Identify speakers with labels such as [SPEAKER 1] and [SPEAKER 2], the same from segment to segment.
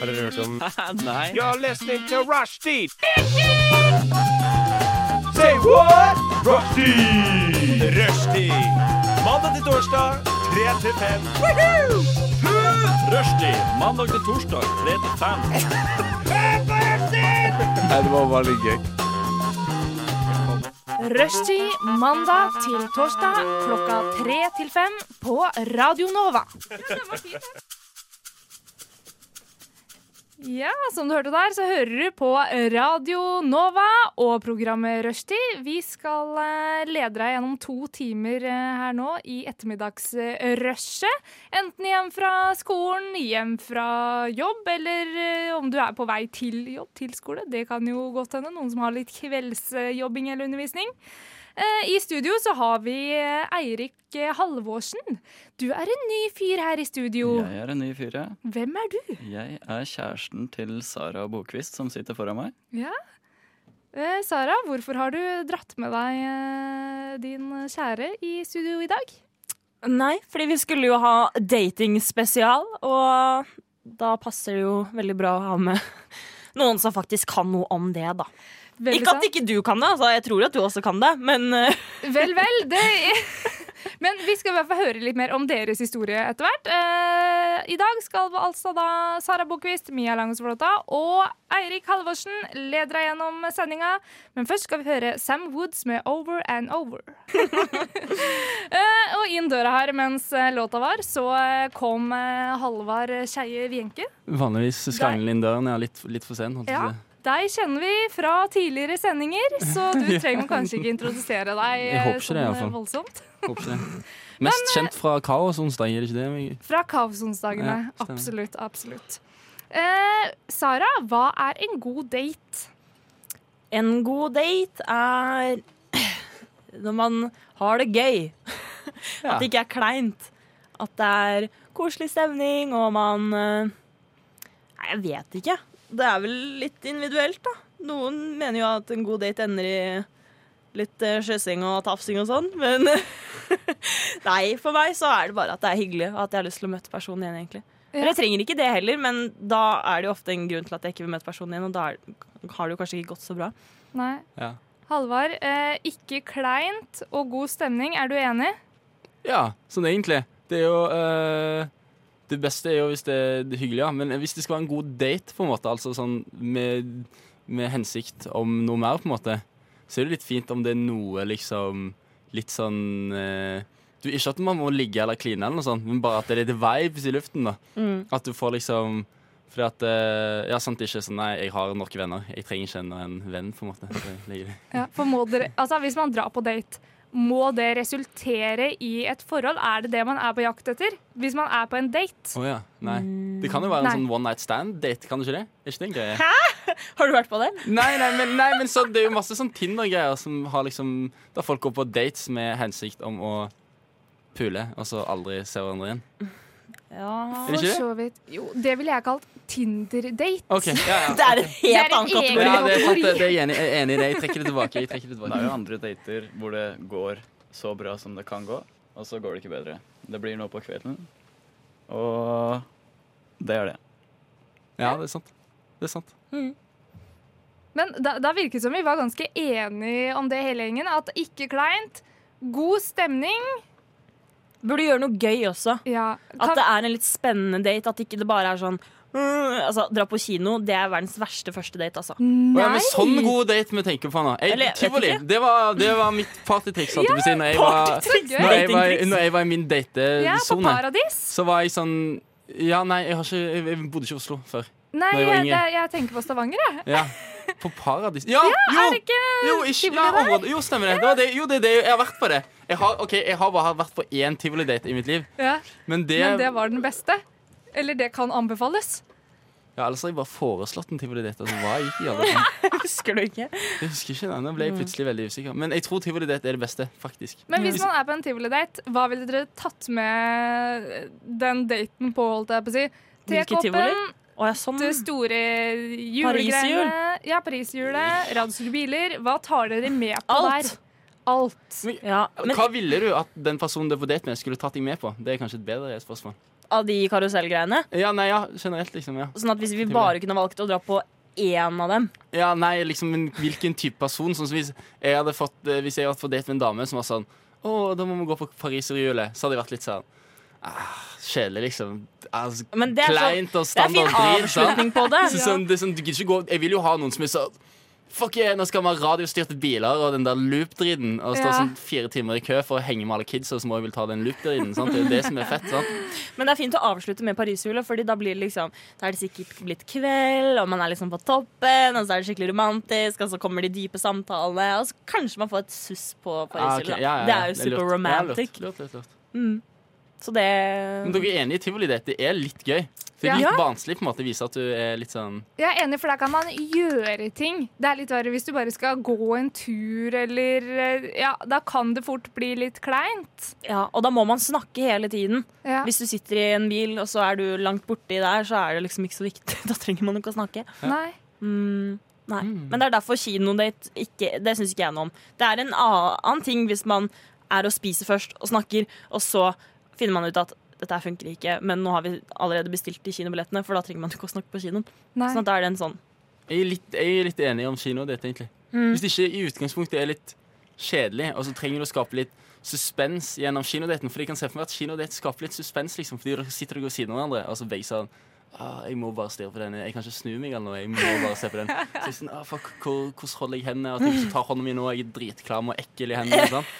[SPEAKER 1] Har dere hørt om
[SPEAKER 2] Nei.
[SPEAKER 3] You're listening to Rushdie. Say what? Rushdie. Rushdie. Mandag til torsdag, 3 til 5.
[SPEAKER 2] Rushdie mandag til torsdag 3 til 5.
[SPEAKER 4] Rushtid mandag til torsdag klokka tre til fem på Radio Nova. Ja, som du hørte der, så hører du på Radio Nova og programmet Rushtid. Vi skal eh, lede deg gjennom to timer eh, her nå i ettermiddagsrushet. Enten hjem fra skolen, hjem fra jobb, eller eh, om du er på vei til jobb, til skole. Det kan jo godt hende. Noen som har litt kveldsjobbing eller undervisning. Eh, I studio så har vi eh, Eirik eh, Halvorsen. Du er en ny fyr her i studio.
[SPEAKER 2] Jeg er en ny fyr, jeg.
[SPEAKER 4] Hvem er du?
[SPEAKER 2] Jeg er kjæresten til Sara Bokvist som sitter foran meg.
[SPEAKER 4] Ja. Eh, Sara, hvorfor har du dratt med deg eh, din kjære i studio i dag?
[SPEAKER 5] Nei, fordi vi skulle jo ha datingspesial, og da passer det jo veldig bra å ha med noen som faktisk kan noe om det, da.
[SPEAKER 4] Veldig
[SPEAKER 5] ikke
[SPEAKER 4] sant.
[SPEAKER 5] at ikke du kan det, altså, jeg tror at du også kan det, men eh,
[SPEAKER 4] Vel, vel. Det Men vi skal i hvert fall høre litt mer om deres historie etter hvert. Eh, I dag skal vi altså da Sara Bokvist, Mia Langosflåta og Eirik Halvorsen lede deg gjennom sendinga. Men først skal vi høre Sam Woods med 'Over and Over'. Eh, og inn døra her mens eh, låta var, så eh, kom eh, Halvard Skeie Vienke.
[SPEAKER 6] Vanligvis
[SPEAKER 4] skangler
[SPEAKER 6] inn døren. Jeg er litt, for sen. Holdt
[SPEAKER 4] Ja. Deg kjenner vi fra tidligere sendinger, så du trenger kanskje ikke introdusere deg eh,
[SPEAKER 6] håper ikke det, i hvert
[SPEAKER 4] sånn eh,
[SPEAKER 6] fall.
[SPEAKER 4] voldsomt.
[SPEAKER 6] Mest
[SPEAKER 5] eh,
[SPEAKER 6] kjent fra Kaos onsdag, er det ikke det?
[SPEAKER 4] Fra kaosonsdagene.
[SPEAKER 6] Ja, stemmer.
[SPEAKER 4] absolutt. absolutt. Eh, Sara, hva er en god date?
[SPEAKER 5] en god date er når man har det gøy. At det ikke er kleint. At det er koselig stemning, og man eh, Nei, jeg vet ikke. Det er vel litt individuelt, da. Noen mener jo at en god date ender i litt eh, kjøsing og tafsing og sånn, men Nei, for meg så er det bare at det er hyggelig, og at jeg har lyst til å møte personen igjen, egentlig. Men jeg trenger ikke det heller, men da er det jo ofte en grunn til at jeg ikke vil møte personen igjen, og da er, har det jo kanskje ikke gått så bra.
[SPEAKER 4] Nei.
[SPEAKER 6] Ja.
[SPEAKER 4] Halvard, eh, ikke kleint og god stemning. Er du enig?
[SPEAKER 6] Ja, sånn egentlig. Det er jo eh, Det beste er jo hvis det er hyggelig, ja. Men hvis det skal være en god date, på en måte, altså sånn med, med hensikt om noe mer, på en måte, så er det litt fint om det er noe liksom Litt sånn eh, du, Ikke at man må ligge eller kline, eller noe sånt, men bare at det er litt vibes i luften, da. At du får liksom fordi at, eh, ja, sant, det er ikke sånn, nei, jeg har nok venner. Jeg trenger ikke enda en venn, på en måte. Det ligger det.
[SPEAKER 4] Ja, for må dere, altså, hvis man drar på date, må det resultere i et forhold? Er det det man er på jakt etter? Hvis man er på en date?
[SPEAKER 6] Å ja. Nei. Det kan jo være
[SPEAKER 4] Nei.
[SPEAKER 6] en sånn one night stand-date, kan det ikke det? Er ikke det en greie?
[SPEAKER 5] Har du vært på det?
[SPEAKER 6] Nei, nei, men, nei, men så, det er jo masse sånn Tinder-greier som har liksom Der folk går på dates med hensikt om å pule, og så aldri ser hverandre igjen.
[SPEAKER 5] Ja.
[SPEAKER 6] Er det ikke det?
[SPEAKER 4] vidt. Jo, det ville jeg kalt Tinder-date.
[SPEAKER 6] OK. Ja, ja.
[SPEAKER 5] Det er en
[SPEAKER 4] Det er
[SPEAKER 5] helt
[SPEAKER 4] en
[SPEAKER 5] annen kategori.
[SPEAKER 6] ja det er sant, det, det er jeg enig, jeg er enig i det. Jeg trekker det tilbake. Jeg trekker det
[SPEAKER 2] Det er
[SPEAKER 6] tilbake.
[SPEAKER 2] jo andre dater hvor det går så bra som det kan gå, og så går det ikke bedre. Det blir nå på kvelden, og det er det.
[SPEAKER 6] Ja, det er sant. Det er sant.
[SPEAKER 4] Men da, da virket det som vi var ganske enige om det hele gjengen. At ikke kleint, god stemning.
[SPEAKER 5] Burde gjøre noe gøy også.
[SPEAKER 4] Ja,
[SPEAKER 5] At det er en litt spennende date. At ikke det bare er sånn mm, altså, Dra på kino, det er verdens verste første date, altså.
[SPEAKER 6] Å,
[SPEAKER 4] Nei!
[SPEAKER 6] ja, men sånn god date vi tenker på nå.
[SPEAKER 5] Eller,
[SPEAKER 6] Jeg,
[SPEAKER 5] jeg vet
[SPEAKER 6] tivoli.
[SPEAKER 5] ikke.
[SPEAKER 6] Det var, det var mitt partytriks. holdt jeg på å si, når jeg var-
[SPEAKER 4] Så gøy.
[SPEAKER 6] Når jeg var-
[SPEAKER 5] Datingtriks.
[SPEAKER 6] når jeg var i min
[SPEAKER 4] Ja, på
[SPEAKER 6] datesone.
[SPEAKER 4] Paradis.
[SPEAKER 6] Så var jeg sånn Ja, nei, jeg, har ikke, jeg, jeg bodde ikke i Oslo før.
[SPEAKER 4] Nei,
[SPEAKER 6] Når jeg var
[SPEAKER 4] jeg,
[SPEAKER 6] yngre.
[SPEAKER 4] jeg tenker på Stavanger, jeg.
[SPEAKER 6] Ja, På Paradis Ja, jo!
[SPEAKER 4] Er det ikke
[SPEAKER 6] jo, ikke,
[SPEAKER 4] tivoli
[SPEAKER 6] ja,
[SPEAKER 4] der?
[SPEAKER 6] området, jo, stemmer det. det, var det jo, det er det jeg har vært på det. Jeg har, ok, jeg har bare vært på én tivolidate i mitt liv.
[SPEAKER 4] ja.
[SPEAKER 6] Men det,
[SPEAKER 4] Men det var den beste. Eller det kan anbefales.
[SPEAKER 6] Ja, Ellers har jeg bare foreslått en tivolidate. Altså, hva gikk i alle fall?
[SPEAKER 5] Husker du ikke?
[SPEAKER 6] Jeg husker ikke det. Nå
[SPEAKER 4] Mm.
[SPEAKER 6] ble jeg plutselig veldig usikker. Men jeg tror tivolidate er det beste, faktisk.
[SPEAKER 4] Men hvis man er på en tivolidate, hva ville dere tatt med den daten på, holdt jeg på å si?
[SPEAKER 5] Hvilke tivoli?
[SPEAKER 4] Tekoppen,
[SPEAKER 5] Å, ja,
[SPEAKER 6] Mm.
[SPEAKER 5] sånn.
[SPEAKER 4] det store julegreiene. Ja, Pariserhjulet, radiostylte biler. Hva tar dere med på
[SPEAKER 5] Alt.
[SPEAKER 4] der? Alt.
[SPEAKER 5] Ja, men
[SPEAKER 6] Hva ville du at den personen du er på date med, skulle tatt deg med på? Det er kanskje et bedre spørsmål.
[SPEAKER 5] av de karusellgreiene.
[SPEAKER 6] Ja, nei, ja, generelt, liksom. Ja.
[SPEAKER 5] Sånn at hvis vi bare kunne valgt å dra på én av dem
[SPEAKER 6] Ja, nei, liksom men hvilken type person Sånn som hvis jeg hadde fått eh, Hvis jeg hadde fått date med en dame som var sånn Å, da må vi gå på pariserhjulet Så hadde jeg vært litt sånn ah, Kjedelig liksom altså,
[SPEAKER 5] Men det er sånn-
[SPEAKER 6] Kleint og
[SPEAKER 5] Det er fin
[SPEAKER 6] standard dritt, sant?
[SPEAKER 5] avslutning på det.
[SPEAKER 6] Så sånn, det er sånn, du gidder ikke gå Jeg vil jo ha noen som er sånn Fuck yeah, nå skal vi ha radiostyrte biler og den der loop-driden Og stå
[SPEAKER 4] Ja.
[SPEAKER 6] sånn fire timer i kø for å henge med alle kidsa Som også vil ta den loop-driden, sant? Det er jo det som er fett, sant?
[SPEAKER 5] Men det er fint å avslutte med Pariserhjulet, Fordi da blir det liksom Da er det sikkert blitt kveld, og man er liksom på toppen, og så er det skikkelig romantisk, og så kommer de dype samtalene, og så kanskje man får et suss på
[SPEAKER 6] Ah, ok,
[SPEAKER 5] Pariserhjulet. da.
[SPEAKER 6] ja, ja, ja.
[SPEAKER 5] Det er jo
[SPEAKER 6] lurt.
[SPEAKER 5] super
[SPEAKER 6] Ja,
[SPEAKER 5] romantic.
[SPEAKER 6] lurt, lurt, lurt, lurt.
[SPEAKER 5] Mm. Så det
[SPEAKER 6] Men dere er enige i tivoli date? Det er litt gøy. Det er
[SPEAKER 4] Ja.
[SPEAKER 6] litt
[SPEAKER 4] Ja.
[SPEAKER 6] barnslig på en måte. Viser at du er litt sånn
[SPEAKER 4] Jeg er enig, for der kan man gjøre ting. Det er litt verre hvis du bare skal gå en tur eller eh, Ja, da kan det fort bli litt kleint.
[SPEAKER 5] Ja, og da må man snakke hele tiden.
[SPEAKER 4] Ja.
[SPEAKER 5] Hvis du sitter i en bil, og så er du langt borti der, så er det liksom ikke så viktig. Da trenger man ikke å snakke.
[SPEAKER 4] Nei.
[SPEAKER 5] Mm, nei. Men det er derfor kinodate ikke Det syns ikke jeg noe om. Det er en annen ting hvis man er og spiser først og snakker, og så finner man ut at dette her funker ikke, men nå har vi allerede bestilt de kinobillettene, for da trenger man ikke å snakke på kinoen.
[SPEAKER 4] Nei.
[SPEAKER 5] Sånn at da er det en sånn
[SPEAKER 6] Jeg er litt, jeg er litt enig om kinodate, egentlig.
[SPEAKER 4] Mm.
[SPEAKER 6] Hvis det ikke i utgangspunktet er litt kjedelig, og så trenger du å skape litt suspens gjennom kinodaten. For jeg kan se for meg at kinodate skaper litt suspens, liksom, fordi dere sitter dere ved siden av hverandre, og så begge sånn ah, jeg må bare stirre på den. Jeg kan ikke snu meg eller noe. Jeg må bare se på den. Så jeg sånn, ah, fuck, hvor, hvordan holder jeg hendene? At jeg ikke tar hånda mi nå. Jeg er dritklam og ekkel i hendene. sant?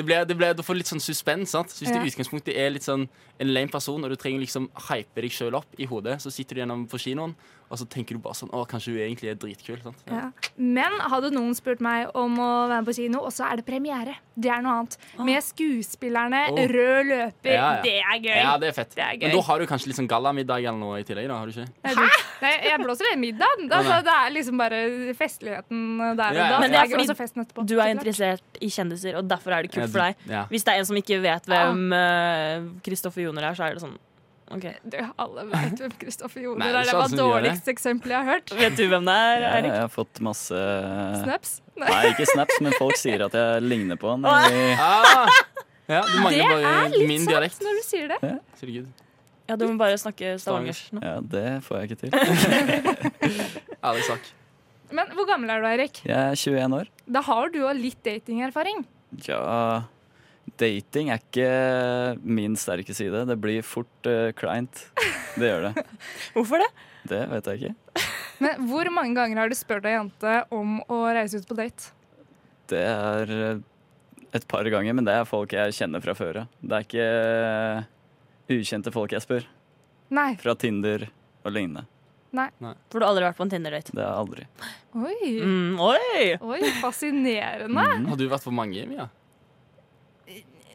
[SPEAKER 6] Det blir, det blir, du får litt sånn suspens. sant? Så Hvis du
[SPEAKER 4] Ja.
[SPEAKER 6] i utgangspunktet er litt sånn en lame person, og du trenger liksom hype deg sjøl opp i hodet, så sitter du gjennom på kinoen, og så tenker du bare sånn Å, kanskje hun egentlig er dritkul. sant? Ja.
[SPEAKER 4] Ja. Men hadde noen spurt meg om å være med på kino, og så er det premiere. Det er noe annet. Med skuespillerne,
[SPEAKER 6] Oh.
[SPEAKER 4] rød løper.
[SPEAKER 6] Ah. Ja, ja.
[SPEAKER 4] Det er gøy.
[SPEAKER 6] Ja, det er fett.
[SPEAKER 4] Det er gøy.
[SPEAKER 6] Men da har du kanskje litt sånn gallamiddag eller noe i tillegg, da? har du ikke?
[SPEAKER 4] Hæ? Nei, jeg blåser i middagen.
[SPEAKER 6] Å,
[SPEAKER 4] Altså,
[SPEAKER 6] nei.
[SPEAKER 4] det er liksom bare festligheten der og
[SPEAKER 6] Ja, ja.
[SPEAKER 4] da.
[SPEAKER 6] Men det er
[SPEAKER 4] Jeg
[SPEAKER 5] fordi
[SPEAKER 4] også festen etterpå.
[SPEAKER 5] Du er
[SPEAKER 4] så klart.
[SPEAKER 5] interessert i kjendiser, og derfor er det
[SPEAKER 6] Ja,
[SPEAKER 5] kult for deg.
[SPEAKER 6] du- ja.
[SPEAKER 5] Hvis det er en som ikke vet hvem eh, Kristoffer Joner er, så er det sånn OK.
[SPEAKER 4] Du, alle vet hvem Kristoffer Joner
[SPEAKER 6] Nei,
[SPEAKER 4] er.
[SPEAKER 6] det er
[SPEAKER 4] Det
[SPEAKER 6] ikke alle
[SPEAKER 4] var
[SPEAKER 6] som gjør det.
[SPEAKER 4] dårligste eksempelet jeg har hørt.
[SPEAKER 5] Vet du hvem det er,
[SPEAKER 2] Ja,
[SPEAKER 5] Eirik?
[SPEAKER 2] jeg har fått masse
[SPEAKER 4] Snaps. Nei.
[SPEAKER 2] Nei, ikke snaps, men folk sier at jeg ligner på han. i-
[SPEAKER 6] Ah! Ja, du
[SPEAKER 4] Det
[SPEAKER 6] mangler
[SPEAKER 4] er
[SPEAKER 6] bare
[SPEAKER 4] litt
[SPEAKER 6] min
[SPEAKER 4] sant
[SPEAKER 6] dialekt.
[SPEAKER 4] når du sier det.
[SPEAKER 6] Herregud.
[SPEAKER 5] Ja, du må bare snakke stavangers nå.
[SPEAKER 2] Ja, det får jeg ikke til.
[SPEAKER 6] Ærlig sak.
[SPEAKER 4] Men hvor gammel er du, Eirik?
[SPEAKER 2] Jeg er 21 år.
[SPEAKER 4] Da har du jo litt datingerfaring.
[SPEAKER 2] Ja, dating er ikke min sterke side. Det blir fort eh, kleint. Det gjør det.
[SPEAKER 5] Hvorfor det?
[SPEAKER 2] Det vet jeg ikke.
[SPEAKER 4] Men hvor mange ganger har du spurt ei jente om å reise ut på date?
[SPEAKER 2] Det er eh, et par ganger, men det er folk jeg kjenner fra før av. Det er ikke eh, ukjente folk jeg spør.
[SPEAKER 4] Nei.
[SPEAKER 2] Fra Tinder og lignende.
[SPEAKER 5] For du har aldri vært på en Tinder-date.
[SPEAKER 2] Det er aldri.
[SPEAKER 4] Oi.
[SPEAKER 5] Mm, oi!
[SPEAKER 4] Oi, fascinerende.
[SPEAKER 6] Har du vært på mange, Mia?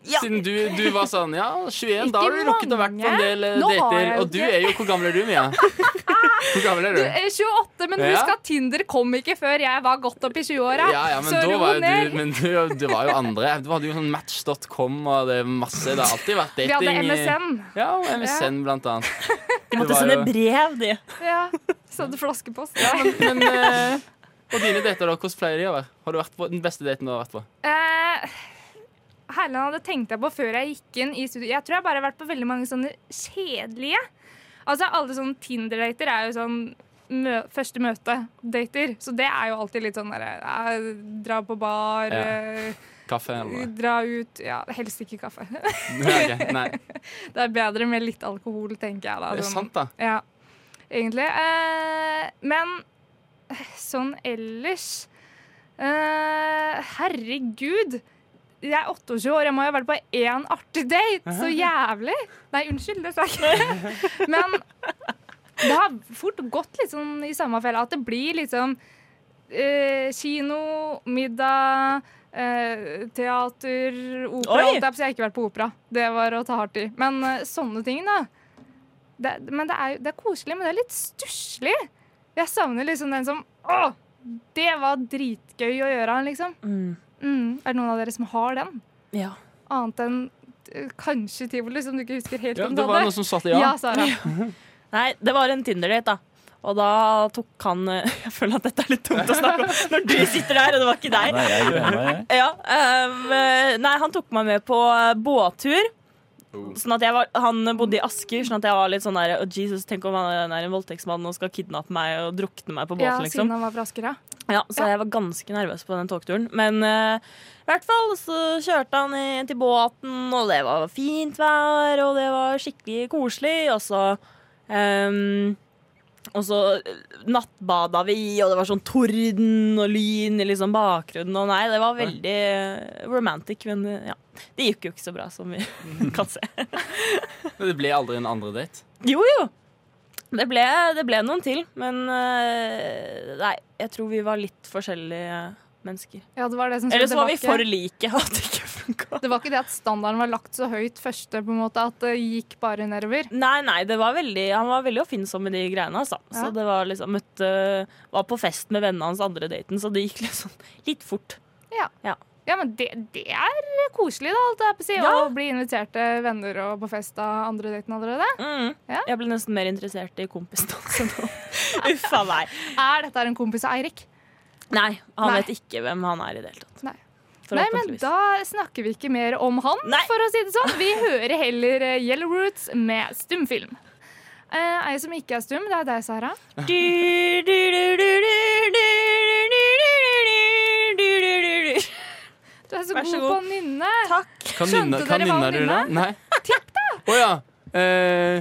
[SPEAKER 5] Ja.
[SPEAKER 6] Siden du, du var sånn ja, 21, da har du
[SPEAKER 4] Ikke
[SPEAKER 6] rukket å vært på en
[SPEAKER 4] mange.
[SPEAKER 6] del eh,
[SPEAKER 4] Nå har
[SPEAKER 6] dater.
[SPEAKER 4] jeg jo
[SPEAKER 6] Og du
[SPEAKER 4] ikke.
[SPEAKER 6] er jo Hvor gammel er du, Mia? Hvor gammel er
[SPEAKER 4] Du
[SPEAKER 6] du?
[SPEAKER 4] er 28, men
[SPEAKER 6] Ja.
[SPEAKER 4] husk at Tinder kom ikke før jeg var godt opp i 20-åra.
[SPEAKER 6] Ja, ja, men
[SPEAKER 4] Så
[SPEAKER 6] da
[SPEAKER 4] ro
[SPEAKER 6] var jo
[SPEAKER 4] ned.
[SPEAKER 6] du, men du, du var jo andre. Du hadde jo sånn Match.com og det er masse. Det har alltid vært
[SPEAKER 4] Vi hadde
[SPEAKER 6] dating. eh, i-
[SPEAKER 4] MSN.
[SPEAKER 6] Ja, og MSN blant annet.
[SPEAKER 5] De
[SPEAKER 6] Det
[SPEAKER 5] måtte
[SPEAKER 6] var
[SPEAKER 5] sende
[SPEAKER 6] jo-
[SPEAKER 5] brev, de.
[SPEAKER 4] Ja. Så hadde flaskepost.
[SPEAKER 6] Men, eh, og dine dater, da? Hvordan pleier de å være? Har du vært på den beste daten du har vært på?
[SPEAKER 4] Eh, Herland hadde tenkt deg på før jeg gikk inn i studio. Jeg tror jeg bare har vært på veldig mange sånne kjedelige. Altså Alle sånne Tinder-dater er jo sånn mø første møte-dater. Så det er jo alltid litt sånn derre eh, Dra på bar,
[SPEAKER 6] Ja.
[SPEAKER 4] eh,
[SPEAKER 6] Kaffe eller noe?
[SPEAKER 4] dra ut Ja, helst ikke kaffe.
[SPEAKER 6] Nei, ok, Nei,
[SPEAKER 4] det er bedre med litt alkohol, tenker jeg da.
[SPEAKER 6] det er
[SPEAKER 4] sånn.
[SPEAKER 6] sant, da.
[SPEAKER 4] Ja, egentlig. Eh, men sånn ellers eh, Herregud! Jeg er 28 år, jeg må jo ha vært på én artig date! Så jævlig! Nei, unnskyld, det sa jeg ikke. Men det har fort gått litt sånn i samme fella at det blir liksom eh, kino, middag eh, teater, opera
[SPEAKER 5] Oi!
[SPEAKER 4] alt det, Så jeg har ikke vært på opera. Det var å ta hardt i. Men eh, sånne ting, da. Det, men det er, jo- det er koselig, men det er litt stusslig. Jeg savner liksom den som Å, det var dritgøy å gjøre, liksom.
[SPEAKER 5] Mm.
[SPEAKER 4] Mm. Er det noen av dere som har den?
[SPEAKER 5] Ja.
[SPEAKER 4] Annet enn eh, kanskje tivoli, som du ikke husker helt
[SPEAKER 6] Ja,
[SPEAKER 4] om
[SPEAKER 6] det
[SPEAKER 4] du
[SPEAKER 6] var
[SPEAKER 4] hadde.
[SPEAKER 6] noen som svarte
[SPEAKER 4] ja.
[SPEAKER 6] ja.
[SPEAKER 4] Sara.
[SPEAKER 5] Nei, det var en Tinder-date, da. Og da tok han eh, Jeg føler at dette er litt tungt å snakke om når du sitter der, og det var ikke deg.
[SPEAKER 2] Nei, jeg gruer meg, jeg.
[SPEAKER 5] Ja, ehm, eh, nei, han tok meg med på eh, båttur. Sånn at jeg var, han bodde i Asker, sånn at jeg var litt sånn der oh, Jesus, tenk om han er en voldtektsmann og skal kidnappe meg og drukne meg på båten,
[SPEAKER 4] Ja,
[SPEAKER 5] liksom.
[SPEAKER 4] siden han var fra Asker, ja.
[SPEAKER 5] Ja, så jeg var ganske nervøs på den togturen. Men eh, i hvert fall så kjørte han i, til båten, og det var fint vær, og det var skikkelig koselig. Og så, ehm, og så nattbada vi, og det var sånn torden og lyn i liksom bakgrunnen. Og nei, det var veldig eh, romantic, men eh, ja. Det gikk jo ikke så bra som vi kan se.
[SPEAKER 6] Men det ble aldri en andre date.
[SPEAKER 5] Jo, jo. Det ble, det ble noen til, men eh, nei, jeg tror vi var litt forskjellige mennesker.
[SPEAKER 4] ja det var det som
[SPEAKER 5] Eller så
[SPEAKER 4] det
[SPEAKER 5] var vi
[SPEAKER 4] ikke-
[SPEAKER 5] for like og det ikke funka.
[SPEAKER 4] Det var ikke det at standarden var lagt så høyt første, på en måte, at det gikk bare nedover.
[SPEAKER 5] Nei, nei, det var veldig, han var veldig oppfinnsom med de greiene. Altså.
[SPEAKER 4] Ja.
[SPEAKER 5] Så det var liksom møtte, Var på fest med vennene hans andre daten, så det gikk liksom litt fort.
[SPEAKER 4] Ja, men det, det er koselig, da, alt jeg på å si.
[SPEAKER 5] Ja.
[SPEAKER 4] Å bli invitert til venner og på fest av andre daten allerede.
[SPEAKER 5] Mm.
[SPEAKER 4] Ja.
[SPEAKER 5] Jeg ble nesten mer interessert i kompisen hans enn han. Uff a meg.
[SPEAKER 4] Er dette en kompis av Eirik?
[SPEAKER 5] Nei, han
[SPEAKER 4] Nei.
[SPEAKER 5] vet ikke hvem han er i det hele tatt.
[SPEAKER 4] Nei. Nei, men
[SPEAKER 5] Forhåpentligvis.
[SPEAKER 4] da snakker vi ikke mer om han,
[SPEAKER 5] Nei.
[SPEAKER 4] for å si det sånn. Vi hører heller eh, Yellow Roots med stumfilm. Eh, Ei som ikke er stum, det er deg, Sara.
[SPEAKER 5] Du, du, du, du, du, du, du, du, du, du, du, du, du.
[SPEAKER 4] Du er så
[SPEAKER 5] Vær
[SPEAKER 4] god,
[SPEAKER 5] så
[SPEAKER 4] på
[SPEAKER 5] god.
[SPEAKER 4] å nynne.
[SPEAKER 5] Takk.
[SPEAKER 6] Kan
[SPEAKER 4] Skjønte
[SPEAKER 6] nynne, kan
[SPEAKER 4] dere hva
[SPEAKER 6] nynne
[SPEAKER 4] hun
[SPEAKER 6] du det?
[SPEAKER 4] nynna?
[SPEAKER 6] Nei. Å ja. Eh,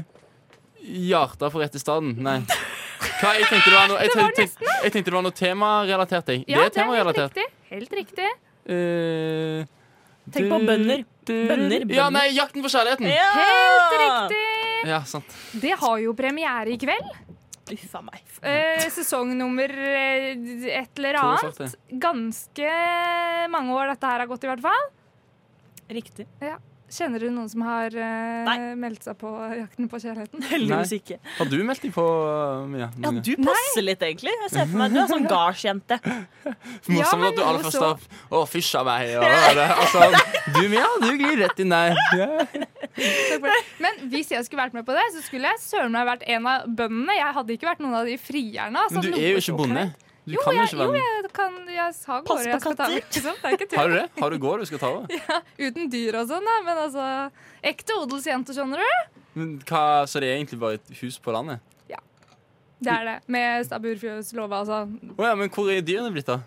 [SPEAKER 6] hjarta på rett i staden. Nei. Hva, jeg, tenkte det var noe, jeg,
[SPEAKER 4] Det var
[SPEAKER 6] tenkte, jeg tenkte det var noe temarelatert. Jeg.
[SPEAKER 4] Ja,
[SPEAKER 6] det er temarelatert.
[SPEAKER 4] riktig. Helt riktig.
[SPEAKER 6] Eh,
[SPEAKER 5] Tenk på bønder.
[SPEAKER 6] du-
[SPEAKER 5] Bønder,
[SPEAKER 6] Ja,
[SPEAKER 5] bønder.
[SPEAKER 6] nei, 'Jakten på kjærligheten'. Ja,
[SPEAKER 5] Helt
[SPEAKER 4] Riktig!
[SPEAKER 6] sant.
[SPEAKER 4] Det har jo premiere i kveld.
[SPEAKER 5] Uff a meg.
[SPEAKER 4] Eh, sesong nummer eh, et eller annet.
[SPEAKER 6] 42.
[SPEAKER 4] Ganske mange år dette her har gått, i hvert fall.
[SPEAKER 5] Riktig.
[SPEAKER 4] Kjenner du noen som har eh,
[SPEAKER 5] Nei.
[SPEAKER 4] meldt seg på Jakten på kjærligheten?
[SPEAKER 5] Heldigvis ikke.
[SPEAKER 6] Har du meldt deg på, Mia?
[SPEAKER 5] Ja, du passer litt, egentlig. Jeg ser for meg Du er sånn gardsjente.
[SPEAKER 4] Ja,
[SPEAKER 6] Morsomt
[SPEAKER 4] men
[SPEAKER 6] at du aller
[SPEAKER 4] noe
[SPEAKER 6] først
[SPEAKER 4] så-
[SPEAKER 6] har Å, fysj av meg. Og, og, det. altså, du, Mia, du glir rett inn der. Ja.
[SPEAKER 4] Takk for det. Men hvis jeg skulle vært med på det, så skulle jeg søren meg vært en av bøndene. Jeg hadde ikke vært noen av de frierne. altså,
[SPEAKER 6] Men du
[SPEAKER 4] noe
[SPEAKER 6] er jo
[SPEAKER 4] så
[SPEAKER 6] ikke bonde.
[SPEAKER 4] kleint.
[SPEAKER 6] Du
[SPEAKER 4] Jo,
[SPEAKER 6] kan jo
[SPEAKER 4] jeg,
[SPEAKER 6] ikke
[SPEAKER 4] jo,
[SPEAKER 6] være med.
[SPEAKER 4] jeg kan Jeg sa
[SPEAKER 5] Pass på
[SPEAKER 4] gårder jeg skal ta
[SPEAKER 5] katter.
[SPEAKER 4] over. Ikke sant? Det er ikke
[SPEAKER 6] Har
[SPEAKER 4] tull.
[SPEAKER 6] du det? Har du gård du skal ta over?
[SPEAKER 4] Uten dyr og sånn, da. Men altså Ekte odelsjente, skjønner du.
[SPEAKER 6] Men hva, så det er egentlig bare et hus på landet?
[SPEAKER 4] Det er det. Med stabburfjøslova og sånn.
[SPEAKER 6] Å ja, men hvor er dyrene blitt av?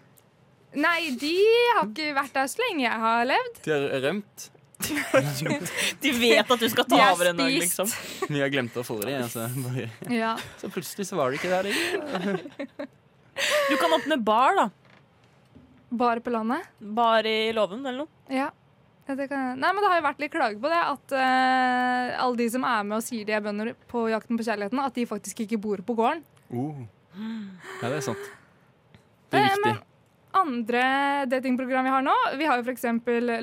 [SPEAKER 4] Nei, de har ikke vært der så lenge jeg har levd.
[SPEAKER 6] De har rømt.
[SPEAKER 5] De vet at du skal ta
[SPEAKER 4] De er
[SPEAKER 5] over en dag,
[SPEAKER 4] spist.
[SPEAKER 5] liksom.
[SPEAKER 6] Vi har glemt å fôre dem. Altså. Bare-
[SPEAKER 4] Ja.
[SPEAKER 6] Så plutselig så var de ikke der. lenger.
[SPEAKER 5] Du kan åpne bar, da.
[SPEAKER 4] Bare på landet.
[SPEAKER 5] Bar i låven eller noe.
[SPEAKER 4] Ja. Ja, Det kan... Nei, men det har jo vært litt klage på det, at eh, alle de som er med og sier de er bønder på Jakten på kjærligheten, at de faktisk ikke bor på gården.
[SPEAKER 6] Oh. Ja, det er sant. Det er
[SPEAKER 4] Eh,
[SPEAKER 6] viktig.
[SPEAKER 4] men- andre datingprogram vi har nå. Vi har jo f.eks.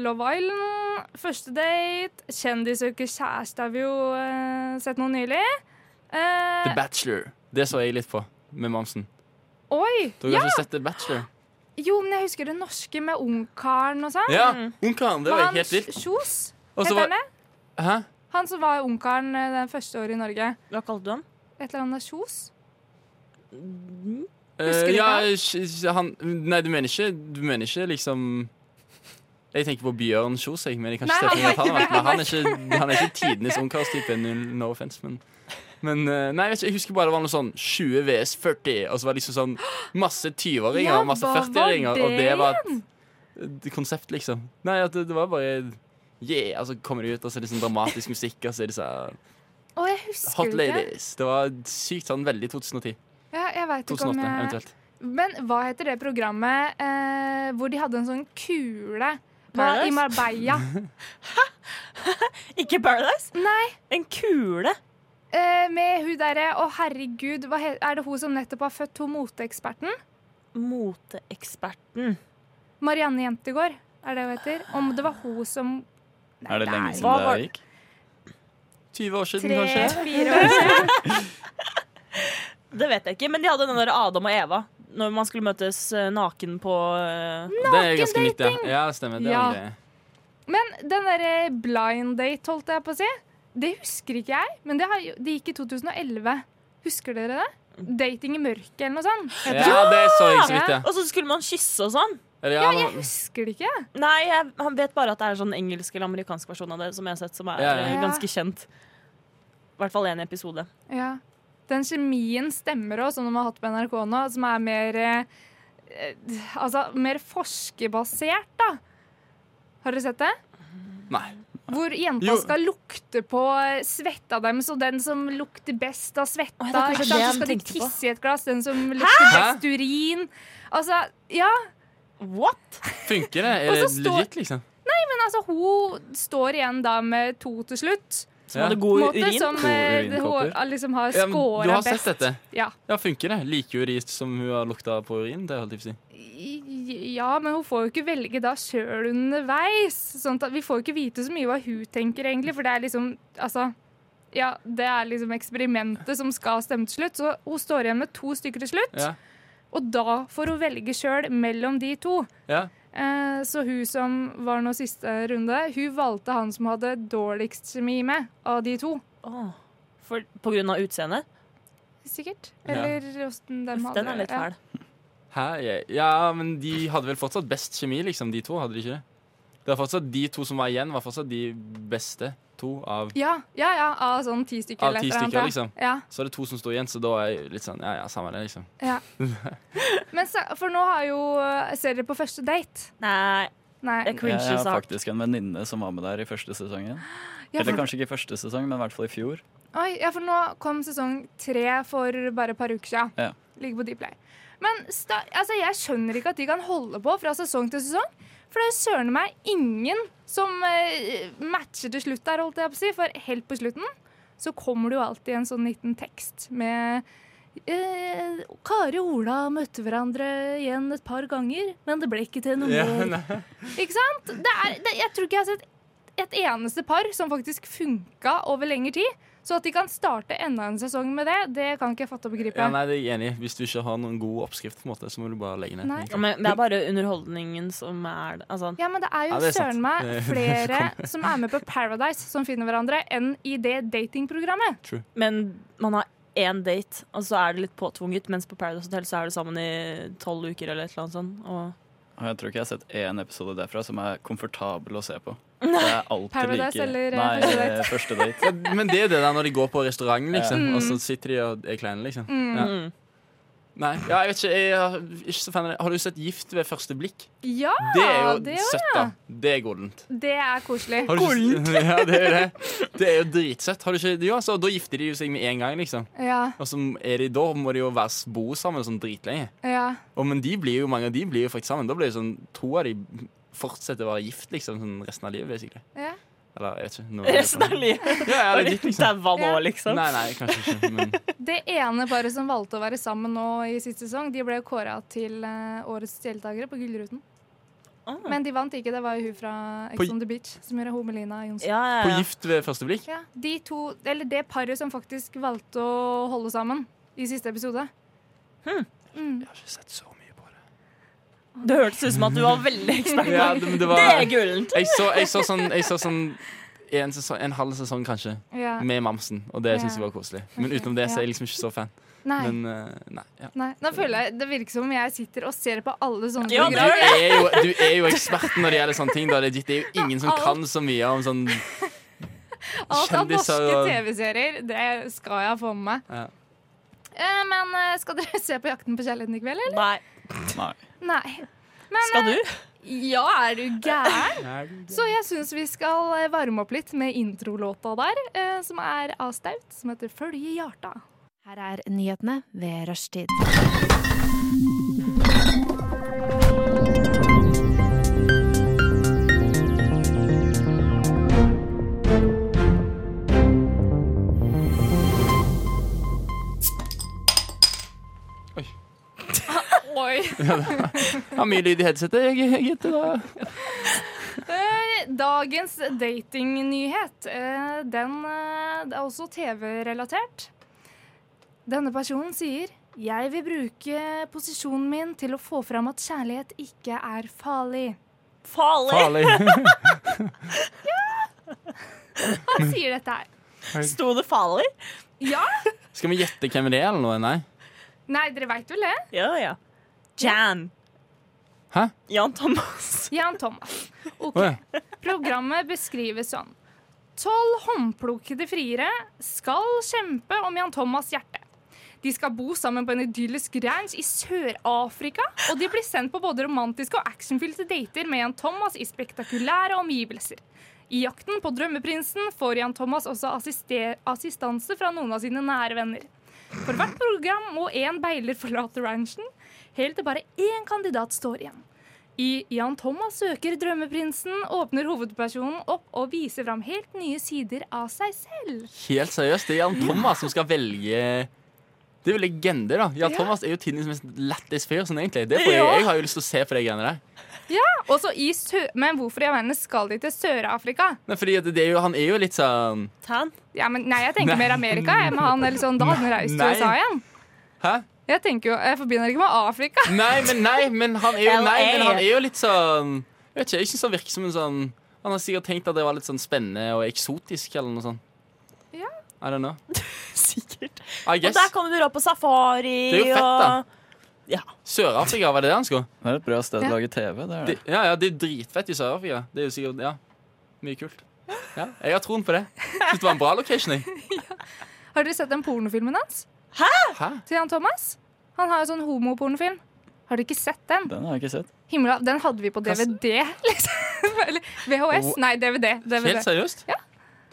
[SPEAKER 4] Love Island, Første date, Kjendis søker kjæreste har vi jo eh, sett noe nylig. Eh,
[SPEAKER 6] The Bachelor. Det så jeg litt på med Mamsen.
[SPEAKER 4] oi!
[SPEAKER 6] Dere har ikke sett The Bachelor?
[SPEAKER 4] Jo, men jeg husker det norske med ungkaren og sånn.
[SPEAKER 6] Ja, Ungkaren. Det var helt vilt.
[SPEAKER 4] Kjos,
[SPEAKER 6] Og så
[SPEAKER 4] heter
[SPEAKER 6] var-
[SPEAKER 4] han det?
[SPEAKER 6] Hæ?
[SPEAKER 4] Han som var ungkaren eh, det første året i Norge.
[SPEAKER 5] Hva kalte du han?
[SPEAKER 4] Et eller annet Kjos?
[SPEAKER 6] Eh,
[SPEAKER 4] du
[SPEAKER 6] ja,
[SPEAKER 4] hva?
[SPEAKER 6] sj- sj- han Nei, du mener ikke Du mener ikke liksom Jeg tenker på Bjørn Kjos, jeg, men jeg kan ikke
[SPEAKER 4] Nei,
[SPEAKER 6] se for meg at han har vært med.
[SPEAKER 4] han var
[SPEAKER 6] Han er ikke, han er ikke tidenes ungkarstype. null- No offense, men men eh, nei, jeg, vet ikke, jeg husker bare det var noe sånn 20 VS 40, og så var det liksom sånn masse 20-åringer
[SPEAKER 4] Ja,
[SPEAKER 6] og masse
[SPEAKER 4] hva var
[SPEAKER 6] 40-åringer, og det
[SPEAKER 4] det
[SPEAKER 6] var et, et konsept, liksom. Nei, at det, det var bare Yeah, og så kommer de ut, og så er det sånn dramatisk musikk, og så er det sånn
[SPEAKER 4] Å, jeg husker
[SPEAKER 6] Hot
[SPEAKER 4] det ikke.
[SPEAKER 6] ladies. Det var sykt sånn veldig 2010.
[SPEAKER 4] Ja, jeg vet ikke
[SPEAKER 6] 2008,
[SPEAKER 4] om jeg...
[SPEAKER 6] eventuelt.
[SPEAKER 4] Men hva heter det programmet eh, hvor de hadde en sånn kule
[SPEAKER 5] Paradise?
[SPEAKER 4] i Marbella?
[SPEAKER 5] Ikke Paradise?
[SPEAKER 4] Nei,
[SPEAKER 5] En kule.
[SPEAKER 4] eh, med hun derre Å, herregud, hva he er det hun som nettopp har født hun moteeksperten?
[SPEAKER 5] Moteeksperten.
[SPEAKER 4] Marianne Jentegård, er det hun heter? Om det var hun som
[SPEAKER 2] Er det lenge
[SPEAKER 5] hva
[SPEAKER 2] siden
[SPEAKER 5] var-
[SPEAKER 2] det gikk?
[SPEAKER 6] 20 år siden, kanskje?
[SPEAKER 4] tre-fire år siden?
[SPEAKER 5] Det vet jeg ikke, men de hadde den der Adam og Eva. Når man skulle møtes eh, naken på eh,
[SPEAKER 6] Det er ganske nytt, ja.
[SPEAKER 4] Nakendating!
[SPEAKER 6] ja det stemmer. Det
[SPEAKER 4] Ja.
[SPEAKER 6] var det.
[SPEAKER 4] Men den derre blind date, holdt jeg på å si, det husker ikke jeg. Men det, har, jo- det gikk i 2011. Husker dere det? Dating i mørket eller noe sånt.
[SPEAKER 6] Ja, det så jeg så vidt, ja.
[SPEAKER 5] Og så skulle man kysse og sånn.
[SPEAKER 6] Eller,
[SPEAKER 4] Ja,
[SPEAKER 6] ja,
[SPEAKER 4] jeg
[SPEAKER 6] men-
[SPEAKER 4] husker det ikke.
[SPEAKER 5] Nei, jeg han vet bare at det er en sånn engelsk eller amerikansk versjon av det som jeg har sett, som er
[SPEAKER 6] Ja, ja.
[SPEAKER 5] eh,
[SPEAKER 4] Ja.
[SPEAKER 5] ganske kjent. I hvert fall én episode.
[SPEAKER 4] Ja. Den kjemien stemmer òg, som de har hatt på NRK nå, som er mer eh, eh, Altså mer forskerbasert, da. Har dere sett det?
[SPEAKER 6] Nei.
[SPEAKER 4] Hvor jenta
[SPEAKER 6] Jo.
[SPEAKER 4] skal lukte på eh, svetta deres, og den som lukter best av svetta
[SPEAKER 5] Å, ja, det er kanskje
[SPEAKER 4] ikke
[SPEAKER 5] det
[SPEAKER 4] sant? Så skal de
[SPEAKER 5] jeg tenkte på.
[SPEAKER 4] tisse i et glass, den som lukter
[SPEAKER 6] Hæ?
[SPEAKER 4] best urin. Altså, ja.
[SPEAKER 5] What?!
[SPEAKER 6] Funker det? Er
[SPEAKER 4] Og så
[SPEAKER 6] det
[SPEAKER 4] står-
[SPEAKER 6] legit, liksom?
[SPEAKER 4] Men altså, hun står igjen da med to til slutt.
[SPEAKER 6] Ja.
[SPEAKER 5] Som hadde
[SPEAKER 4] på en
[SPEAKER 5] god
[SPEAKER 4] måte,
[SPEAKER 5] urin.
[SPEAKER 4] Som eh,
[SPEAKER 2] To
[SPEAKER 4] hun
[SPEAKER 2] urinkopper.
[SPEAKER 4] liksom har
[SPEAKER 6] Ja, men du
[SPEAKER 4] scora
[SPEAKER 6] har sett
[SPEAKER 4] best.
[SPEAKER 6] dette?
[SPEAKER 4] Ja.
[SPEAKER 6] Ja, funker det? Like urist som hun har lukta på urin? Det holdt jeg på å si.
[SPEAKER 4] I- Ja, men hun får jo ikke velge da sjøl underveis. Sånn at vi får jo ikke vite så mye hva hun tenker, egentlig, for det er liksom Altså. Ja, det er liksom eksperimentet som skal stemme til slutt. Så hun står igjen med to stykker til slutt,
[SPEAKER 6] Ja.
[SPEAKER 4] og da får hun velge sjøl mellom de to.
[SPEAKER 6] Ja.
[SPEAKER 4] Eh, så hun som var nå siste runde, hun valgte han som hadde dårligst kjemi med av de to.
[SPEAKER 5] Åh. For, på grunn av utseendet?
[SPEAKER 4] Sikkert.
[SPEAKER 6] Ja.
[SPEAKER 4] Eller åssen dem hadde
[SPEAKER 5] Den er litt
[SPEAKER 4] ja.
[SPEAKER 5] fæl.
[SPEAKER 6] Hæ? Jeg- Ja, men de hadde vel fortsatt best kjemi, liksom, de to, hadde de ikke det? Det var fortsatt De to som var igjen, var fortsatt de beste to av
[SPEAKER 4] Ja, ja, ja, av sånn ti stykker.
[SPEAKER 6] Av
[SPEAKER 4] eller
[SPEAKER 6] ti
[SPEAKER 4] et eller annet,
[SPEAKER 6] stykker,
[SPEAKER 4] ja.
[SPEAKER 6] liksom.
[SPEAKER 4] Ja.
[SPEAKER 6] Så er det to som står igjen, så da er jeg litt sånn Ja, ja, samme det, liksom.
[SPEAKER 4] Ja. Men så, for nå har jo eh, Ser dere på første date?
[SPEAKER 5] Nei, altså.
[SPEAKER 4] Nei.
[SPEAKER 5] det er
[SPEAKER 2] Jeg
[SPEAKER 5] cringy
[SPEAKER 2] har
[SPEAKER 5] sak.
[SPEAKER 2] faktisk en venninne som var med der i første sesongen.
[SPEAKER 4] Ja,
[SPEAKER 2] Eller
[SPEAKER 4] for,
[SPEAKER 2] kanskje ikke første sesong, men i hvert fall i fjor.
[SPEAKER 4] oi, ja, for nå kom sesong tre for bare et par uker siden.
[SPEAKER 2] Ja.
[SPEAKER 4] Ligger på Dplay. Men sta, altså, jeg skjønner ikke at de kan holde på fra sesong til sesong. For det er søren meg ingen som eh, matcher til slutt der, holdt jeg på å si. For helt på slutten så kommer det jo alltid en sånn liten tekst med eh, Kari og Ola møtte hverandre igjen et par ganger, men det ble ikke til noe
[SPEAKER 6] Ja,
[SPEAKER 4] mer.
[SPEAKER 6] nei.
[SPEAKER 4] Ikke sant? Det er, det, jeg tror ikke jeg har sett et eneste par som faktisk funka over lengre tid. Så at de kan starte enda en sesong med det, det kan ikke jeg fatte og begripe.
[SPEAKER 6] Ja, nei, det er jeg enig i. Hvis du ikke har noen god oppskrift, på en måte, så må du bare legge ned.
[SPEAKER 4] Nei.
[SPEAKER 5] Ja, Men det er bare underholdningen som er det. Altså,
[SPEAKER 4] Ja, men det er jo
[SPEAKER 6] Ja, det er sant.
[SPEAKER 4] søren meg
[SPEAKER 6] Det-
[SPEAKER 4] flere som er med på Paradise som finner hverandre, enn i det datingprogrammet.
[SPEAKER 5] men man har én date, og så er det litt påtvunget. Mens på Paradise Hotel så er det sammen i tolv uker eller et eller annet sånt. Og
[SPEAKER 2] Og jeg tror ikke jeg har sett én episode derfra som er komfortabel å se på. Det er alltid
[SPEAKER 4] Paradise
[SPEAKER 2] like
[SPEAKER 4] eller, eh,
[SPEAKER 2] Nei,
[SPEAKER 4] Første
[SPEAKER 2] eh, første date.
[SPEAKER 6] Men det er det der når de går på restaurant, liksom, og så sitter de og er kleine, liksom.
[SPEAKER 4] Mm.
[SPEAKER 6] Ja.
[SPEAKER 5] Mm.
[SPEAKER 6] Nei, ja, jeg vet ikke, jeg er ikke så fan av det. Har du sett Gift ved første blikk?
[SPEAKER 4] Ja,
[SPEAKER 6] Det er jo
[SPEAKER 4] det, er-
[SPEAKER 6] søtt, da. Det er godent.
[SPEAKER 4] det er koselig.
[SPEAKER 6] Har du ikke- Ja, det er jo det. Det er jo dritsøtt. Har du ikke Jo, altså, da gifter de jo seg med en gang, liksom.
[SPEAKER 4] Ja,
[SPEAKER 6] Og så er de, da må de jo være s- bo sammen sånn dritlenge.
[SPEAKER 4] ja.
[SPEAKER 6] Og, men de blir jo, mange av de blir jo faktisk sammen. Da blir det sånn to av de fortsetter å være gift liksom sånn resten av livet, basically.
[SPEAKER 4] ja.
[SPEAKER 6] Eller jeg vet ikke. noe-
[SPEAKER 5] resten av livet.
[SPEAKER 6] Ja, ja, legit, liksom.
[SPEAKER 5] Daua nå,
[SPEAKER 4] Ja.
[SPEAKER 5] liksom.
[SPEAKER 6] Nei, nei, kanskje ikke. Men
[SPEAKER 4] Det ene paret som valgte å være sammen nå i siste sesong, de ble kåra til eh, årets deltakere på Gullruten.
[SPEAKER 5] Ah.
[SPEAKER 4] Men de vant ikke. Det var jo hun fra
[SPEAKER 6] På-
[SPEAKER 4] Ex on the Beach som gjør hun Melina Johnsen.
[SPEAKER 5] Ja, ja,
[SPEAKER 6] på
[SPEAKER 5] ja.
[SPEAKER 6] gift ved første blikk?
[SPEAKER 4] Ja, de to, eller det paret som faktisk valgte å holde sammen i siste episode.
[SPEAKER 5] Hm.
[SPEAKER 4] Mm.
[SPEAKER 6] Jeg har ikke sett så mye på det.
[SPEAKER 5] Det hørtes ut som at du var veldig ekspert.
[SPEAKER 6] Ja, det, men det
[SPEAKER 5] Det er
[SPEAKER 6] var
[SPEAKER 5] gullent!
[SPEAKER 6] Jeg så, jeg så sånn, jeg så sånn en, sesong, en halv sesong, kanskje,
[SPEAKER 4] Ja.
[SPEAKER 6] med Mamsen, og det
[SPEAKER 4] Ja.
[SPEAKER 6] syns jeg var koselig. Men utenom det så er jeg liksom ikke så fan.
[SPEAKER 4] Nei.
[SPEAKER 6] Men eh, nei. Ja.
[SPEAKER 4] Nei, nå føler jeg Det virker som om jeg sitter og ser på alle sånne
[SPEAKER 5] Ja,
[SPEAKER 6] Du
[SPEAKER 5] det er
[SPEAKER 4] programmer.
[SPEAKER 6] er, jo, du er jo eksperten når det gjelder sånne ting. Da. Det er jo ingen som kan så mye om sånn
[SPEAKER 4] Alt av norske
[SPEAKER 6] kjendiser og-
[SPEAKER 4] TV-serier, det skal jeg få med meg.
[SPEAKER 6] Ja.
[SPEAKER 4] Eh, men eh, skal dere se på Jakten på kjærligheten i kveld, eller?
[SPEAKER 5] Nei.
[SPEAKER 2] Nei.
[SPEAKER 4] Nei.
[SPEAKER 5] Skal du?
[SPEAKER 4] Ja, er du gæren? Så jeg syns vi skal eh, varme opp litt med introlåta der, eh, som er av Staut, som heter 'Følge hjarta'.
[SPEAKER 1] Her er nyhetene ved rushtid.
[SPEAKER 4] Oi.
[SPEAKER 6] Har mye lyd i headsetet, jeg, jeg, gitt, da.
[SPEAKER 4] Eh, Dagens datingnyhet, eh, den eh, det er også TV-relatert. Denne personen sier jeg vil bruke posisjonen min til å få fram at kjærlighet ikke er farlig.
[SPEAKER 5] Farlig!
[SPEAKER 6] Farlig.
[SPEAKER 4] Han sier dette her.
[SPEAKER 5] Sto det farlig?
[SPEAKER 4] Ja?
[SPEAKER 6] Skal vi gjette hvem det er, eller noe? Nei?
[SPEAKER 4] Nei, dere veit vel det?
[SPEAKER 5] Ja, ja. Jan.
[SPEAKER 6] Hæ?
[SPEAKER 5] Jan Thomas.
[SPEAKER 4] Jan Thomas. Ok.
[SPEAKER 6] Å ja.
[SPEAKER 4] Programmet beskrives sånn. Tolv håndplukkede friere skal kjempe om Jan Thomas' hjerte. De skal bo sammen på en idyllisk ranch i Sør-Afrika, og de blir sendt på både romantiske og actionfylte dater med Jan Thomas i spektakulære omgivelser. I jakten på drømmeprinsen får Jan Thomas også assiste- assistanse fra noen av sine nære venner. For hvert program må én beiler forlate ranchen, helt til bare én kandidat står igjen. I Jan Thomas søker drømmeprinsen åpner hovedpersonen opp og viser fram helt nye sider av seg selv.
[SPEAKER 6] Helt seriøst, det er Jan Thomas som skal velge Det er jo legende, da. Jan
[SPEAKER 4] Ja.
[SPEAKER 6] Thomas er jo tidenes mest lættis fyr, sånn egentlig. Det får jeg,
[SPEAKER 4] Ja.
[SPEAKER 6] jeg har jo lyst til å se på de greiene der.
[SPEAKER 4] Og så i Sø men hvorfor i all verden skal de til Sør-Afrika?
[SPEAKER 6] Nei, fordi at det er jo, han er jo litt sånn
[SPEAKER 5] Tan.
[SPEAKER 4] Ja, men Nei, jeg tenker
[SPEAKER 6] Nei.
[SPEAKER 4] mer Amerika. Jeg, med han, eller sånn, da hadde han reist til
[SPEAKER 6] Nei.
[SPEAKER 4] USA igjen.
[SPEAKER 6] Hæ?
[SPEAKER 4] Jeg tenker jo, jeg forbinder ikke med Afrika.
[SPEAKER 6] Nei, men nei, men han er jo, nei,
[SPEAKER 5] LA.
[SPEAKER 6] men han er jo litt sånn Jeg vet ikke, jeg syns han virker som en sånn Han har sikkert tenkt at det var litt sånn spennende og eksotisk eller noe sånt.
[SPEAKER 4] Ja.
[SPEAKER 6] I don't know.
[SPEAKER 5] Sikkert.
[SPEAKER 6] I
[SPEAKER 5] Og
[SPEAKER 6] guess.
[SPEAKER 5] der kan du dra på safari.
[SPEAKER 6] Det er jo fett, da.
[SPEAKER 5] og- Ja.
[SPEAKER 6] Sør-Afrika, var det det han skulle?
[SPEAKER 2] Det er et bra
[SPEAKER 4] Ja.
[SPEAKER 2] sted til å lage TV. Det er
[SPEAKER 6] Det,
[SPEAKER 2] det.
[SPEAKER 6] ja, ja, det er dritfett i Sør-Afrika. Det er jo sikkert Ja, mye kult. Ja, jeg har troen på det. Syns det var en bra location, jeg.
[SPEAKER 4] Har dere sett den pornofilmen hans?
[SPEAKER 6] Hæ?
[SPEAKER 4] Til Jan Thomas? Han har jo sånn homopornofilm. Har dere ikke sett den?
[SPEAKER 2] Den har jeg ikke sett.
[SPEAKER 4] Himla, den hadde vi på
[SPEAKER 6] Hva s-
[SPEAKER 4] DVD, liksom. Eller VHS. Nei, DVD. DVD.
[SPEAKER 6] Helt seriøst?
[SPEAKER 4] Ja.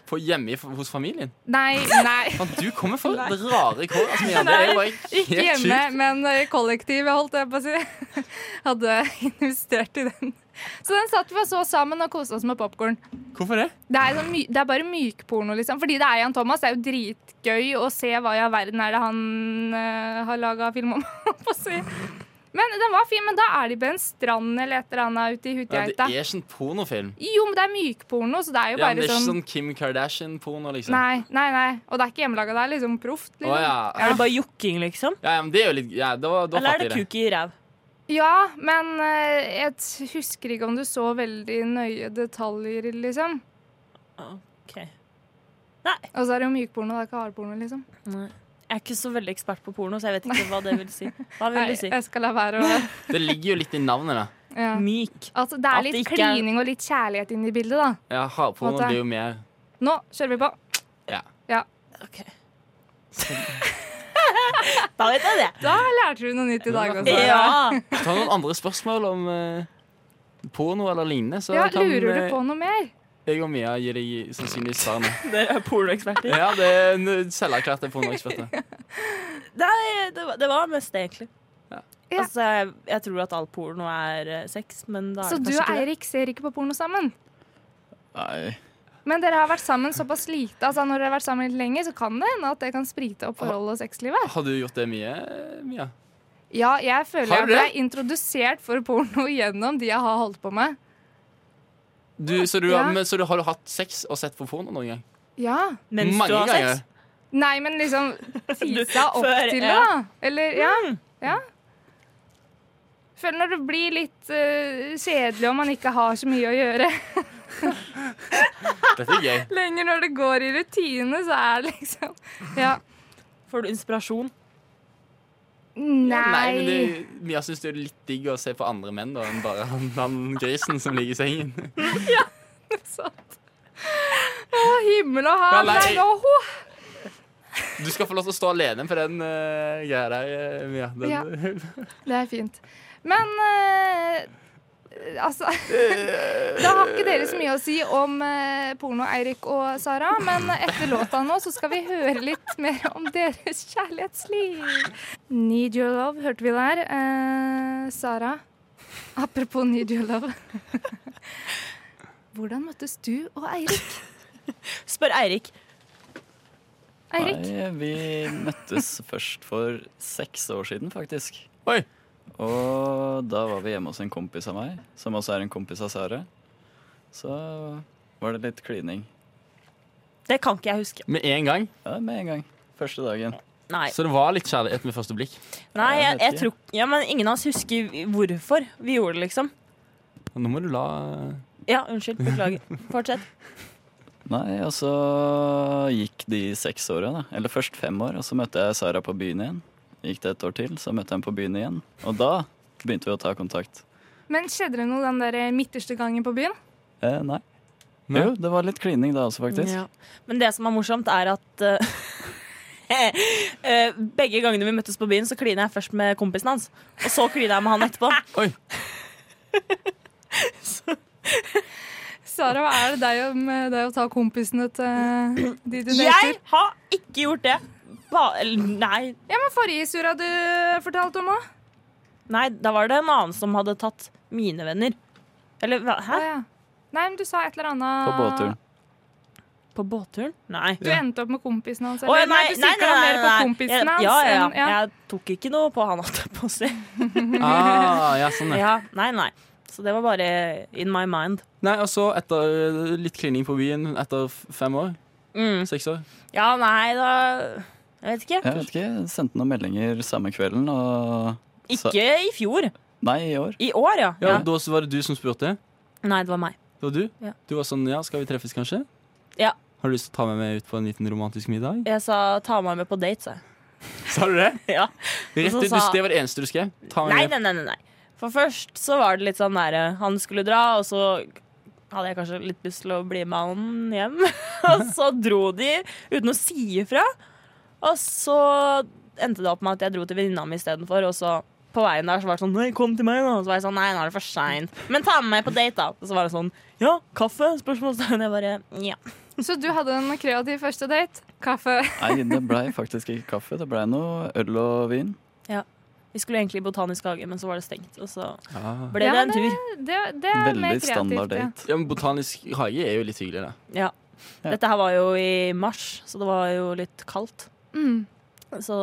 [SPEAKER 6] På hjemme i- hos familien?
[SPEAKER 4] Nei, nei.
[SPEAKER 6] Fan, du kommer for rare kår. Altså, Mia. det er
[SPEAKER 4] Nei,
[SPEAKER 6] bare
[SPEAKER 4] Ikke
[SPEAKER 6] helt
[SPEAKER 4] hjemme,
[SPEAKER 6] sjukt.
[SPEAKER 4] men eh, kollektivet, holdt jeg på å si. Hadde investert i den. Så den satt vi og så sammen og koste oss med popkorn.
[SPEAKER 6] Hvorfor det?
[SPEAKER 4] Det, er sånn my- det er bare mykporno, liksom. Fordi det er Jan Thomas. Det er jo dritgøy å se hva i all verden er det han eh, har laga film om. holdt på å si. Men den var fin, men da er de på en strand eller et eller annet ute i
[SPEAKER 6] Ja, det
[SPEAKER 4] Hutigeita.
[SPEAKER 6] er ikke en pornofilm.
[SPEAKER 4] Jo, men det er mykporno, så det er jo
[SPEAKER 6] Ja, men
[SPEAKER 4] bare
[SPEAKER 6] det er ikke
[SPEAKER 4] sånn
[SPEAKER 6] sånn Kim Kardashian-porno, liksom.
[SPEAKER 4] Nei, nei, nei. Og det er ikke hjemmelaga, det er liksom proft.
[SPEAKER 6] Å,
[SPEAKER 4] Liksom.
[SPEAKER 6] ja.
[SPEAKER 5] Er det bare jokking, liksom?
[SPEAKER 6] Ja, ja, men det er jo litt ja, Da, da
[SPEAKER 5] Eller er
[SPEAKER 6] fatter
[SPEAKER 5] det
[SPEAKER 6] jeg det.
[SPEAKER 5] kuk i ræv?
[SPEAKER 4] Ja, men eh, jeg t- husker ikke om du så veldig nøye detaljer, liksom.
[SPEAKER 5] Ok.
[SPEAKER 4] Og så er det jo mykporno, det er ikke hardporno, liksom.
[SPEAKER 5] Jeg er ikke så veldig ekspert på porno, så jeg vet ikke hva det vil si. Hva vil
[SPEAKER 4] Nei, eh,
[SPEAKER 5] du si?
[SPEAKER 4] jeg skal la være å
[SPEAKER 6] Det ligger jo litt i navnet, da.
[SPEAKER 4] ja.
[SPEAKER 5] Myk.
[SPEAKER 4] Altså, det
[SPEAKER 5] At
[SPEAKER 4] er
[SPEAKER 5] det
[SPEAKER 4] litt
[SPEAKER 5] ikke er-
[SPEAKER 4] klining og litt kjærlighet inn i bildet, da.
[SPEAKER 6] Ja, Hardporno
[SPEAKER 4] Måte.
[SPEAKER 6] blir jo mer
[SPEAKER 4] Nå kjører vi på.
[SPEAKER 5] Ok. da vet jeg det.
[SPEAKER 4] Da lærte du noe nytt i dag også.
[SPEAKER 5] Ja.
[SPEAKER 6] Ta noen andre spørsmål om eh, porno eller lignende, så
[SPEAKER 4] Ja,
[SPEAKER 6] kan
[SPEAKER 4] lurer du
[SPEAKER 6] eh,
[SPEAKER 4] på noe mer?
[SPEAKER 6] jeg og Mia gi deg sannsynligvis svarene.
[SPEAKER 5] Dere er pornoeksperter.
[SPEAKER 6] Ja, det er en eh, selverklært pornoekspert. da.
[SPEAKER 5] Nei, det var, det var mest det, egentlig.
[SPEAKER 6] Ja.
[SPEAKER 4] Ja.
[SPEAKER 5] Altså, jeg, jeg tror at all porno er eh, sex, men da er
[SPEAKER 4] Så
[SPEAKER 5] det
[SPEAKER 4] du
[SPEAKER 5] kanskje
[SPEAKER 4] og
[SPEAKER 5] ikke det.
[SPEAKER 4] Eirik ser ikke på porno sammen?
[SPEAKER 2] Nei.
[SPEAKER 4] Men dere har vært sammen såpass lite. Altså, når dere har vært sammen litt lenger, så kan det hende at det kan sprite opp forholdet og sexlivet.
[SPEAKER 6] Har du gjort det mye, Mia?
[SPEAKER 4] Ja, jeg føler
[SPEAKER 6] Har
[SPEAKER 4] jeg
[SPEAKER 6] du
[SPEAKER 4] ble
[SPEAKER 6] det?
[SPEAKER 4] introdusert for porno gjennom de jeg har holdt på med.
[SPEAKER 6] Du, så, du,
[SPEAKER 4] Ja.
[SPEAKER 6] men, så du har du hatt sex og sett på porno noen gang?
[SPEAKER 4] Ja.
[SPEAKER 5] Mens
[SPEAKER 6] Mange
[SPEAKER 5] du har sex.
[SPEAKER 6] ganger.
[SPEAKER 4] Nei, men liksom tisa opp
[SPEAKER 5] før,
[SPEAKER 4] til det,
[SPEAKER 5] ja.
[SPEAKER 4] da. Eller ja.
[SPEAKER 6] Mm.
[SPEAKER 4] ja. Føler når det blir litt eh, kjedelig og man ikke har så mye å gjøre
[SPEAKER 6] Dette er gøy.
[SPEAKER 4] lenger når det går i rutine, så er det liksom Ja.
[SPEAKER 5] Får du inspirasjon?
[SPEAKER 4] Nei.
[SPEAKER 6] men det, Mia syns det er litt digg å se på andre menn da, enn bare han, han grisen som ligger i sengen.
[SPEAKER 4] Sant. Å, himmel og
[SPEAKER 6] Ja,
[SPEAKER 4] hav.
[SPEAKER 6] nei.
[SPEAKER 4] Nei, nå, ho.
[SPEAKER 6] Du skal få lov til å stå alene på den eh, greia der, eh, Mia. Den,
[SPEAKER 4] Ja. Det er fint. Men eh, Altså Da har ikke dere så mye å si om eh, porno, Eirik og Sara, men etter låta nå så skal vi høre litt mer om deres kjærlighetsliv. Need Your Love hørte vi der. Eh, Sara, apropos Need Your Love. Hvordan møttes du og Eirik?
[SPEAKER 5] Spør Eirik.
[SPEAKER 4] Eirik?
[SPEAKER 2] Nei, vi møttes først for seks år siden, faktisk.
[SPEAKER 6] Oi.
[SPEAKER 2] Og da var vi hjemme hos en kompis av meg, som også er en kompis av Sara. Så var det litt klining.
[SPEAKER 5] Det kan ikke jeg huske.
[SPEAKER 6] Med en gang.
[SPEAKER 2] Ja, med en gang. Første dagen.
[SPEAKER 5] Nei,
[SPEAKER 6] Så det var litt kjærlighet med første blikk.
[SPEAKER 5] Nei jeg,
[SPEAKER 2] jeg vet
[SPEAKER 5] jeg
[SPEAKER 2] ikke.
[SPEAKER 5] tror ja, Men ingen av oss husker hvorfor vi gjorde det, liksom.
[SPEAKER 6] Nå må du la
[SPEAKER 5] Ja, unnskyld. Beklager. Fortsett.
[SPEAKER 2] Nei, og så gikk de seks åra, da. Eller først fem år, og så møtte jeg Sara på byen igjen. Gikk det et år til, så møtte jeg henne på byen igjen. Og da begynte vi å ta kontakt.
[SPEAKER 4] Men skjedde det noe den der midterste gangen på byen?
[SPEAKER 2] Eh, nei.
[SPEAKER 6] Nei.
[SPEAKER 2] Jo, det var litt klining da også, faktisk.
[SPEAKER 5] Ja. Men det som er morsomt, er at eh, eh, begge gangene vi møttes på byen, så klina jeg først med kompisen hans. Og så klina jeg med han etterpå.
[SPEAKER 6] Oi,
[SPEAKER 4] Sara, hva er det deg om eh, deg å ta kompisene til eh, de du
[SPEAKER 5] Jeg
[SPEAKER 4] dater?
[SPEAKER 5] har ikke gjort det. Ba, eller, nei,
[SPEAKER 4] Ja, men forrige historia du fortalte om òg.
[SPEAKER 5] nei, da var det en annen som hadde tatt mine venner. Eller hva? Hæ?
[SPEAKER 4] Ja. Nei, men du sa et eller annet
[SPEAKER 2] På båtturen.
[SPEAKER 5] På båtturen? Nei.
[SPEAKER 4] Du endte opp med kompisen hans?
[SPEAKER 5] Å,
[SPEAKER 4] Eller? nei, du sikla mer på
[SPEAKER 5] nei.
[SPEAKER 4] kompisen hans.
[SPEAKER 5] Ja, ja,
[SPEAKER 4] enn-
[SPEAKER 5] ja. Jeg tok ikke noe på han, holdt jeg på å si.
[SPEAKER 6] ah, ja, sånn ja.
[SPEAKER 5] Ja, nei, nei. Så det var bare in my mind.
[SPEAKER 6] Nei, og så etter eh, litt klining på byen etter f- fem år,
[SPEAKER 5] Mm.
[SPEAKER 6] seks år
[SPEAKER 5] Ja, nei, da Jeg vet ikke.
[SPEAKER 2] Jeg vet ikke, jeg sendte noen meldinger samme kvelden, og Så-
[SPEAKER 5] Ikke i fjor.
[SPEAKER 2] Nei, i år.
[SPEAKER 5] I år, ja.
[SPEAKER 6] Ja,
[SPEAKER 5] ja.
[SPEAKER 6] og da så var det du som spurte
[SPEAKER 5] Nei, det var meg.
[SPEAKER 6] Det var du
[SPEAKER 5] Ja.
[SPEAKER 6] Du var sånn, ja, skal vi treffes kanskje?
[SPEAKER 5] Ja.
[SPEAKER 6] Har du lyst til å ta med meg ut på en liten romantisk middag?
[SPEAKER 5] Jeg sa ta meg med på date, sa jeg.
[SPEAKER 6] Sa du det?
[SPEAKER 5] Ja.
[SPEAKER 6] Rett
[SPEAKER 5] Og så
[SPEAKER 6] ut, du-
[SPEAKER 5] sa-
[SPEAKER 6] det var det eneste du skrev Ta
[SPEAKER 5] Nei,
[SPEAKER 6] meg med
[SPEAKER 5] nei, nei, nei, nei. For først så var det litt sånn der Han skulle dra, og så hadde jeg kanskje litt lyst til å bli med han hjem. og så dro de uten å si ifra. Og så endte det opp med at jeg dro til venninna mi istedenfor, og så på veien der så var det sånn Nei, kom til meg, da. Og så var jeg sånn Nei, nå er det for seint. Men ta med meg på date, da. Og så var det sånn Ja, kaffe? Spørsmålstegn. Jeg bare Ja.
[SPEAKER 4] Så du hadde en kreativ første date? Kaffe.
[SPEAKER 2] Nei, det blei faktisk ikke kaffe. Det blei noe øl og vin.
[SPEAKER 5] Vi skulle egentlig i Botanisk hage, men så var det stengt. Og så
[SPEAKER 6] ah.
[SPEAKER 5] ble
[SPEAKER 4] Ja,
[SPEAKER 5] det en
[SPEAKER 4] men
[SPEAKER 5] tur.
[SPEAKER 4] Det, det er mer
[SPEAKER 2] Veldig
[SPEAKER 4] kreativt.
[SPEAKER 2] standard
[SPEAKER 4] ja.
[SPEAKER 2] date.
[SPEAKER 6] Ja, men botanisk hage er jo litt hyggelig da
[SPEAKER 5] Ja.
[SPEAKER 2] Ja.
[SPEAKER 5] Dette her var jo i mars, så det var jo litt kaldt.
[SPEAKER 4] Mm.
[SPEAKER 5] Så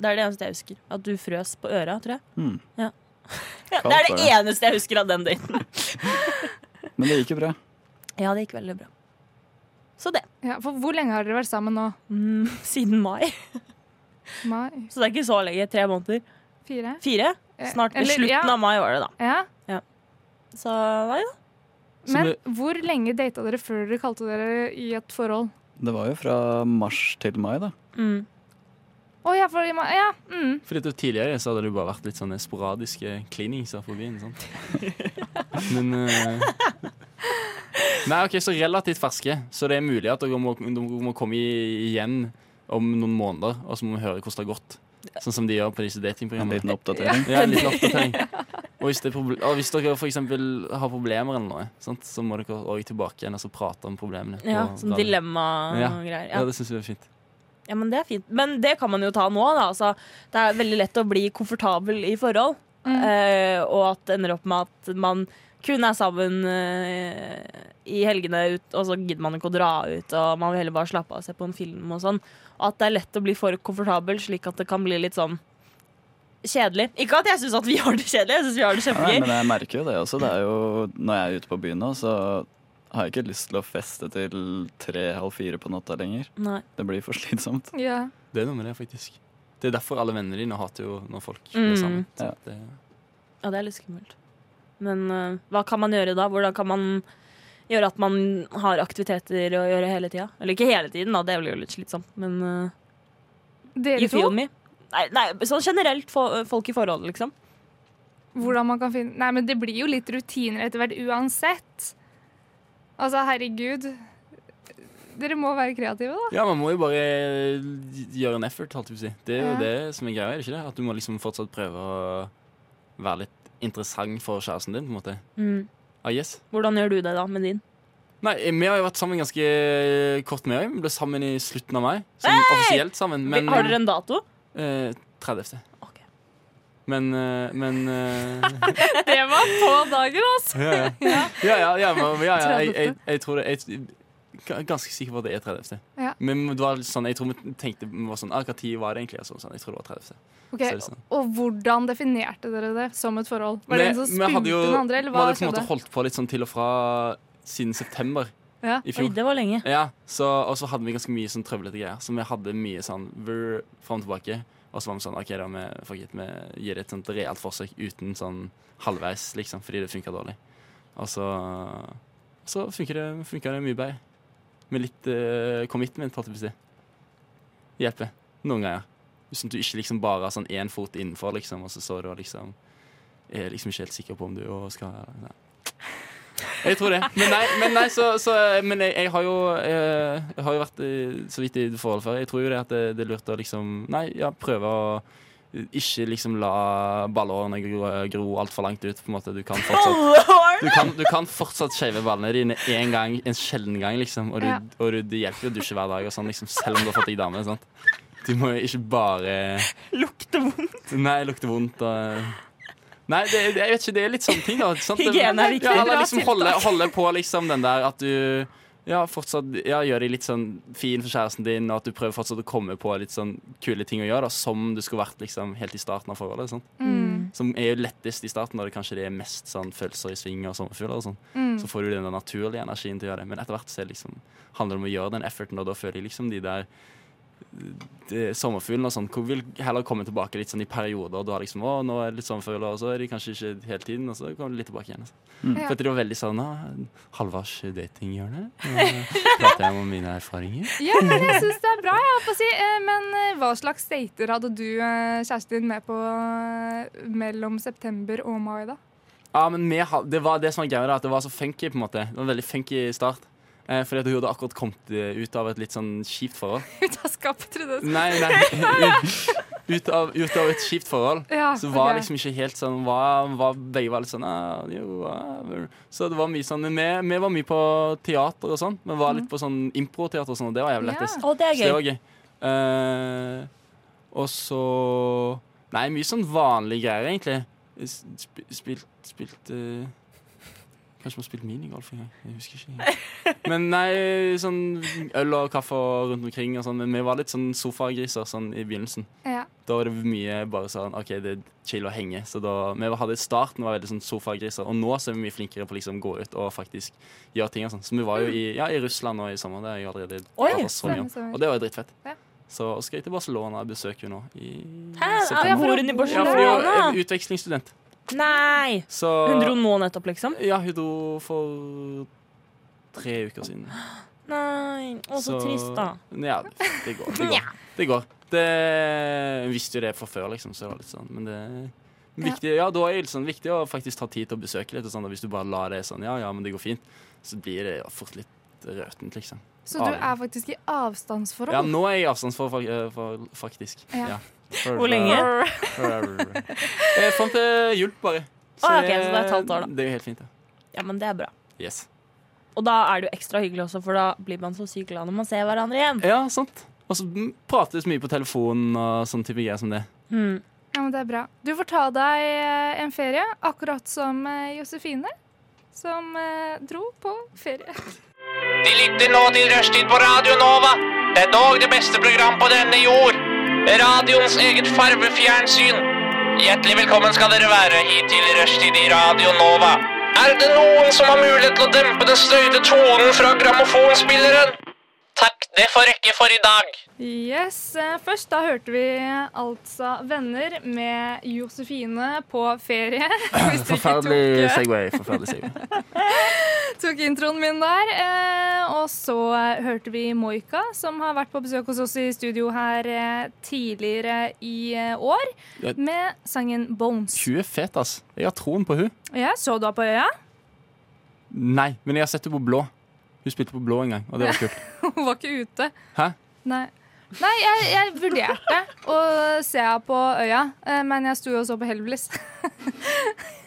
[SPEAKER 5] det er det eneste jeg husker. At du frøs på øra, tror jeg.
[SPEAKER 2] Hmm.
[SPEAKER 5] Ja,
[SPEAKER 2] Kaldt
[SPEAKER 5] det er det
[SPEAKER 2] var det.
[SPEAKER 5] eneste jeg husker av den daten.
[SPEAKER 2] Men det gikk jo bra.
[SPEAKER 5] Ja, det gikk veldig bra. Så det.
[SPEAKER 4] Ja, for hvor lenge har dere vært sammen nå?
[SPEAKER 5] Mm, siden mai.
[SPEAKER 4] Mai?
[SPEAKER 5] Så det er ikke så lenge. Tre måneder.
[SPEAKER 4] Fire?
[SPEAKER 5] Fire?
[SPEAKER 4] Eh,
[SPEAKER 5] Snart.
[SPEAKER 4] eller-
[SPEAKER 5] slutten
[SPEAKER 4] ja.
[SPEAKER 5] av mai var det, da.
[SPEAKER 4] Ja.
[SPEAKER 5] Så nei da.
[SPEAKER 6] Så
[SPEAKER 4] Men
[SPEAKER 6] det-
[SPEAKER 4] hvor lenge data dere før dere kalte dere i et forhold?
[SPEAKER 2] Det var jo fra mars til mai, da.
[SPEAKER 5] Mm.
[SPEAKER 4] Å ja, for ja, mm.
[SPEAKER 6] Fordi at tidligere så hadde det bare vært litt sånne sporadiske kliningser på byen. Sant? Men eh, Nei, OK, så relativt ferske. Så det er mulig at dere må, dere må komme i- igjen om noen måneder, og så må vi høre hvordan det har gått. Sånn som de gjør på disse
[SPEAKER 2] En liten
[SPEAKER 6] datingprogrammene.
[SPEAKER 2] oppdatering.
[SPEAKER 6] Ja, en liten oppdatering. Og hvis, det er proble- og hvis dere for eksempel har problemer eller noe, sant? så må dere også tilbake igjen og så prate om problemene.
[SPEAKER 5] Ja, sånn
[SPEAKER 6] på
[SPEAKER 5] som
[SPEAKER 6] radio.
[SPEAKER 5] dilemma
[SPEAKER 6] Ja.
[SPEAKER 5] og greier.
[SPEAKER 6] Ja, det syns vi er fint.
[SPEAKER 5] Ja, men det er fint. Men det kan man jo ta nå, da. Altså, det er veldig lett å bli komfortabel i forhold.
[SPEAKER 2] Mm.
[SPEAKER 5] Eh, og at det ender opp med at man kun er sammen eh, i helgene, ut, og så gidder man ikke å dra ut. Og man vil heller bare slappe av og se på en film og sånn. Og at det er lett å bli for komfortabel, slik at det kan bli litt sånn kjedelig. Ikke at jeg syns at vi har det kjedelig, jeg syns vi har det
[SPEAKER 2] Ja, nei, men
[SPEAKER 5] kjempegøy.
[SPEAKER 2] jeg merker jo det også. Det er jo, når jeg er ute på byen nå, så har jeg ikke lyst til å feste til tre-halv fire på natta lenger.
[SPEAKER 5] Nei.
[SPEAKER 2] Det blir for slitsomt.
[SPEAKER 4] ja.
[SPEAKER 6] Det er noe med det, faktisk. Det er derfor alle vennene dine hater jo når folk
[SPEAKER 5] Mm.
[SPEAKER 6] blir sammen.
[SPEAKER 2] Ja.
[SPEAKER 6] Det,
[SPEAKER 5] Ja, det er litt skummelt. Men eh, hva kan man gjøre da? Hvordan kan man gjøre at man har aktiviteter å gjøre hele tida? Eller ikke hele tiden, da, det blir jo litt slitsomt, men eh,
[SPEAKER 4] Dere
[SPEAKER 5] you feel
[SPEAKER 4] to?
[SPEAKER 5] me? Nei, nei, sånn generelt fo- folk i forhold, liksom.
[SPEAKER 4] Hvordan man kan finne Nei, men det blir jo litt rutiner etter hvert uansett. Altså, herregud. Dere må være kreative, da.
[SPEAKER 6] Ja, man må jo bare gjøre en effort, holdt jeg på å si. Det er jo
[SPEAKER 4] Ja.
[SPEAKER 6] det som er greia, er det ikke det? At du må liksom fortsatt prøve å være litt interessant for kjæresten din, på en måte.
[SPEAKER 5] Mm.
[SPEAKER 6] Ah, yes.
[SPEAKER 5] Hvordan gjør du det da med din?
[SPEAKER 6] Nei, eh, vi har jo vært sammen ganske kort, vi òg. Vi ble sammen i slutten av mai. Sånn offisielt sammen, men
[SPEAKER 5] har dere en dato?
[SPEAKER 6] eh, 30.
[SPEAKER 5] Ok.
[SPEAKER 6] Men, eh, men eh,
[SPEAKER 4] Det var på dagen, altså!
[SPEAKER 6] Ja, ja. ja, ja, ja, men- ja, ja jeg, jeg, jeg tror det jeg, jeg er ganske sikker på at det er 30.
[SPEAKER 4] Ja.
[SPEAKER 6] Men det var litt sånn, jeg tror vi tenkte vi var sånn, ah, hva tid var det egentlig? Og Sånn, sånn, jeg tror det var 30.
[SPEAKER 4] Ok,
[SPEAKER 6] Så er det sånn.
[SPEAKER 4] Og hvordan definerte dere det som et forhold? Var det en som
[SPEAKER 6] vi hadde
[SPEAKER 4] spilte
[SPEAKER 6] jo-
[SPEAKER 4] den andre, eller
[SPEAKER 6] vi
[SPEAKER 4] hva
[SPEAKER 6] hadde på en måte
[SPEAKER 4] skjedde?
[SPEAKER 6] holdt på litt sånn til og fra siden september
[SPEAKER 4] Ja.
[SPEAKER 6] i
[SPEAKER 5] Oi,
[SPEAKER 6] fjor.
[SPEAKER 5] det var lenge.
[SPEAKER 6] Ja, så, og så hadde vi ganske mye sånn trøblete greier. Så vi hadde mye sånn vrr, fram og tilbake. Og så var vi sånn OK, da, vi, fuck it, vi gir det et sånt realt forsøk uten sånn halvveis, liksom, fordi det funka dårlig. Og så, så funker det, funker det mye bedre. Med litt eh, commitment, holdt jeg på å si. Hjelper. Noen ganger. Hvis du ikke liksom bare har sånn én fot innenfor, liksom, og så så du liksom Jeg er liksom ikke helt sikker på om du jo skal nei. Jeg tror det. Men nei, men, nei, så, så, men jeg, jeg, har jo, jeg, jeg har jo vært i, så vidt i et forhold før. Jeg tror jo det at det, det er lurt å liksom Nei, ja, prøve å ikke liksom la ballårene gro, gro altfor langt ut. På en måte. Du kan fortsatt du kan, du kan fortsatt shave ballene dine en gang, en sjelden gang, liksom. Og, du,
[SPEAKER 4] Ja.
[SPEAKER 6] og du, det hjelper jo å dusje hver dag, og sånn, liksom, selv om du har fått deg dame. Sant? Du må jo ikke bare
[SPEAKER 5] Lukter vondt.
[SPEAKER 6] Nei, lukte vondt og Nei, det, det- jeg vet ikke, det er litt sånne ting, da. Sant?
[SPEAKER 5] Hygiene er viktig.
[SPEAKER 6] Ja, eller
[SPEAKER 4] Bra
[SPEAKER 6] liksom holde, holde på liksom den der at du ja, fortsatt ja, gjør deg litt sånn fin for kjæresten din, og at du prøver fortsatt å komme på litt sånn kule ting å gjøre, da, som du skulle vært liksom helt i starten av forholdet. Sant?
[SPEAKER 4] Mm.
[SPEAKER 6] Som er jo lettest i starten, når det kanskje det er mest sånn, følelser i sving og sommerfugler. og sånn.
[SPEAKER 4] Mm.
[SPEAKER 6] Så får du den der naturlige energien til å gjøre det. Men etter hvert så er det liksom, handler det om å gjøre den efforten, og da føler jeg liksom de der de sommerfuglene og sånn hvor vil heller komme tilbake litt sånn i perioder. Du har liksom, å, nå er det litt sommerfugler, og så er de kanskje ikke hele tiden, og så kommer de litt tilbake igjen. Altså.
[SPEAKER 2] Mm.
[SPEAKER 6] For at det var veldig sånn «Å, Halvards datinghjørne. Nå Prater jeg om mine erfaringer.
[SPEAKER 4] Ja, men jeg syns det er bra. Jeg holdt på å si. Eh, Men eh, hva slags dater hadde du eh, kjæresten din med på eh, mellom september og mai, da?
[SPEAKER 6] Ja, men vi, ha- det var det som var greia, da, at det var så funky, på en måte. Det var en veldig funky start. Eh, fordi at hun hadde akkurat kommet eh, ut av et litt sånn kjipt forhold.
[SPEAKER 4] Ut av skapet, trodde jeg.
[SPEAKER 6] Nei, nei. Ut av, ut av et kjipt forhold.
[SPEAKER 4] Ja,
[SPEAKER 6] Så var
[SPEAKER 4] ok.
[SPEAKER 6] liksom ikke helt sånn var, var, Begge var litt sånn ah, jo, ah, vel. Så det var mye sånn Men vi, vi var mye på teater og sånn. Vi var litt på sånn improteater og sånn, og det var jævlig
[SPEAKER 4] Ja.
[SPEAKER 6] lettest.
[SPEAKER 5] Å,
[SPEAKER 6] Så det
[SPEAKER 5] det er gøy.
[SPEAKER 6] var gøy. Eh, og så Nei, mye sånn vanlige greier, egentlig. Sp spilt spilt eh, Kanskje vi har spilt minigolf en gang. Jeg husker ikke. helt. Men nei, sånn øl og kaffe og rundt omkring og sånn. Men vi var litt sånn sofagriser sånn i begynnelsen.
[SPEAKER 4] Ja.
[SPEAKER 6] Da var det mye bare sånn OK, det er chill å henge. Så da Vi hadde starten var veldig sånn sofagriser, og nå så er vi mye flinkere på liksom å gå ut og faktisk gjøre ting og sånn. Så vi var jo i, ja, i Russland nå i sommer. Det har jeg allerede
[SPEAKER 5] Oi,
[SPEAKER 6] pratet så mye om.
[SPEAKER 4] stemmer, stemmer.
[SPEAKER 6] Og det var jo drittfett.
[SPEAKER 4] Ja.
[SPEAKER 6] Så skal jeg til Barcelona og besøke henne nå. I
[SPEAKER 5] Hæ?
[SPEAKER 6] september.
[SPEAKER 4] ja, for
[SPEAKER 5] Bor hun i
[SPEAKER 4] å-
[SPEAKER 6] Ja, fordi hun
[SPEAKER 5] Barcelona?
[SPEAKER 6] er utvekslingsstudent.
[SPEAKER 5] Nei!
[SPEAKER 6] Så
[SPEAKER 5] Hun dro nå nettopp, liksom?
[SPEAKER 6] Ja, hun dro for tre uker siden.
[SPEAKER 5] Nei. Å, så trist, da.
[SPEAKER 6] Ja, det går. Det går. Det går. Det, hun visste jo det fra før, liksom, så det var litt sånn, men det
[SPEAKER 4] Ja.
[SPEAKER 6] Viktig, ja, da er det litt sånn viktig å faktisk ta tid til å besøke litt. Og sånn, og hvis du bare lar det sånn, ja, ja, men det går fint, så blir det jo fort litt røtent, liksom.
[SPEAKER 4] Så du er faktisk i avstandsforhold?
[SPEAKER 6] Ja, nå er jeg i avstandsforhold, fa- for, faktisk.
[SPEAKER 4] Ja.
[SPEAKER 5] Hvor lenge?
[SPEAKER 6] Eh, Fram til jul, bare.
[SPEAKER 5] Ah, ok, så det er et halvt år, da.
[SPEAKER 6] Det er jo helt fint, det.
[SPEAKER 5] Ja, men det er bra.
[SPEAKER 6] Yes.
[SPEAKER 5] Og da er det jo ekstra hyggelig også, for da blir man så sykt glad når man ser hverandre igjen.
[SPEAKER 6] Ja, sant. Og så m- prates mye på telefonen og sånn type greier som det.
[SPEAKER 5] Hmm.
[SPEAKER 4] Ja, men det er bra. Du får ta deg eh, en ferie, akkurat som eh, Josefine, som eh, dro på ferie.
[SPEAKER 7] De lytter nå til Rushtid på Radio Nova. Det er dog det beste program på denne jord. Radioens eget farvefjernsyn. Hjertelig velkommen skal dere være hit til Rushtid i Radio Nova. Er det noen som har mulighet til å dempe den støyte tonen fra grammofonspilleren? Takk, det får rekke for i dag.
[SPEAKER 4] Yes, eh, Først da hørte vi altså 'Venner' med Josefine på ferie. Hvis du ikke tok, eh,
[SPEAKER 6] Segway. Forferdelig Segway.
[SPEAKER 4] tok introen min der. Eh, Og så eh, hørte vi Moika, som har vært på besøk hos oss i studio her eh, tidligere i eh, år,
[SPEAKER 6] Ja.
[SPEAKER 4] med sangen 'Bones'.
[SPEAKER 6] Hun er fet, ass. Jeg har troen på hun.
[SPEAKER 4] Ja, Så du henne på øya?
[SPEAKER 6] Nei, men jeg har sett henne på blå. Hun spilte på blå en gang, og det var kult.
[SPEAKER 4] Hun var ikke ute.
[SPEAKER 6] Hæ?
[SPEAKER 4] Nei. Nei, jeg, jeg vurderte å se henne på øya, eh, men jeg sto jo og så på Helvelis.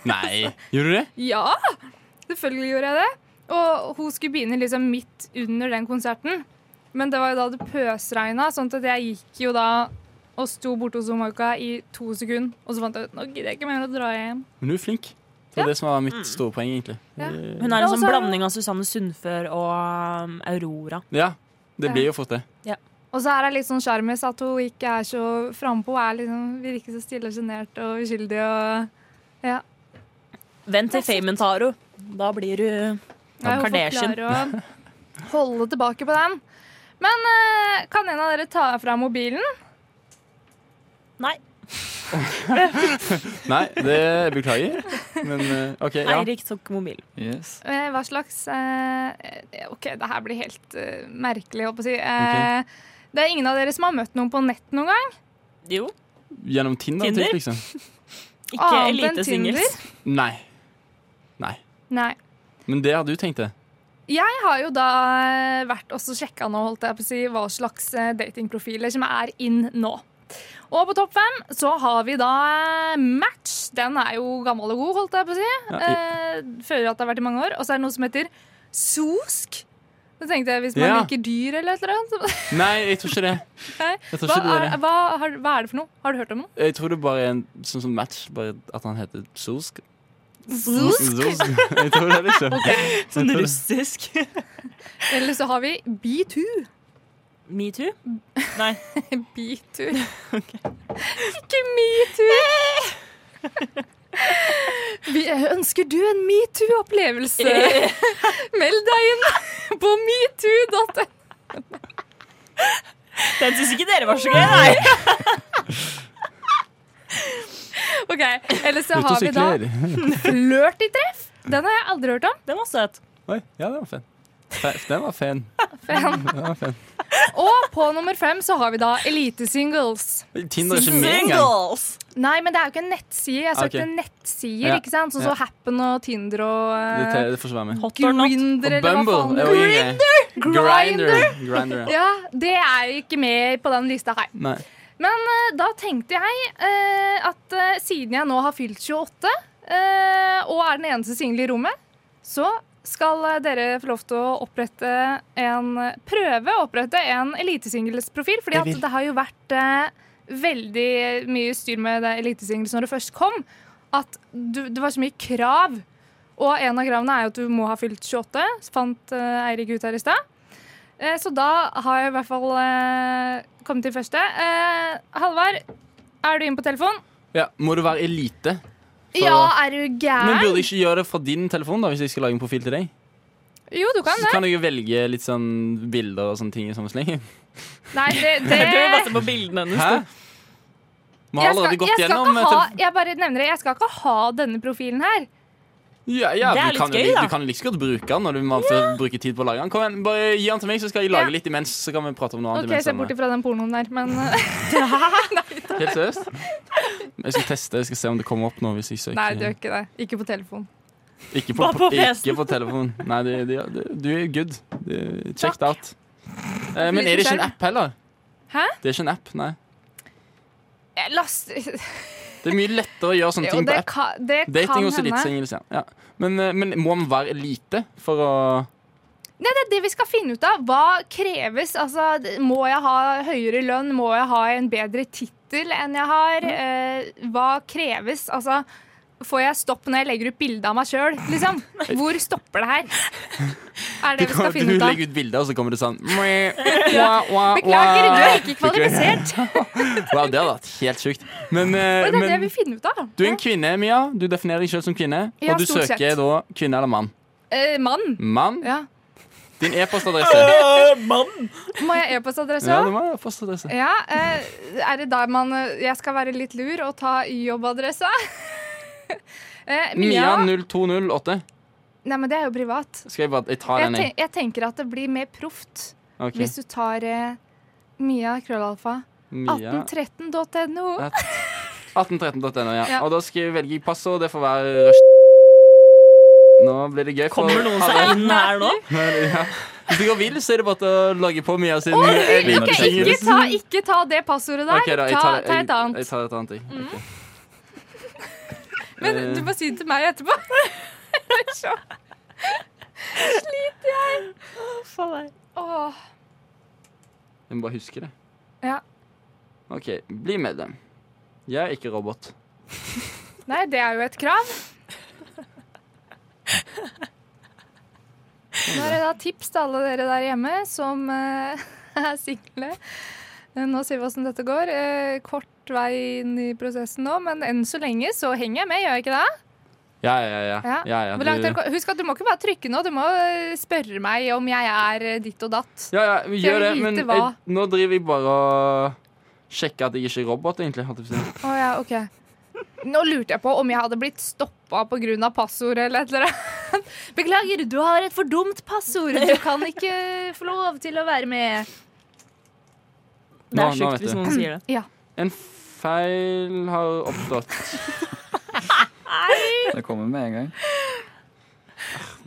[SPEAKER 6] Nei. Gjorde du det?
[SPEAKER 4] Ja, selvfølgelig gjorde jeg det. Og hun skulle begynne liksom midt under den konserten. Men det var jo da det pøsregna, sånn at jeg gikk jo da og sto borte hos Moika i to sekunder. Og så fant jeg ut nå gidder jeg ikke mer å dra hjem.
[SPEAKER 6] Men hun er flink. Det var det som var
[SPEAKER 4] Mm.
[SPEAKER 6] mitt store poeng, egentlig.
[SPEAKER 4] Ja.
[SPEAKER 5] Hun er en
[SPEAKER 4] Ja, og
[SPEAKER 5] sånn
[SPEAKER 4] så-
[SPEAKER 5] blanding av Susanne Sundfør og um, Aurora.
[SPEAKER 6] Ja, det blir jo fort det.
[SPEAKER 4] Og så er det litt sånn sjarmis at hun ikke er så frampå. Hun er Liksom, virker så stille og sjenert og uskyldig og
[SPEAKER 5] Vent til Famen tar henne. Da blir hun
[SPEAKER 4] Nei, hun får
[SPEAKER 5] Kardashian.
[SPEAKER 4] klare å holde tilbake på den. Men eh, kan en av dere ta fra mobilen?
[SPEAKER 5] Nei,
[SPEAKER 6] Nei, det beklager. Men eh, OK, ja.
[SPEAKER 5] Eirik tok mobilen.
[SPEAKER 2] Yes.
[SPEAKER 4] Eh, Hva slags eh, eh, OK, det her blir helt eh, merkelig, holdt på å si. Eh, Det er ingen av dere som har møtt noen på nett noen gang?
[SPEAKER 5] Jo.
[SPEAKER 6] Gjennom Tinder,
[SPEAKER 5] Tinder?
[SPEAKER 6] Tinder? liksom.
[SPEAKER 5] Ikke
[SPEAKER 4] Annet enn
[SPEAKER 5] elitesingles.
[SPEAKER 6] Nei. Nei.
[SPEAKER 4] Nei.
[SPEAKER 6] Men det har du tenkt det.
[SPEAKER 4] Jeg har jo da eh, vært også sjekka nå, holdt jeg på å si, hva slags eh, datingprofiler som er inn nå. Og på topp fem så har vi da eh, Match. Den er jo gammel og god, holdt jeg på å si.
[SPEAKER 6] Ja,
[SPEAKER 4] Eh, føler at det har vært i mange år. Og så er det noe som heter Sosk. Da tenkte jeg, Hvis man
[SPEAKER 6] Ja.
[SPEAKER 4] liker dyr eller et eller annet så-
[SPEAKER 6] Nei, jeg tror ikke det.
[SPEAKER 4] Eh. Nei.
[SPEAKER 6] Jeg tror
[SPEAKER 4] hva,
[SPEAKER 6] ikke det
[SPEAKER 4] er,
[SPEAKER 6] er det.
[SPEAKER 4] hva, har, hva er det for noe? Har du hørt om noe?
[SPEAKER 6] Jeg tror det bare er en sånn som match, bare at han heter Zosk.
[SPEAKER 4] Sosk.
[SPEAKER 6] Jeg tror det, liksom.
[SPEAKER 5] Sånn
[SPEAKER 6] Jeg tror det.
[SPEAKER 5] russisk.
[SPEAKER 4] Eller så har vi B2.
[SPEAKER 5] Metoo? Nei.
[SPEAKER 4] Bitur. Ikke metoo! Vi ønsker du en metoo-opplevelse? Meld deg inn på metoo.no.
[SPEAKER 5] Den syns ikke dere var så gøy, nei.
[SPEAKER 4] Ok, Eller så
[SPEAKER 6] Ut og
[SPEAKER 4] har vi da
[SPEAKER 6] sykler.
[SPEAKER 4] flørt i treff. Den har jeg aldri hørt om.
[SPEAKER 5] Den var søt.
[SPEAKER 6] Oi, ja, den var fin. Fe- Den var fin. Den var fin.
[SPEAKER 4] Og på nummer fem så har vi da Elitesingles.
[SPEAKER 6] Tinder er ikke med engang.
[SPEAKER 4] Nei, men det er jo ikke en nettside. Jeg søkte
[SPEAKER 6] Ok.
[SPEAKER 4] nettsider,
[SPEAKER 6] Ja.
[SPEAKER 4] ikke sant? Sånn
[SPEAKER 6] Ja.
[SPEAKER 4] som Happen og Tinder og
[SPEAKER 6] Det,
[SPEAKER 4] eh,
[SPEAKER 6] te- det får ikke være med.
[SPEAKER 5] Hot or not.
[SPEAKER 6] Og
[SPEAKER 4] Grindr eller hva
[SPEAKER 6] Bumble Oh, er
[SPEAKER 4] faen.
[SPEAKER 6] jo ingen
[SPEAKER 4] Grindr.
[SPEAKER 6] Grinder. ja.
[SPEAKER 4] Ja, det er ikke med på den lista her.
[SPEAKER 6] Nei.
[SPEAKER 4] Men eh, da tenkte jeg eh, at eh, siden jeg nå har fylt 28 eh, og er den eneste single i rommet, så skal eh, dere få lov til å opprette en prøve å opprette en elitesinglesprofil. Fordi at det har jo vært eh, veldig mye styr med det elitesingles når det først kom. At du, det var så mye krav. Og en av kravene er jo at du må ha fylt 28, fant eh, Eirik ut her i stad. Eh, Så da har jeg i hvert fall eh, kommet til første. Eh, Halvard, er du inne på telefon?
[SPEAKER 6] Ja, må du være elite? For-
[SPEAKER 4] Ja, er du
[SPEAKER 6] Men burde
[SPEAKER 4] gæren?
[SPEAKER 6] jeg ikke gjøre det fra din telefon, da, hvis jeg skal lage en profil til deg?
[SPEAKER 4] Jo, du kan
[SPEAKER 6] Så
[SPEAKER 4] det.
[SPEAKER 6] kan jeg jo velge litt sånn bilder og sånne ting i samme sleng.
[SPEAKER 4] Nei, det, det
[SPEAKER 5] Du vil passe på bildene hennes.
[SPEAKER 6] Hæ?
[SPEAKER 5] da.
[SPEAKER 6] Vi har
[SPEAKER 4] Jeg skal-
[SPEAKER 6] allerede gått
[SPEAKER 4] jeg skal
[SPEAKER 6] gjennom eh,
[SPEAKER 4] ikke ha,
[SPEAKER 6] til-
[SPEAKER 4] Jeg bare nevner det. Jeg skal ikke ha denne profilen her.
[SPEAKER 6] ja, ja,
[SPEAKER 5] Det er
[SPEAKER 6] du
[SPEAKER 5] litt
[SPEAKER 6] kan jo
[SPEAKER 5] gøy,
[SPEAKER 6] li-
[SPEAKER 5] da.
[SPEAKER 6] Du kan jo like så godt bruke den når du må bruke tid på å lage den. Kom igjen, Bare gi den til meg, så skal jeg lage
[SPEAKER 4] Ja.
[SPEAKER 6] litt imens. Så kan vi prate om noe annet
[SPEAKER 4] OK,
[SPEAKER 6] imens.
[SPEAKER 4] se bort ifra den pornoen der, men eh,
[SPEAKER 6] Helt seriøst? Jeg skal teste, jeg skal se om det kommer opp nå hvis jeg søker.
[SPEAKER 4] Nei, du gjør ikke det. Ikke på telefon.
[SPEAKER 6] Ikke på,
[SPEAKER 5] Bare på PC-en.
[SPEAKER 6] ikke på telefon. Nei, det, det, det, du er good. Det, checked out. Eh, men
[SPEAKER 4] Liten
[SPEAKER 6] er det ikke en
[SPEAKER 4] skjerm.
[SPEAKER 6] app heller?
[SPEAKER 4] Hæ?
[SPEAKER 6] Det er ikke en app, nei.
[SPEAKER 4] Jeg last...
[SPEAKER 6] Det er mye lettere å gjøre sånne
[SPEAKER 4] Jo,
[SPEAKER 6] ting på
[SPEAKER 4] det
[SPEAKER 6] app.
[SPEAKER 4] kan, det kan
[SPEAKER 6] Sånn Dating hos
[SPEAKER 4] hende.
[SPEAKER 6] elitesingles, ja. ja. Men, eh, men må man være elite for å
[SPEAKER 4] Nei, det er det vi skal finne ut av. Hva kreves? Altså, d- må jeg ha høyere lønn? Må jeg ha en bedre tittel enn jeg har?
[SPEAKER 6] Mm.
[SPEAKER 4] Eh, hva kreves? Altså, får jeg stopp når jeg legger ut bilde av meg sjøl? Liksom? Hvor stopper det her? Er
[SPEAKER 6] Du,
[SPEAKER 4] det vi skal
[SPEAKER 6] kan, du
[SPEAKER 4] finne ut av.
[SPEAKER 6] legger ut bilder, og så kommer det sånn mwah, wah, wah,
[SPEAKER 4] Beklager, du
[SPEAKER 6] wah.
[SPEAKER 4] er ikke kvalifisert.
[SPEAKER 6] Wow, det hadde vært helt sjukt. Men, eh,
[SPEAKER 4] Det er det
[SPEAKER 6] men
[SPEAKER 4] vi finner ut av.
[SPEAKER 6] du er en kvinne, Mia. Du definerer deg sjøl som kvinne.
[SPEAKER 4] Ja,
[SPEAKER 6] og du
[SPEAKER 4] stort
[SPEAKER 6] søker
[SPEAKER 4] sett.
[SPEAKER 6] da kvinne eller mann.
[SPEAKER 4] Eh, mann.
[SPEAKER 6] Mann.
[SPEAKER 4] Ja.
[SPEAKER 6] Din e-postadresse.
[SPEAKER 4] Må jeg e-postadresse
[SPEAKER 6] Ja,
[SPEAKER 4] òg?
[SPEAKER 6] det var e-postadresse.
[SPEAKER 4] Ja, eh, er det da man eh, Jeg skal være litt lur og ta jobbadresse? Eh, Mia
[SPEAKER 6] Mia0208.
[SPEAKER 4] Nei, men det er jo privat.
[SPEAKER 6] Skal jeg bare jeg tar
[SPEAKER 4] Jeg,
[SPEAKER 6] den, jeg.
[SPEAKER 4] ten- jeg tenker at det blir mer proft
[SPEAKER 6] Ok.
[SPEAKER 4] hvis du tar eh, Mia krøllalfa
[SPEAKER 6] Mia Eh,
[SPEAKER 4] 1813.no.
[SPEAKER 6] Ja. 1813.no, ja.
[SPEAKER 4] Ja.
[SPEAKER 6] Og da skal jeg velge passord. Det får være rush. Nå blir det gøy. for
[SPEAKER 5] Kommer noen seg
[SPEAKER 6] alle.
[SPEAKER 5] inn her nå?
[SPEAKER 6] Ja. Hvis du går vill, så er det bare til å logge på Mia sin
[SPEAKER 2] Lina,
[SPEAKER 4] Ok,
[SPEAKER 2] du
[SPEAKER 4] ikke ta, ikke ta det passordet der.
[SPEAKER 6] Ok, da, jeg
[SPEAKER 4] ta,
[SPEAKER 6] tar,
[SPEAKER 4] ta
[SPEAKER 6] jeg,
[SPEAKER 4] et annet. Mm.
[SPEAKER 6] jeg tar et annet, jeg. Ok.
[SPEAKER 4] men du må si det til meg etterpå. Så Sliter jeg. Åh.
[SPEAKER 6] Jeg må bare huske det.
[SPEAKER 4] Ja.
[SPEAKER 6] OK, bli medlem. Jeg er ikke robot.
[SPEAKER 4] Nei, det er jo et krav. Nå er det da tips til alle dere der hjemme som eh, er single. Eh, Nå ser vi åssen dette går. Eh, kort vei inn i prosessen nå, men enn så lenge så henger jeg med, gjør jeg ikke det?
[SPEAKER 6] Ja, ja, ja. ja. ja, ja
[SPEAKER 4] Hvor langt
[SPEAKER 6] du-
[SPEAKER 4] er det ko- Husk at du må ikke bare trykke nå, du må eh, spørre meg om jeg er eh, ditt og datt.
[SPEAKER 6] Ja, ja, vi
[SPEAKER 4] Skal
[SPEAKER 6] gjør det,
[SPEAKER 4] vi
[SPEAKER 6] men
[SPEAKER 4] vite
[SPEAKER 6] jeg,
[SPEAKER 4] hva?
[SPEAKER 6] nå driver jeg bare og sjekker at jeg ikke er robot, egentlig. holdt jeg på å si.
[SPEAKER 4] Å ja, ok. Nå lurte jeg på om jeg hadde blitt stoppa pga. passord eller et eller annet. Beklager, du har et for dumt passord. Du kan ikke få lov til å være med.
[SPEAKER 5] Det
[SPEAKER 6] Nå-
[SPEAKER 5] er
[SPEAKER 6] nå
[SPEAKER 5] sjukt
[SPEAKER 6] vet
[SPEAKER 5] hvis
[SPEAKER 6] du.
[SPEAKER 5] noen sier det.
[SPEAKER 4] Ja.
[SPEAKER 6] En feil har oppstått.
[SPEAKER 2] Det kommer med en gang.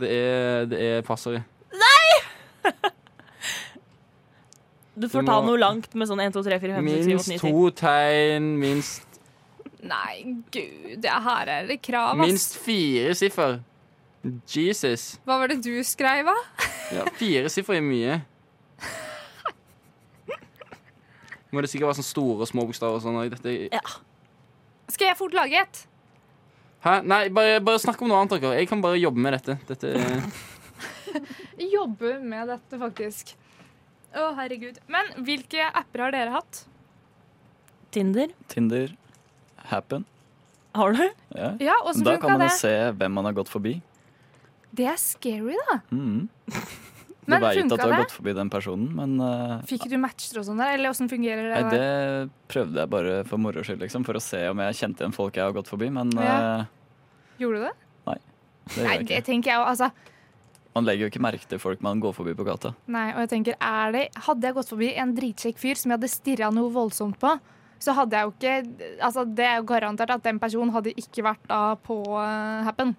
[SPEAKER 6] Det er, det er passord.
[SPEAKER 5] Du får
[SPEAKER 6] Du
[SPEAKER 5] ta
[SPEAKER 6] må-
[SPEAKER 5] noe langt med sånn 1, 2, 3, 4, 5, 6,
[SPEAKER 6] Minst
[SPEAKER 5] 7, 8, 9, 10.
[SPEAKER 6] to tegn, minst,
[SPEAKER 4] Nei, gud, det her er det krav, ass.
[SPEAKER 6] minst fire siffer. Jesus.
[SPEAKER 4] Hva var det du skrev, da?
[SPEAKER 6] Ja, fire siffer er mye. Må det sikkert være sånn store og små bokstaver og sånn. og Dette...
[SPEAKER 4] Skal jeg fort lage et?
[SPEAKER 6] Hæ? Nei, bare, bare snakk om noe annet, dere. Jeg kan bare jobbe med dette. dette er-
[SPEAKER 4] Jobbe med dette, faktisk. Å, herregud. Men hvilke apper har dere hatt?
[SPEAKER 5] Tinder
[SPEAKER 2] Tinder, Happen.
[SPEAKER 5] har du?
[SPEAKER 2] Ja.
[SPEAKER 4] Ja, åssen
[SPEAKER 2] Da kan
[SPEAKER 4] funka
[SPEAKER 2] man
[SPEAKER 4] det?
[SPEAKER 2] jo se hvem man har gått forbi.
[SPEAKER 4] Det er scary, da.
[SPEAKER 2] Mhm. Du
[SPEAKER 4] Men
[SPEAKER 2] veit at
[SPEAKER 4] funka
[SPEAKER 2] du har
[SPEAKER 4] det?
[SPEAKER 2] gått forbi den personen, men eh,
[SPEAKER 4] Fikk du matcher og sånn der, eller åssen fungerer det?
[SPEAKER 2] nei,
[SPEAKER 4] der?
[SPEAKER 2] det prøvde jeg bare for moro skyld, liksom, for å se om jeg kjente igjen folk jeg har gått forbi. Men
[SPEAKER 4] Ja.
[SPEAKER 2] eh,
[SPEAKER 4] Gjorde du det?
[SPEAKER 2] det gjør
[SPEAKER 4] Nei,
[SPEAKER 2] jeg
[SPEAKER 4] det
[SPEAKER 2] ikke.
[SPEAKER 4] tenker jeg jo, altså.
[SPEAKER 2] Man legger jo ikke merke til folk man går forbi på gata.
[SPEAKER 4] Nei, og jeg tenker, er det, Hadde jeg gått forbi en dritkjekk fyr som jeg hadde stirra noe voldsomt på, så hadde jeg jo ikke altså Det er jo garantert at den personen hadde ikke vært da på eh, Happen.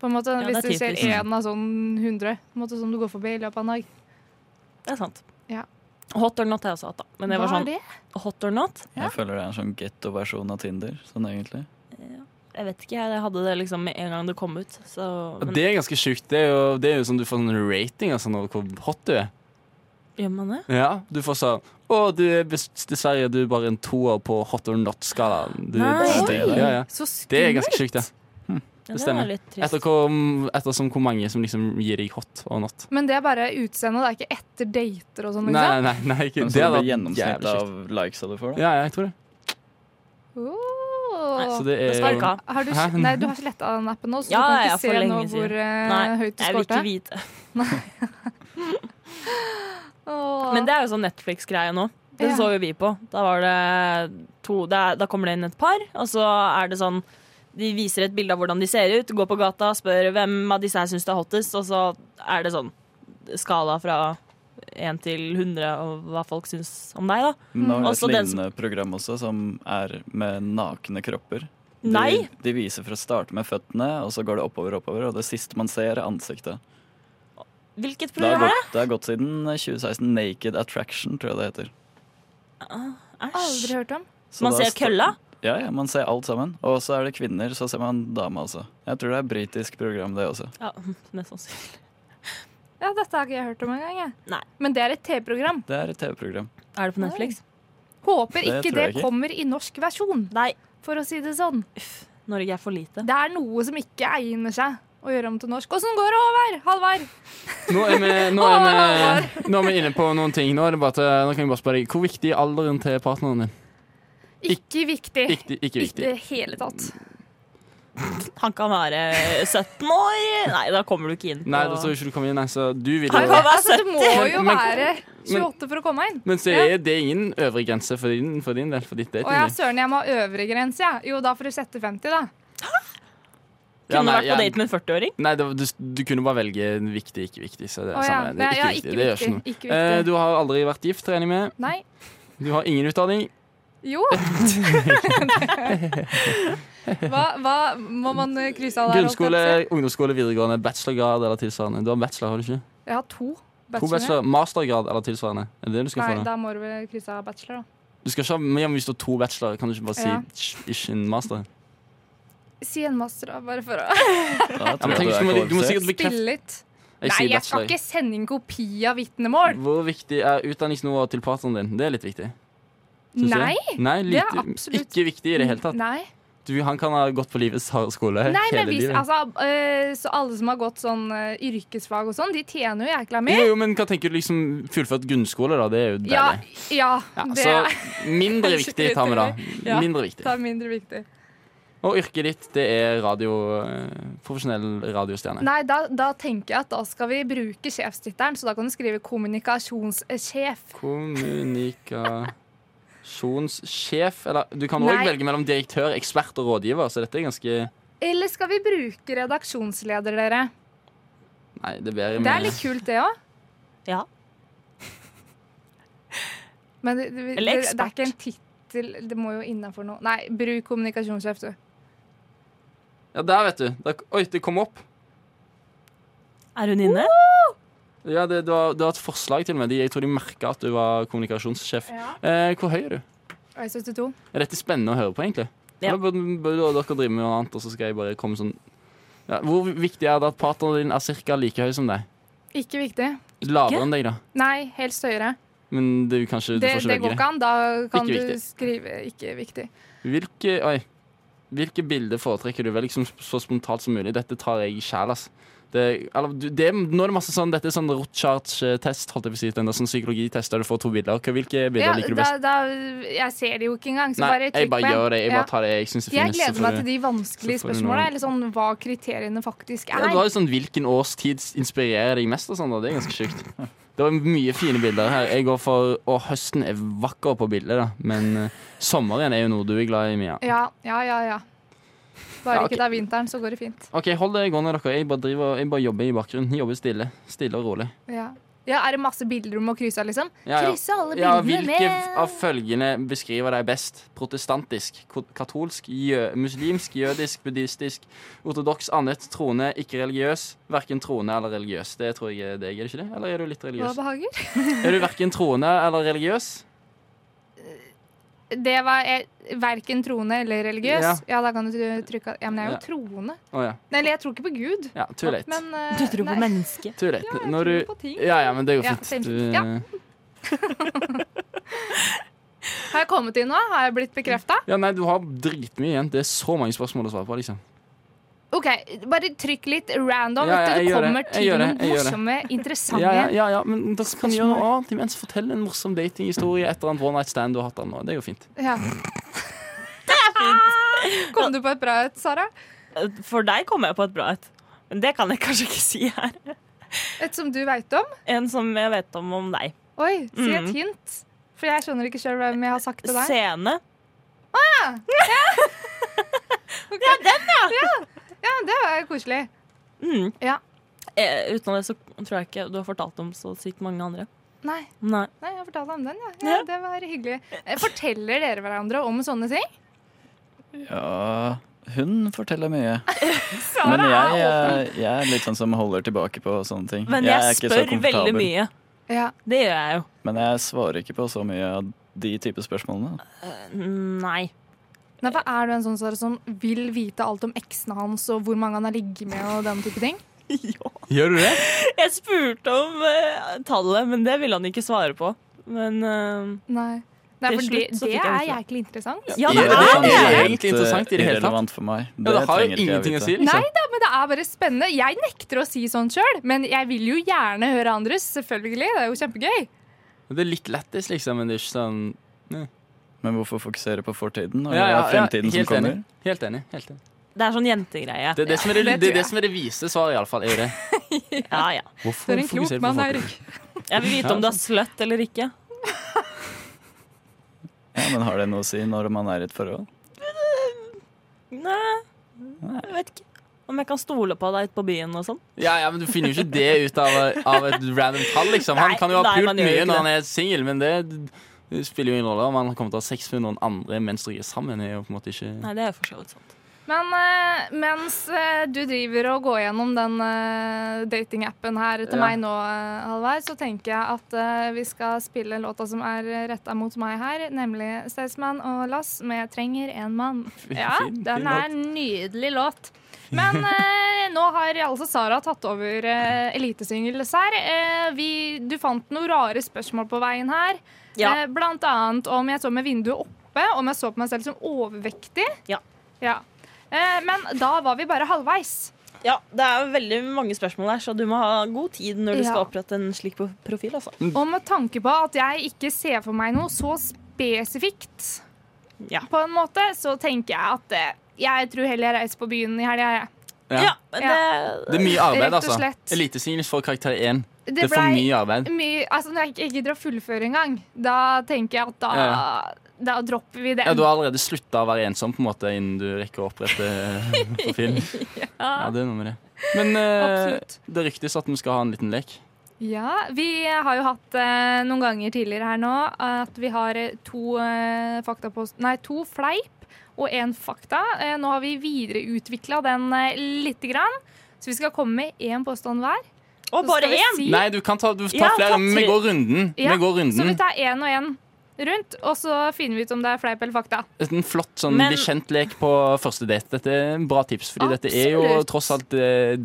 [SPEAKER 4] På en måte,
[SPEAKER 5] Ja, det
[SPEAKER 4] Hvis
[SPEAKER 5] er
[SPEAKER 4] det skjer
[SPEAKER 5] typisk.
[SPEAKER 4] én av sånn 100 på en måte, som du går forbi i løpet av en dag.
[SPEAKER 5] Det er sant.
[SPEAKER 4] Ja.
[SPEAKER 5] Hot or not har jeg også hatt, da. Men det var
[SPEAKER 4] Hva er
[SPEAKER 5] sånn
[SPEAKER 4] det?
[SPEAKER 5] hot or not.
[SPEAKER 2] Jeg føler det er en sånn gettoversjon av Tinder, sånn egentlig.
[SPEAKER 5] Jeg vet ikke, jeg hadde det liksom med en gang det kom ut. Så, men
[SPEAKER 6] Det er ganske sjukt. Det er jo, det er jo sånn du får sånn rating altså, når hvor hot du er.
[SPEAKER 5] gjør man det?
[SPEAKER 6] Ja, Du får sånn Å, du er bes- dessverre du er bare en toer på hot or not-skalaen. Du-
[SPEAKER 5] Nei.
[SPEAKER 2] Oi.
[SPEAKER 6] Ja, ja.
[SPEAKER 4] Så
[SPEAKER 6] Det er
[SPEAKER 4] skummelt!
[SPEAKER 6] ganske sjukt, ja.
[SPEAKER 5] Ja, det
[SPEAKER 6] stemmer.
[SPEAKER 5] var litt trist.
[SPEAKER 6] Etter hvor, ettersom hvor mange som liksom gir deg hot og not.
[SPEAKER 4] Men det er bare utseendet, det er ikke etter dater og sånn?
[SPEAKER 6] Nei,
[SPEAKER 4] Liksom.
[SPEAKER 6] nei, nei, nei ikke.
[SPEAKER 2] Men
[SPEAKER 6] det
[SPEAKER 2] så det
[SPEAKER 6] hadde
[SPEAKER 2] blir
[SPEAKER 6] vært
[SPEAKER 2] gjennomsnitt
[SPEAKER 6] jævlig
[SPEAKER 2] av
[SPEAKER 6] kjipt.
[SPEAKER 2] likes du får, da.
[SPEAKER 6] Ja, ja, jeg tror det.
[SPEAKER 4] Oh.
[SPEAKER 6] Så det
[SPEAKER 5] Det skal du
[SPEAKER 6] er
[SPEAKER 5] ikke ha.
[SPEAKER 4] Har du,
[SPEAKER 6] Hæ?
[SPEAKER 4] nei, du har ikke letta den appen nå, så
[SPEAKER 5] Ja,
[SPEAKER 4] du
[SPEAKER 5] ja,
[SPEAKER 4] kan
[SPEAKER 5] for
[SPEAKER 4] ikke se
[SPEAKER 5] lenge
[SPEAKER 4] nå
[SPEAKER 5] siden.
[SPEAKER 4] hvor eh,
[SPEAKER 5] Nei,
[SPEAKER 4] høyt du
[SPEAKER 5] jeg vil
[SPEAKER 4] skårte.
[SPEAKER 5] ikke vite.
[SPEAKER 4] Åh.
[SPEAKER 5] Men det er jo sånn Netflix-greie nå. Det
[SPEAKER 4] Ja.
[SPEAKER 5] så jo vi på. Da var det to det er, Da kommer det inn et par, og så er det sånn De viser et bilde av hvordan de ser ut, går på gata, spør hvem av disse her syns det er hottest, og så er det sånn skala fra 1 til 100 og hva folk syns om deg, da.
[SPEAKER 2] Men det er et
[SPEAKER 5] Mm. Også den som-
[SPEAKER 2] lignende program også, som er med nakne kropper. De,
[SPEAKER 5] Nei!
[SPEAKER 2] de viser fra å starte med føttene, og så går det oppover og oppover. Og det siste man ser, er ansiktet.
[SPEAKER 5] Hvilket
[SPEAKER 2] Det har
[SPEAKER 5] program er det?
[SPEAKER 2] gått, det har gått siden 2016. Naked Attraction, tror jeg det heter.
[SPEAKER 5] Ah, Æsj.
[SPEAKER 4] Aldri hørt om.
[SPEAKER 2] Så
[SPEAKER 5] Man
[SPEAKER 2] da
[SPEAKER 5] ser
[SPEAKER 2] sta-
[SPEAKER 5] kølla.
[SPEAKER 2] Ja, ja, man ser alt sammen. Og så er det kvinner, så ser man dame, altså. Jeg tror det er et britisk program, det også.
[SPEAKER 5] Ja, mest sannsynlig.
[SPEAKER 4] Ja, dette har ikke jeg hørt om engang. jeg.
[SPEAKER 5] Nei.
[SPEAKER 4] Men det er et TV-program.
[SPEAKER 2] Det er et TV-program.
[SPEAKER 5] Er det på Netflix?
[SPEAKER 4] Håper
[SPEAKER 2] Det
[SPEAKER 4] ikke
[SPEAKER 2] tror
[SPEAKER 4] det
[SPEAKER 2] jeg ikke.
[SPEAKER 4] kommer i norsk versjon,
[SPEAKER 5] Nei.
[SPEAKER 4] for å si det sånn.
[SPEAKER 5] Norge er for lite.
[SPEAKER 4] Det er noe som ikke egner seg å gjøre om til norsk. Åssen går det, Håvard? Halvard?
[SPEAKER 6] Nå er, vi, nå, er vi, nå er vi inne på noen ting. Nå, er det bare til, nå kan jeg bare spørre deg Hvor viktig er alderen til partneren din?
[SPEAKER 4] Ikke viktig.
[SPEAKER 6] Ikke, ikke
[SPEAKER 4] Ikke i
[SPEAKER 6] viktig.
[SPEAKER 4] det hele tatt.
[SPEAKER 5] Han kan være 17 år. Nei, da kommer du ikke inn. på-
[SPEAKER 6] Nei, da tror jeg ikke du kommer inn. Nei, så du vil
[SPEAKER 5] Han
[SPEAKER 6] jo
[SPEAKER 5] kan være
[SPEAKER 4] Altså, du må jo
[SPEAKER 6] Men-
[SPEAKER 4] være 28 for å komme inn.
[SPEAKER 6] Men så er det ingen øvre grense for din, for din del. For ditt
[SPEAKER 4] Å ja,
[SPEAKER 6] datingliv.
[SPEAKER 4] søren, jeg må ha øvre grense, jeg. Jo, da får du sette 50, da.
[SPEAKER 6] Ja,
[SPEAKER 5] Kunne
[SPEAKER 6] nei,
[SPEAKER 5] vært på
[SPEAKER 6] ja,
[SPEAKER 5] date med en 40-åring.
[SPEAKER 6] nei, det var- du, du kunne bare velge viktig, ikke viktig. Så det er
[SPEAKER 4] Å ja.
[SPEAKER 6] samme. Det er
[SPEAKER 4] ja,
[SPEAKER 6] ikke viktig. Det gjør ikke noe.
[SPEAKER 4] Ikke
[SPEAKER 6] Eh,
[SPEAKER 4] viktig.
[SPEAKER 6] Du har aldri vært gift, regner jeg med.
[SPEAKER 4] Nei.
[SPEAKER 6] Du har ingen utdanning.
[SPEAKER 4] Jo. hva, hva må man eh, krysse av der? holdt jeg på å si?
[SPEAKER 6] Grunnskole, ungdomsskole, videregående, bachelorgrad eller tilsvarende. Du har bachelor, har du ikke?
[SPEAKER 4] Jeg har to
[SPEAKER 6] To
[SPEAKER 4] bachelorer.
[SPEAKER 6] bachelor, mastergrad eller tilsvarende. Er det det du skal
[SPEAKER 4] Nei,
[SPEAKER 6] få nå?
[SPEAKER 4] da må du vel krysse av bachelor, da.
[SPEAKER 6] Du skal ikke ha, men ja, men hvis du har to bachelor, kan du ikke bare si
[SPEAKER 4] Ja.
[SPEAKER 6] «Tsk, ikke en master?
[SPEAKER 4] Si en master, da, bare for å
[SPEAKER 2] Da
[SPEAKER 6] Ja, men
[SPEAKER 2] tror jeg
[SPEAKER 6] tenk,
[SPEAKER 2] du
[SPEAKER 6] du, må,
[SPEAKER 2] er
[SPEAKER 6] du må sikkert
[SPEAKER 2] kvalifisert.
[SPEAKER 6] bekrefte
[SPEAKER 4] spille litt.
[SPEAKER 6] Jeg
[SPEAKER 4] Nei,
[SPEAKER 6] sier
[SPEAKER 4] jeg skal
[SPEAKER 6] bachelor. Mm,
[SPEAKER 4] ikke sende inn kopi av vitnemål.
[SPEAKER 6] Hvor viktig er utdanningsnivået til partneren din? Det er litt viktig. synes
[SPEAKER 4] Nei.
[SPEAKER 6] jeg. Nei
[SPEAKER 4] det
[SPEAKER 6] lite,
[SPEAKER 4] er absolutt-
[SPEAKER 6] Ikke viktig i det hele tatt.
[SPEAKER 4] Nei,
[SPEAKER 6] Du, han kan ha gått på livets harde skole
[SPEAKER 4] Nei
[SPEAKER 6] hele
[SPEAKER 4] men hvis,
[SPEAKER 6] livet.
[SPEAKER 4] altså, eh, så alle som har gått sånn eh, yrkesfag og sånn, de tjener jo jækla mye.
[SPEAKER 6] Jo, jo, men hva tenker du liksom Fullført grunnskole, da? Mm, Det er jo deilig.
[SPEAKER 4] Ja, ja,
[SPEAKER 6] Ja, altså,
[SPEAKER 4] det
[SPEAKER 6] så
[SPEAKER 4] er-
[SPEAKER 6] mindre viktig tar vi da.
[SPEAKER 4] Ja.
[SPEAKER 6] Mindre viktig.
[SPEAKER 4] det er mindre viktig.
[SPEAKER 6] Og yrket ditt, det er radio, eh, profesjonell radiostjerne.
[SPEAKER 4] Nei, da, da tenker jeg at da skal vi bruke sjefstittelen, så da kan du skrive kommunikasjonssjef.
[SPEAKER 6] Kommunikasjonssjef Eller du kan òg
[SPEAKER 4] Nei.
[SPEAKER 6] velge mellom direktør, ekspert og rådgiver, så dette er ganske
[SPEAKER 4] Eller skal vi bruke redaksjonsleder, dere?
[SPEAKER 6] Nei, det er bedre
[SPEAKER 4] Det er
[SPEAKER 6] med
[SPEAKER 4] litt kult, det òg.
[SPEAKER 5] Ja.
[SPEAKER 4] Men det, det, det,
[SPEAKER 5] Eller
[SPEAKER 4] det er
[SPEAKER 5] ekspert.
[SPEAKER 4] ikke en tittel. Det må jo innafor noe. Nei, bruk kommunikasjonssjef, du.
[SPEAKER 6] Ja, der, vet du. Der, oi, det kom opp.
[SPEAKER 5] Er hun inne?
[SPEAKER 6] Ja, det, det, var, det var et forslag til og med. De- Jeg tror de merka at du var kommunikasjonssjef.
[SPEAKER 4] Ja.
[SPEAKER 6] Eh, hvor høy er du?
[SPEAKER 4] Oi, 72.
[SPEAKER 6] Er dette spennende å høre på, egentlig?
[SPEAKER 5] Ja.
[SPEAKER 6] Eller burde, burde dere drive med noe annet, og så skal jeg bare komme sånn ja, Hvor viktig er det at partneren din er ca. like høy som deg?
[SPEAKER 4] Ikke viktig.
[SPEAKER 6] Lavere enn deg, da.
[SPEAKER 4] Nei, helst høyere.
[SPEAKER 6] Men du, kanskje,
[SPEAKER 4] Det,
[SPEAKER 6] du får
[SPEAKER 4] det
[SPEAKER 6] ikke
[SPEAKER 4] går
[SPEAKER 6] velge
[SPEAKER 4] ikke an. Da
[SPEAKER 6] Ikke
[SPEAKER 4] kan du
[SPEAKER 6] viktig.
[SPEAKER 4] skrive 'ikke viktig'.
[SPEAKER 6] det. Hvilke, oi, hvilke bilder foretrekker du? Vel, liksom så spontant som mulig. Dette tar jeg sjæl, ass. Det, eller, du- det, nå er det masse sånn, dette er sånn Rothschild-test, holdt jeg på å si. Den der sånn psykologitest der du får to bilder. Hva- Hvilke bilder
[SPEAKER 4] Ja,
[SPEAKER 6] liker du
[SPEAKER 4] da,
[SPEAKER 6] best?
[SPEAKER 4] da, jeg ser det jo ikke engang, så
[SPEAKER 6] Nei,
[SPEAKER 4] bare
[SPEAKER 6] jeg
[SPEAKER 4] trykk på
[SPEAKER 6] bare
[SPEAKER 4] en.
[SPEAKER 6] gjør det. Jeg
[SPEAKER 4] Ja.
[SPEAKER 6] bare tar det jeg syns er
[SPEAKER 4] Jeg
[SPEAKER 6] finest.
[SPEAKER 4] gleder meg til de vanskelige
[SPEAKER 6] så får du
[SPEAKER 4] spørsmåla,
[SPEAKER 6] noe-
[SPEAKER 4] eller sånn hva kriteriene faktisk
[SPEAKER 6] Ja,
[SPEAKER 4] er.
[SPEAKER 6] det var jo sånn Hvilken årstid inspirerer deg mest? og sånn, da. Det er ganske sjukt. Det var mye fine bilder her. Jeg går for, Og høsten er vakker på bildet, da. Men eh, sommeren er jo noe du er glad i, Mia.
[SPEAKER 4] Ja, ja, ja. ja. Bare
[SPEAKER 6] Ja, ok.
[SPEAKER 4] ikke det er vinteren, så går det fint.
[SPEAKER 6] OK, hold det gående, dere. Jeg bare, driver, jeg bare jobber i bakgrunnen. Jobber stille. Stille og rolig.
[SPEAKER 4] Ja. ja, Er det masse bilder du må krysse av, liksom?
[SPEAKER 6] Ja, ja.
[SPEAKER 4] Krysse alle
[SPEAKER 6] Ja,
[SPEAKER 4] bildene
[SPEAKER 6] hvilke
[SPEAKER 4] med
[SPEAKER 6] av følgende beskriver deg best? Protestantisk, ko- katolsk, jø muslimsk, jødisk, buddhistisk, ortodoks, annet, troende, ikke religiøs. Verken troende eller religiøs. Det tror jeg er deg, er det ikke det? Eller er du litt
[SPEAKER 4] Hva
[SPEAKER 6] religiøs?
[SPEAKER 4] behager?
[SPEAKER 6] Er du verken troende eller religiøs?
[SPEAKER 4] Det var eh, verken troende eller religiøs.
[SPEAKER 6] Ja.
[SPEAKER 4] Ja. da kan du trykke av Ja, men jeg er jo
[SPEAKER 6] Ja.
[SPEAKER 4] troende.
[SPEAKER 6] Å ja.
[SPEAKER 4] Nei, Eller jeg tror ikke på Gud.
[SPEAKER 6] ja. Too late.
[SPEAKER 4] Men eh,
[SPEAKER 5] Du tror på
[SPEAKER 4] nei,
[SPEAKER 5] mennesket.
[SPEAKER 6] Too late.
[SPEAKER 4] jeg
[SPEAKER 6] Når
[SPEAKER 4] tror
[SPEAKER 6] du
[SPEAKER 4] på ting.
[SPEAKER 6] Ja, ja, men det går
[SPEAKER 4] Ja,
[SPEAKER 6] fint. Eh,
[SPEAKER 4] same
[SPEAKER 6] Du,
[SPEAKER 4] shit. Ja. Har jeg kommet inn nå? Har jeg blitt bekrefta?
[SPEAKER 6] ja, nei, du har dritmye igjen. Det er så mange spørsmål å svare på, liksom.
[SPEAKER 4] OK, bare trykk litt random
[SPEAKER 6] Ja, ja,
[SPEAKER 4] etter
[SPEAKER 6] jeg
[SPEAKER 4] du
[SPEAKER 6] gjør det.
[SPEAKER 4] kommer
[SPEAKER 6] Jeg
[SPEAKER 4] til
[SPEAKER 6] gjør det.
[SPEAKER 4] noen
[SPEAKER 6] Jeg gjør det.
[SPEAKER 4] morsomme, interessante
[SPEAKER 6] Ja, ja, ja, ja, men dere kan gjøre noe annet imens. Fortell en morsom datinghistorie et eller annet one night stand du har hatt der nå. Det går fint.
[SPEAKER 4] Ja. Kom du på et bra et, Sara?
[SPEAKER 5] For deg kom jeg på et bra et. Men det kan jeg kanskje ikke si her.
[SPEAKER 4] Et som du veit om?
[SPEAKER 5] En som jeg vet om om deg.
[SPEAKER 4] Oi, si et
[SPEAKER 5] Mm.
[SPEAKER 4] hint. For jeg skjønner ikke sjøl hvem jeg har sagt til deg.
[SPEAKER 5] Scene.
[SPEAKER 4] Ja, Det var koselig.
[SPEAKER 5] Mm.
[SPEAKER 4] Ja.
[SPEAKER 5] Eh, utenom det så tror jeg ikke du har fortalt om så sykt mange andre.
[SPEAKER 4] Nei,
[SPEAKER 5] Nei.
[SPEAKER 4] nei jeg fortalte om den, ja. ja.
[SPEAKER 5] Ja.
[SPEAKER 4] Det var hyggelig. Eh, Forteller dere hverandre om sånne ting?
[SPEAKER 2] Ja, hun forteller mye.
[SPEAKER 4] Sara
[SPEAKER 2] Men
[SPEAKER 4] er
[SPEAKER 2] jeg, jeg, jeg er litt sånn som holder tilbake på sånne ting.
[SPEAKER 5] Men
[SPEAKER 2] er
[SPEAKER 5] jeg,
[SPEAKER 2] ikke så
[SPEAKER 5] spør veldig
[SPEAKER 2] komfortabel.
[SPEAKER 5] mye.
[SPEAKER 4] åpen. Ja.
[SPEAKER 5] Det gjør jeg jo.
[SPEAKER 2] Men jeg svarer ikke på så mye av de type spørsmålene.
[SPEAKER 5] Mm, Nei.
[SPEAKER 4] Nei, for er du en sånn Sara som vil vite alt om eksen hans og hvor mange han har ligget med og den type ting?
[SPEAKER 5] Ja.
[SPEAKER 6] Gjør du det?
[SPEAKER 5] Jeg spurte om eh, tallet, men det ville han ikke svare på. Men eh,
[SPEAKER 4] Nei. Nei,
[SPEAKER 5] Til
[SPEAKER 4] for det,
[SPEAKER 5] slutt så
[SPEAKER 4] det
[SPEAKER 5] fikk jeg
[SPEAKER 4] er
[SPEAKER 5] vite det.
[SPEAKER 4] jæklig interessant.
[SPEAKER 5] Ja, det
[SPEAKER 6] Er det
[SPEAKER 5] er
[SPEAKER 6] sant?
[SPEAKER 5] det!
[SPEAKER 6] Ja,
[SPEAKER 2] Helt,
[SPEAKER 6] det er egentlig interessant i det
[SPEAKER 2] eh,
[SPEAKER 6] hele tatt.
[SPEAKER 2] Irrelevant for meg.
[SPEAKER 6] Ja, det har jo
[SPEAKER 2] trenger ikke jeg
[SPEAKER 6] ingenting å
[SPEAKER 2] vite.
[SPEAKER 6] si.
[SPEAKER 4] Nei
[SPEAKER 6] Liksom.
[SPEAKER 4] da, men det er bare spennende. Jeg nekter å si sånn sjøl, men jeg vil jo gjerne høre andres, selvfølgelig. Det er jo kjempegøy.
[SPEAKER 6] Det er litt lættis, liksom, men det er ikke sånn
[SPEAKER 2] Men hvorfor fokusere på fortiden og
[SPEAKER 6] Ja, ja, ja,
[SPEAKER 2] fremtiden
[SPEAKER 6] helt
[SPEAKER 2] som kommer?
[SPEAKER 6] enig. Helt enig. helt enig.
[SPEAKER 5] Det er sånn jentegreie.
[SPEAKER 6] Det er det som er det, det,
[SPEAKER 4] det
[SPEAKER 6] er
[SPEAKER 4] tror
[SPEAKER 6] det,
[SPEAKER 4] jeg.
[SPEAKER 6] som er det vise svaret, iallfall. Er jo det.
[SPEAKER 5] Ja, ja.
[SPEAKER 6] Hvorfor
[SPEAKER 4] Du er en klok
[SPEAKER 6] fokusere på
[SPEAKER 4] mann,
[SPEAKER 6] fortiden?
[SPEAKER 4] Eirik.
[SPEAKER 5] Jeg vil vite om du er sløtt eller ikke.
[SPEAKER 2] Ja, men har det noe å si når man er i et forhold?
[SPEAKER 5] Nei, jeg vet ikke. Om jeg kan stole på deg ute på byen og sånn.
[SPEAKER 6] Ja, ja, men Du finner jo ikke det ut av, av et random tall. liksom Han
[SPEAKER 5] Nei,
[SPEAKER 6] kan jo ha
[SPEAKER 5] nei,
[SPEAKER 6] pult
[SPEAKER 5] man gjør jo
[SPEAKER 6] mye
[SPEAKER 5] ikke
[SPEAKER 6] når
[SPEAKER 5] det.
[SPEAKER 6] han er singel, men det det spiller jo ingen rolle om han kommer til å ha sex med noen andre mens dere er sammen. Er jo på en måte ikke
[SPEAKER 5] Nei, det er jo for så vidt sant.
[SPEAKER 4] Men eh, mens eh, du driver og går gjennom den eh, datingappen her til
[SPEAKER 6] Ja.
[SPEAKER 4] meg nå, eh, Halvard, så tenker jeg at eh, vi skal spille låta som er retta mot meg her, nemlig Staysman og Lass med 'Trenger en mann'. Ja,
[SPEAKER 6] fin
[SPEAKER 4] den er en nydelig låt. Men eh, nå har altså Sara tatt over eh, Elitesingles her. Eh, vi, du fant noen rare spørsmål på veien her.
[SPEAKER 5] Ja.
[SPEAKER 4] Eh, blant annet om jeg så med vinduet oppe, om jeg så på meg selv som overvektig.
[SPEAKER 5] Ja.
[SPEAKER 4] Ja. Eh, men da var vi bare halvveis.
[SPEAKER 5] Ja, Det er veldig mange spørsmål her, så du må ha god tid når du
[SPEAKER 4] Ja.
[SPEAKER 5] skal opprette en slik po- profil. altså.
[SPEAKER 6] Mm.
[SPEAKER 4] Og med tanke på at jeg ikke ser for meg noe så spesifikt,
[SPEAKER 5] Ja.
[SPEAKER 4] på en måte, så tenker jeg at eh, jeg tror heller jeg reiser på byen i helga, jeg.
[SPEAKER 6] Ja.
[SPEAKER 5] Ja, men
[SPEAKER 6] Det
[SPEAKER 5] det...
[SPEAKER 6] er mye
[SPEAKER 4] Rett
[SPEAKER 6] arbeid,
[SPEAKER 4] og
[SPEAKER 6] altså.
[SPEAKER 4] slett.
[SPEAKER 6] Elitesingles får karakter 1.
[SPEAKER 4] Det
[SPEAKER 6] Det er for
[SPEAKER 4] blei-
[SPEAKER 6] mye arbeid.
[SPEAKER 4] Mye, altså når jeg ikke gidder å fullføre engang, da tenker jeg at da, da dropper vi den.
[SPEAKER 6] Ja, Du har allerede slutta å være ensom på en måte innen du rekker å opprette eh, profil. Ja, det er noe med det. Men eh,
[SPEAKER 4] Absolutt.
[SPEAKER 6] det ryktes at vi skal ha en liten lek.
[SPEAKER 4] Ja, vi har jo hatt eh, noen ganger tidligere her nå at vi har eh, to eh, fakta på Nei, to fleip og én fakta. Eh, Nå har vi videreutvikla den eh, lite grann, så vi skal komme med én påstand hver.
[SPEAKER 5] Og bare
[SPEAKER 4] skal vi
[SPEAKER 5] én!
[SPEAKER 4] si-
[SPEAKER 6] Nei, du kan ta, du tar
[SPEAKER 5] Ja,
[SPEAKER 6] flere.
[SPEAKER 5] ta
[SPEAKER 6] men Vi
[SPEAKER 5] tre.
[SPEAKER 6] går runden.
[SPEAKER 4] Ja,
[SPEAKER 6] Vi går
[SPEAKER 4] Så vi
[SPEAKER 6] runden.
[SPEAKER 4] tar én og én rundt, og så finner vi ut om det er fleip eller fakta.
[SPEAKER 6] En flott sånn
[SPEAKER 5] Men-
[SPEAKER 6] bekjentlek på første date. Dette er en bra tips, fordi dette er jo
[SPEAKER 4] Absolutt.
[SPEAKER 6] tross alt eh,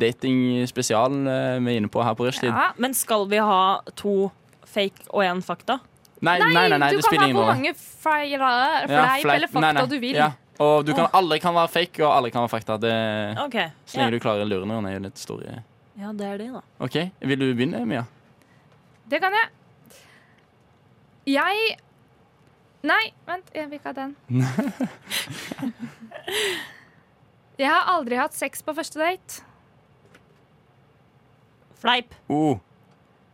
[SPEAKER 6] datingspesialen eh, vi er inne på her på rushtid.
[SPEAKER 4] Ja.
[SPEAKER 5] Men skal vi ha to fake og én fakta?
[SPEAKER 6] Nei, nei, nei, nei,
[SPEAKER 4] du
[SPEAKER 6] det
[SPEAKER 4] kan ha
[SPEAKER 6] spiller ingen
[SPEAKER 4] hvor
[SPEAKER 6] rolle.
[SPEAKER 4] mange feil, fleip,
[SPEAKER 6] Ja, fleip.
[SPEAKER 4] eller fakta
[SPEAKER 6] Nei, nei.
[SPEAKER 4] du vil.
[SPEAKER 6] Ja. Og du kan, alle kan være fake, og alle kan være fakta. Det,
[SPEAKER 5] OK.
[SPEAKER 6] så lenge
[SPEAKER 5] Ja.
[SPEAKER 6] du klarer lurene under en litt stor
[SPEAKER 5] ja, det er det, da.
[SPEAKER 6] OK, vil du begynne, Mia?
[SPEAKER 4] Det kan jeg. Jeg Nei, vent, jeg vil ikke ha den. jeg har aldri hatt sex på første date.
[SPEAKER 5] Fleip.
[SPEAKER 6] Oh,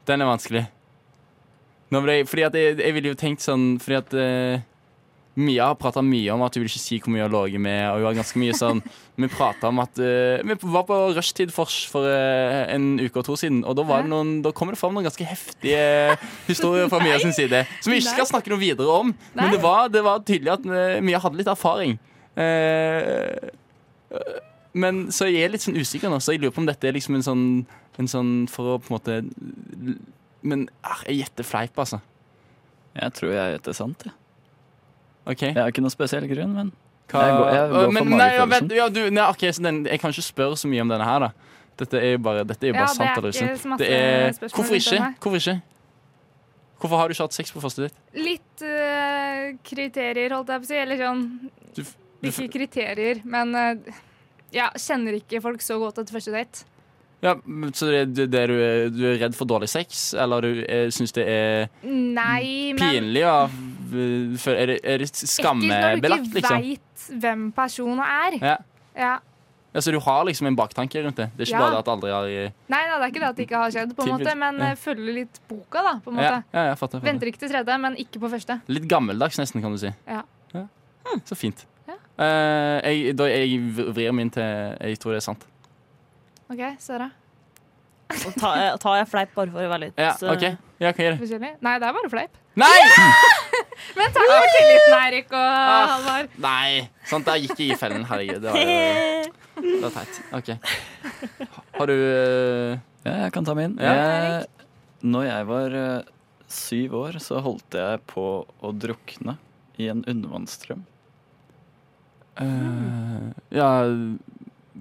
[SPEAKER 6] den er vanskelig. Nå ble jeg, fordi at jeg, jeg ville jo tenkt sånn Fordi at eh, Mia har prata mye om at hun vil ikke si hvor mye hun har ligget med. Og hun har ganske mye sånn Vi pratet om at eh, Vi var på rushtid for, for eh, en uke og to siden, og da, var det noen, da kom det fram noen ganske heftige historier fra Mia sin side. Som vi ikke skal snakke noe videre om, men
[SPEAKER 4] Nei.
[SPEAKER 6] det var, det var tydelig at eh, Mia hadde litt erfaring. Eh, men så jeg er litt sånn usikker nå, så jeg lurer på om dette er liksom en sånn, en sånn for å på en måte Men ah, jeg gjetter fleip, altså.
[SPEAKER 2] Jeg tror jeg gjetter sant. Jeg.
[SPEAKER 6] OK?
[SPEAKER 2] jeg har ikke noen spesiell grunn, men
[SPEAKER 6] Hva-
[SPEAKER 2] Jeg går- jeg går for
[SPEAKER 6] men, nei, ja,
[SPEAKER 2] magefølelsen.
[SPEAKER 6] vent, ja, du, nei, ok, så den, Jeg kan ikke spørre så mye om denne her, da. Dette er jo bare, dette er jo bare
[SPEAKER 4] Ja, det
[SPEAKER 6] sant.
[SPEAKER 4] er
[SPEAKER 6] eller
[SPEAKER 4] ikke
[SPEAKER 6] usant.
[SPEAKER 4] så masse
[SPEAKER 6] Det er-
[SPEAKER 4] spørsmål
[SPEAKER 6] Hvorfor
[SPEAKER 4] rundt
[SPEAKER 6] ikke?
[SPEAKER 4] den her.
[SPEAKER 6] Hvorfor ikke? Hvorfor har du ikke hatt sex på første date?
[SPEAKER 4] Litt eh, kriterier, holdt jeg på å si. Eller sånn
[SPEAKER 6] Du, f- du, f-
[SPEAKER 4] Ikke kriterier, men eh, ja, kjenner ikke folk så godt etter første date.
[SPEAKER 6] ja, men så det, det, det er du, er- du er redd for dårlig sex, eller du syns det er
[SPEAKER 4] Nei, men
[SPEAKER 6] pinlig? Ja, f- er, det, er det skambelagt,
[SPEAKER 4] Ekkelt når du ikke
[SPEAKER 6] liksom?
[SPEAKER 4] veit hvem personen er.
[SPEAKER 6] Ja.
[SPEAKER 4] Ja.
[SPEAKER 6] Ja, så du har liksom en baktanke rundt det? Det er ikke
[SPEAKER 4] Ja.
[SPEAKER 6] bare det at aldri har eh, i-
[SPEAKER 4] Nei, nei, det er ikke det at det ikke har skjedd, på en
[SPEAKER 6] Tilbud.
[SPEAKER 4] måte, men
[SPEAKER 6] Ja.
[SPEAKER 4] eh, følger litt boka, da. på en
[SPEAKER 6] ja,
[SPEAKER 4] måte.
[SPEAKER 6] ja, jeg fatter, jeg fatter.
[SPEAKER 4] Venter ikke til tredje, men ikke på første.
[SPEAKER 6] Litt gammeldags nesten, kan du si.
[SPEAKER 4] Ja. Hm.
[SPEAKER 6] Så fint.
[SPEAKER 4] Ja.
[SPEAKER 6] Eh, jeg, da, jeg vrir min til Jeg tror det er sant.
[SPEAKER 4] OK, Sara.
[SPEAKER 5] Og ta, tar jeg fleip bare for å være litt
[SPEAKER 6] Ja,
[SPEAKER 5] eh,
[SPEAKER 6] OK. Ja, hva er det?
[SPEAKER 4] Forskjellig. Nei, det er bare fleip.
[SPEAKER 6] Nei!
[SPEAKER 4] Men takk for tilliten, Eirik og Halvard.
[SPEAKER 6] Nei! Sant, der gikk jeg i fellen. Herregud, det var, det var teit. OK. Har du eh,
[SPEAKER 2] ja, jeg kan ta min.
[SPEAKER 6] Ja.
[SPEAKER 2] Jeg, når jeg var eh, syv år, så holdt jeg på å drukne i en undervannsstrøm.
[SPEAKER 6] eh, Ja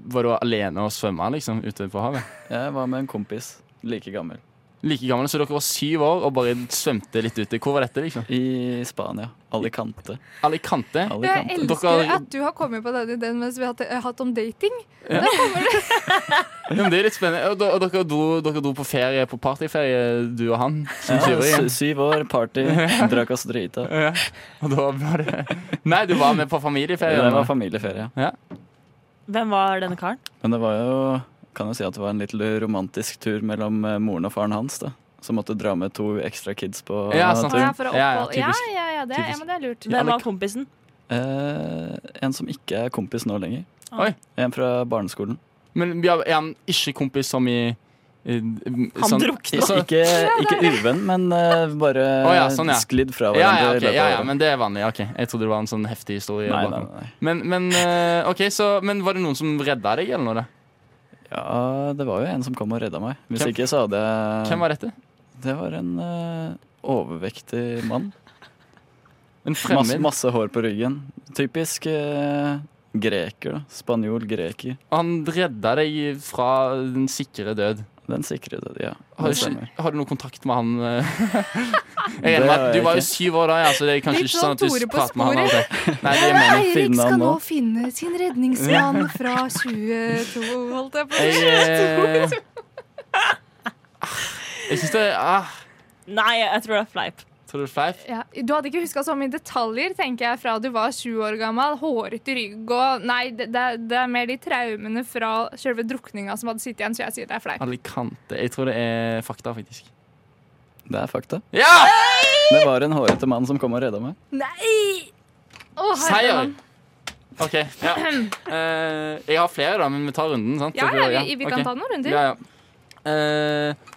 [SPEAKER 6] Var du alene og svømma, liksom, ute på havet?
[SPEAKER 2] Jeg var med en kompis like gammel
[SPEAKER 6] Like gammel, så dere var syv år og bare svømte litt ute. Hvor var dette, liksom?
[SPEAKER 2] i Spania. Alicante.
[SPEAKER 6] Alicante?
[SPEAKER 4] Jeg
[SPEAKER 2] Alicante.
[SPEAKER 4] elsker
[SPEAKER 6] Dere-
[SPEAKER 4] at du har kommet på denne ideen mens vi har hatt, eh, hatt om dating. Da kommer det
[SPEAKER 6] Ja, men det er litt spennende. Og da- Og dere dro, dere dro på ferie, på partyferie, du og han, som
[SPEAKER 2] Ja,
[SPEAKER 6] syvåring.
[SPEAKER 2] sy- syv år, party, drakk oss drita.
[SPEAKER 6] Ja. Og da var det Nei, du var med på familieferie.
[SPEAKER 2] Det var familieferie.
[SPEAKER 5] Hvem var denne karen?
[SPEAKER 2] Men det var jo kan jo si at det var en litt romantisk tur mellom eh, moren og faren hans. da Som måtte dra med to ekstra kids på
[SPEAKER 6] Ja, sant.
[SPEAKER 2] turen.
[SPEAKER 4] Ja, for å
[SPEAKER 6] Ja, ja,
[SPEAKER 4] opphold. Ja,
[SPEAKER 6] typisk.
[SPEAKER 4] ja, ja, det, ja,
[SPEAKER 6] Typisk.
[SPEAKER 4] men det er lurt.
[SPEAKER 5] Hvem var kompisen?
[SPEAKER 2] Eh, en som ikke er kompis nå lenger.
[SPEAKER 6] Oi.
[SPEAKER 2] En fra barneskolen.
[SPEAKER 6] Men ja, er han ikke kompis som i Han
[SPEAKER 5] Han drukna.
[SPEAKER 6] Så-
[SPEAKER 2] ikke ikke uvenn, men eh, bare
[SPEAKER 6] Å ja, sånn, ja.
[SPEAKER 2] sklidd
[SPEAKER 6] ja,
[SPEAKER 2] fra
[SPEAKER 6] ja, ok,
[SPEAKER 2] hverandre. i løpet av
[SPEAKER 6] ja, ja,
[SPEAKER 2] året.
[SPEAKER 6] men det er vanlig. ok Jeg trodde det var en sånn heftig historie.
[SPEAKER 2] Nei, nei,
[SPEAKER 6] bakom.
[SPEAKER 2] nei.
[SPEAKER 6] Men, men, eh, ok, så, men var det noen som redda deg, eller noe? da?
[SPEAKER 2] Ja, det var jo en som kom og redda meg. Hvis
[SPEAKER 6] Hvem-
[SPEAKER 2] ikke, så hadde jeg
[SPEAKER 6] Hvem var dette?
[SPEAKER 2] Det var en eh, overvektig mann.
[SPEAKER 6] En
[SPEAKER 2] Masse,
[SPEAKER 6] fremmed?
[SPEAKER 2] masse hår på ryggen. Typisk eh, greker, da. Spanjol greker.
[SPEAKER 6] Han redda deg fra den sikre død.
[SPEAKER 2] Den sikre døde, ja.
[SPEAKER 6] Har
[SPEAKER 2] Det
[SPEAKER 6] du,
[SPEAKER 2] stemmer.
[SPEAKER 6] ikke, har du noe kontakt med han? eh? Jeg
[SPEAKER 2] Det
[SPEAKER 6] regner med
[SPEAKER 2] har
[SPEAKER 6] at Du
[SPEAKER 2] jeg
[SPEAKER 6] var jo
[SPEAKER 2] ikke.
[SPEAKER 6] syv år da, ja, så det er kanskje
[SPEAKER 4] Litt
[SPEAKER 6] ikke sånn at
[SPEAKER 4] sånn
[SPEAKER 6] du
[SPEAKER 4] Tore på
[SPEAKER 6] prater med han.
[SPEAKER 4] sporet.
[SPEAKER 6] alltid. Nei, det er meningen.
[SPEAKER 4] Eirik
[SPEAKER 2] finne
[SPEAKER 4] skal
[SPEAKER 2] han
[SPEAKER 4] nå
[SPEAKER 2] nå.
[SPEAKER 4] finne sin redningsmann fra 22, holdt jeg på å si.
[SPEAKER 6] Jeg, eh, jeg syns det ah,
[SPEAKER 5] Nei, jeg tror det er fleip.
[SPEAKER 6] Tror du det er fleip?
[SPEAKER 4] Ja, du hadde ikke huska så mye detaljer, tenker jeg, fra du var sju år gammel. Hårete rygg og Nei, det, det, er- det er mer de traumene fra selve drukninga som hadde sittet igjen, så jeg sier det er fleip.
[SPEAKER 6] Alicante. Jeg tror det er fakta, faktisk.
[SPEAKER 2] Det er fakta.
[SPEAKER 6] Ja!
[SPEAKER 4] Ah,
[SPEAKER 2] Det var en hårete mann som kom og redda meg.
[SPEAKER 4] Nei! Å,
[SPEAKER 6] Seier!
[SPEAKER 4] herremann.
[SPEAKER 6] OK. Ja. Eh, jeg har flere, da, men vi tar runden, sant?
[SPEAKER 4] Ja,
[SPEAKER 6] Så
[SPEAKER 4] ja, vi, vi kan
[SPEAKER 6] ok.
[SPEAKER 4] ta noen runder.
[SPEAKER 6] Ja, ja. Eh,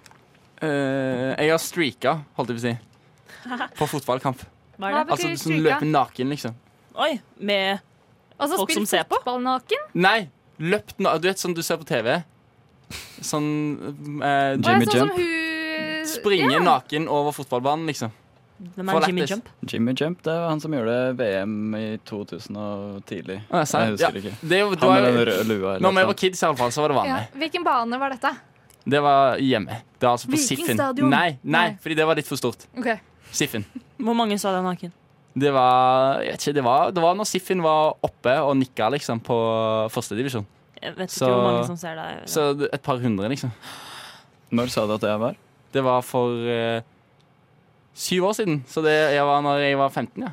[SPEAKER 6] eh, jeg har streaka, holdt jeg på å si, på fotballkamp.
[SPEAKER 5] Hva er det?
[SPEAKER 4] Hva
[SPEAKER 6] Altså
[SPEAKER 4] betyr
[SPEAKER 6] sånn
[SPEAKER 4] streaka?
[SPEAKER 6] løpe naken, liksom.
[SPEAKER 5] Oi, med
[SPEAKER 4] Og så
[SPEAKER 5] Folk som
[SPEAKER 4] spilt
[SPEAKER 5] ser på?
[SPEAKER 4] fotball naken.
[SPEAKER 6] Nei! Løpt nå Du vet sånn du ser på TV? Sånn eh,
[SPEAKER 4] Og jeg
[SPEAKER 2] Jimmy
[SPEAKER 4] er sånn som
[SPEAKER 2] jump.
[SPEAKER 4] hun
[SPEAKER 6] Springe naken over fotballbanen, liksom.
[SPEAKER 5] Hvem er
[SPEAKER 6] For
[SPEAKER 5] Jimmy
[SPEAKER 6] lættis.
[SPEAKER 5] Jump?
[SPEAKER 2] Jimmy Jump det er jo han som gjorde VM i 2000 og tidlig.
[SPEAKER 6] Å, jeg sa-
[SPEAKER 2] jeg husker ikke.
[SPEAKER 6] Det, er jo- det
[SPEAKER 2] Han
[SPEAKER 6] var
[SPEAKER 2] med
[SPEAKER 6] jo
[SPEAKER 2] den røde
[SPEAKER 6] Når
[SPEAKER 2] lua.
[SPEAKER 6] vi
[SPEAKER 2] Eller
[SPEAKER 6] var
[SPEAKER 2] noe sånt.
[SPEAKER 6] kids, i alle fall, så var det
[SPEAKER 4] Ja.
[SPEAKER 6] vanlig.
[SPEAKER 4] Hvilken bane var dette?
[SPEAKER 6] Det var hjemme. Det var altså på Siffen.
[SPEAKER 5] Vikingstadion.
[SPEAKER 6] Nei, nei,
[SPEAKER 4] Nei.
[SPEAKER 6] fordi det var litt for stort.
[SPEAKER 4] Ok,
[SPEAKER 6] Siffen.
[SPEAKER 5] Hvor mange så deg naken?
[SPEAKER 6] Det var, jeg vet ikke, det var, det var når Siffen var oppe og nikka liksom, på førstedivisjon.
[SPEAKER 5] Jeg vet ikke
[SPEAKER 6] Så-
[SPEAKER 5] hvor mange som ser deg.
[SPEAKER 6] Så det- et par hundre, liksom.
[SPEAKER 2] Når sa du at jeg var?
[SPEAKER 6] Det var for eh, syv år siden. Så det jeg var når jeg var 15, ja.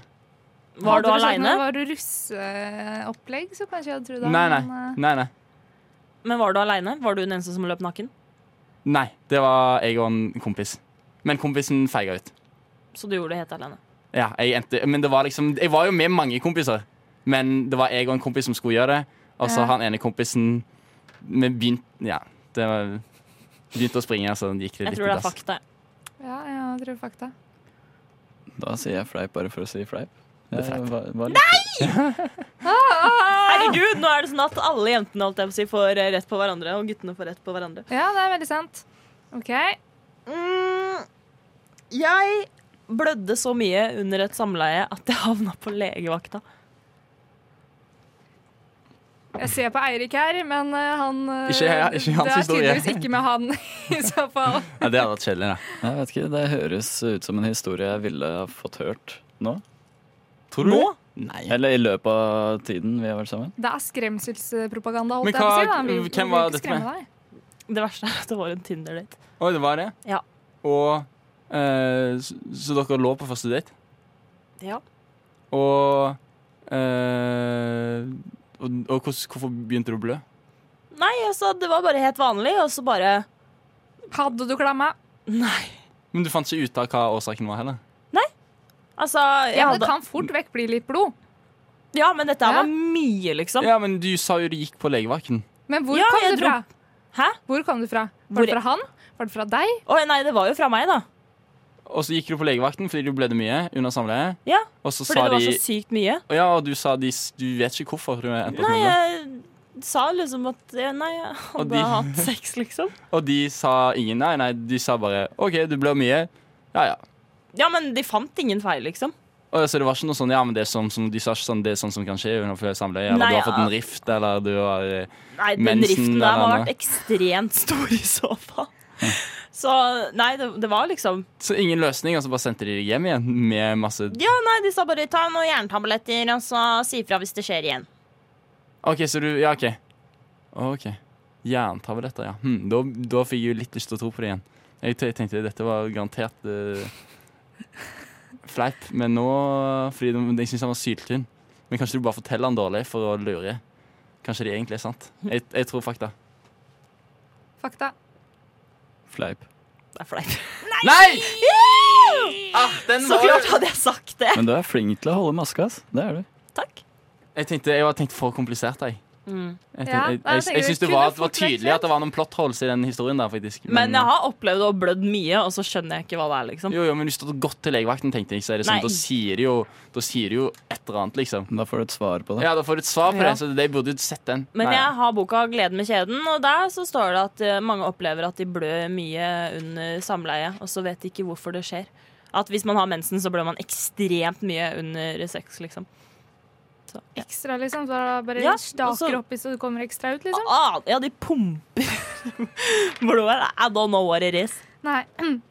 [SPEAKER 5] Var du
[SPEAKER 4] Hadde sagt
[SPEAKER 5] aleine?
[SPEAKER 4] noe- Var du russeopplegg, så kanskje jeg hadde trodd det.
[SPEAKER 6] Nei, nei.
[SPEAKER 4] men, eh,
[SPEAKER 6] nei, nei.
[SPEAKER 5] Men var du alene? Var du den eneste som løp naken?
[SPEAKER 6] Nei, det var jeg og en kompis. Men kompisen feiga ut.
[SPEAKER 5] Så du gjorde det helt alene.
[SPEAKER 6] Ja, jeg endte, men det var liksom Jeg var jo med mange kompiser, men det var jeg og en kompis som skulle gjøre det. Og så
[SPEAKER 4] Ja.
[SPEAKER 6] han ene kompisen Vi begynte Ja, det var Begynte å springe, så gikk det
[SPEAKER 5] Jeg
[SPEAKER 6] litt
[SPEAKER 5] tror det er
[SPEAKER 6] dass.
[SPEAKER 5] fakta.
[SPEAKER 4] eh, Ja, ja, jeg tror fakta.
[SPEAKER 2] Da sier jeg fleip bare for å si fleip. Eh,
[SPEAKER 6] Det er fleip.
[SPEAKER 2] Nei!
[SPEAKER 6] Ah,
[SPEAKER 5] Herregud, nå er det sånn at alle jentene holdt jeg på å si, får eh, rett på hverandre, og guttene får rett på hverandre.
[SPEAKER 4] Ja, det er veldig sant. OK.
[SPEAKER 5] Mm, jeg blødde så mye under et samleie at jeg havna på legevakta.
[SPEAKER 4] Jeg ser på Eirik her, men eh, han eh,
[SPEAKER 6] Ikke jeg- ikke hans
[SPEAKER 4] Det er
[SPEAKER 6] historie.
[SPEAKER 4] tydeligvis ikke med han i så fall.
[SPEAKER 6] Ja, det hadde vært kjedelig, da.
[SPEAKER 2] Jeg vet ikke, Det høres ut som en historie jeg ville ha fått hørt nå.
[SPEAKER 6] Tror
[SPEAKER 5] Nå?
[SPEAKER 6] Nei.
[SPEAKER 2] Eller i løpet av tiden vi har vært sammen.
[SPEAKER 4] Det er skremselspropaganda. holdt
[SPEAKER 6] Men
[SPEAKER 4] jeg på å
[SPEAKER 6] hva-
[SPEAKER 4] si, da. Han vil-
[SPEAKER 6] hvem
[SPEAKER 4] han vil
[SPEAKER 6] var
[SPEAKER 4] ikke
[SPEAKER 6] dette
[SPEAKER 4] skremme
[SPEAKER 6] med?
[SPEAKER 4] deg.
[SPEAKER 5] Det verste er at det var en Tinder-date.
[SPEAKER 6] Oi, det var det?
[SPEAKER 5] Ja.
[SPEAKER 6] Og eh, så, så dere lå på første date,
[SPEAKER 5] Ja.
[SPEAKER 6] og eh, Og, og hvordan, hvorfor begynte du å blø?
[SPEAKER 5] Nei, altså, det var bare helt vanlig, og så bare
[SPEAKER 4] Hadde du klamma?
[SPEAKER 5] Nei.
[SPEAKER 6] Men du fant ikke ut av hva årsaken var, heller?
[SPEAKER 5] Altså, jeg
[SPEAKER 4] Ja, men
[SPEAKER 5] hadde
[SPEAKER 4] det kan fort vekk bli litt blod.
[SPEAKER 5] Ja, men dette her
[SPEAKER 4] Ja.
[SPEAKER 5] var mye, liksom.
[SPEAKER 6] Ja, men du sa jo du gikk på legevakten.
[SPEAKER 4] Men hvor
[SPEAKER 5] Ja,
[SPEAKER 4] kom
[SPEAKER 5] jeg
[SPEAKER 4] du
[SPEAKER 5] dro-
[SPEAKER 4] fra?
[SPEAKER 5] Hæ?
[SPEAKER 4] Hvor kom du fra? Var
[SPEAKER 5] Hvor-
[SPEAKER 4] det fra han? Var det fra deg?
[SPEAKER 5] Oi, nei, det var jo fra meg, da.
[SPEAKER 6] Og så gikk du på legevakten fordi du blødde mye under samleie.
[SPEAKER 5] Ja,
[SPEAKER 6] Og så
[SPEAKER 5] Fordi
[SPEAKER 6] sa
[SPEAKER 5] det var
[SPEAKER 6] de
[SPEAKER 5] så sykt mye.
[SPEAKER 6] Å Ja, og du sa de, s- du vet ikke hvorfor du endte opp med det.
[SPEAKER 5] Nei, jeg sa liksom at jeg- Nei, jeg
[SPEAKER 6] Og Mm-hmm.
[SPEAKER 5] hadde
[SPEAKER 6] de-
[SPEAKER 5] hatt sex, liksom.
[SPEAKER 6] Og de sa ingen nei, nei, de sa bare OK, du blør mye. Ja, ja.
[SPEAKER 5] Ja, men de fant ingen feil, liksom.
[SPEAKER 6] Og så det var ikke noe sånn ja, men det er sånn som de sa ikke sånn, det er sånn som kan skje under samleie, eller
[SPEAKER 5] Nei,
[SPEAKER 6] du har fått
[SPEAKER 5] ja.
[SPEAKER 6] en rift, eller du har eh,
[SPEAKER 5] Nei, den
[SPEAKER 6] Mensen
[SPEAKER 5] riften der må ha
[SPEAKER 6] eller
[SPEAKER 5] vært ekstremt stor i så fall. Så nei, det, det var liksom
[SPEAKER 6] Så ingen løsning, og så bare sendte de deg hjem igjen med masse
[SPEAKER 5] Ja, nei, de sa bare ta noen jerntabletter og så si fra hvis det skjer igjen.
[SPEAKER 6] OK, så du Ja, OK. OK. Jerntabletter, ja. Hm, da, da fikk jeg jo litt lyst til å tro på det igjen. Jeg te- tenkte dette var garantert eh, fleip, men nå Fordi de, jeg syns han var syltynn. Men kanskje du bare forteller han dårlig for å lure. Kanskje det egentlig er sant. Jeg, jeg tror fakta.
[SPEAKER 4] Fakta.
[SPEAKER 2] Fleip.
[SPEAKER 5] Det er flaut.
[SPEAKER 6] Nei! Ah, den
[SPEAKER 5] Så
[SPEAKER 6] var
[SPEAKER 5] klart hadde jeg sagt det.
[SPEAKER 2] Men du er flink til å holde maska, ass. Det er du.
[SPEAKER 5] Takk.
[SPEAKER 6] Jeg tenkte, jeg var tenkt for komplisert, jeg. Jeg,
[SPEAKER 5] Mm.
[SPEAKER 4] Ja,
[SPEAKER 6] tenkte- jeg,
[SPEAKER 4] da
[SPEAKER 6] jeg,
[SPEAKER 4] tenker
[SPEAKER 6] jeg,
[SPEAKER 4] du
[SPEAKER 6] syns det
[SPEAKER 4] kunne
[SPEAKER 6] var, det var
[SPEAKER 4] fort vært
[SPEAKER 6] tydelig at det var noen plot holes i den historien der, faktisk.
[SPEAKER 5] Men jeg har opplevd å ha blødd mye, og så skjønner jeg ikke hva det er, liksom.
[SPEAKER 6] Mm. Jo, jo, men hvis du hadde gått til legevakten, tenkte jeg, så er det
[SPEAKER 5] Nei.
[SPEAKER 6] sånn, da sier de jo, da sier de jo et eller annet, liksom.
[SPEAKER 2] Da får du et svar på det.
[SPEAKER 6] Ja, da får du et svar på
[SPEAKER 5] Ja.
[SPEAKER 6] det, så de burde jo sett den.
[SPEAKER 5] Men
[SPEAKER 6] Nei.
[SPEAKER 5] jeg har boka 'Gleden med kjeden', og der så står det at eh, mange opplever at de blør mye under samleie, og så vet de ikke hvorfor det skjer. At hvis man har mensen, så blør man ekstremt mye under sex, liksom. Så, ja.
[SPEAKER 4] Ekstra, liksom. Så bare
[SPEAKER 5] Ja,
[SPEAKER 4] staker
[SPEAKER 5] altså-
[SPEAKER 4] oppi så det kommer ekstra ut, liksom.
[SPEAKER 5] Ah, ja, de pumper blodet. I don't know what it is.
[SPEAKER 4] Nei.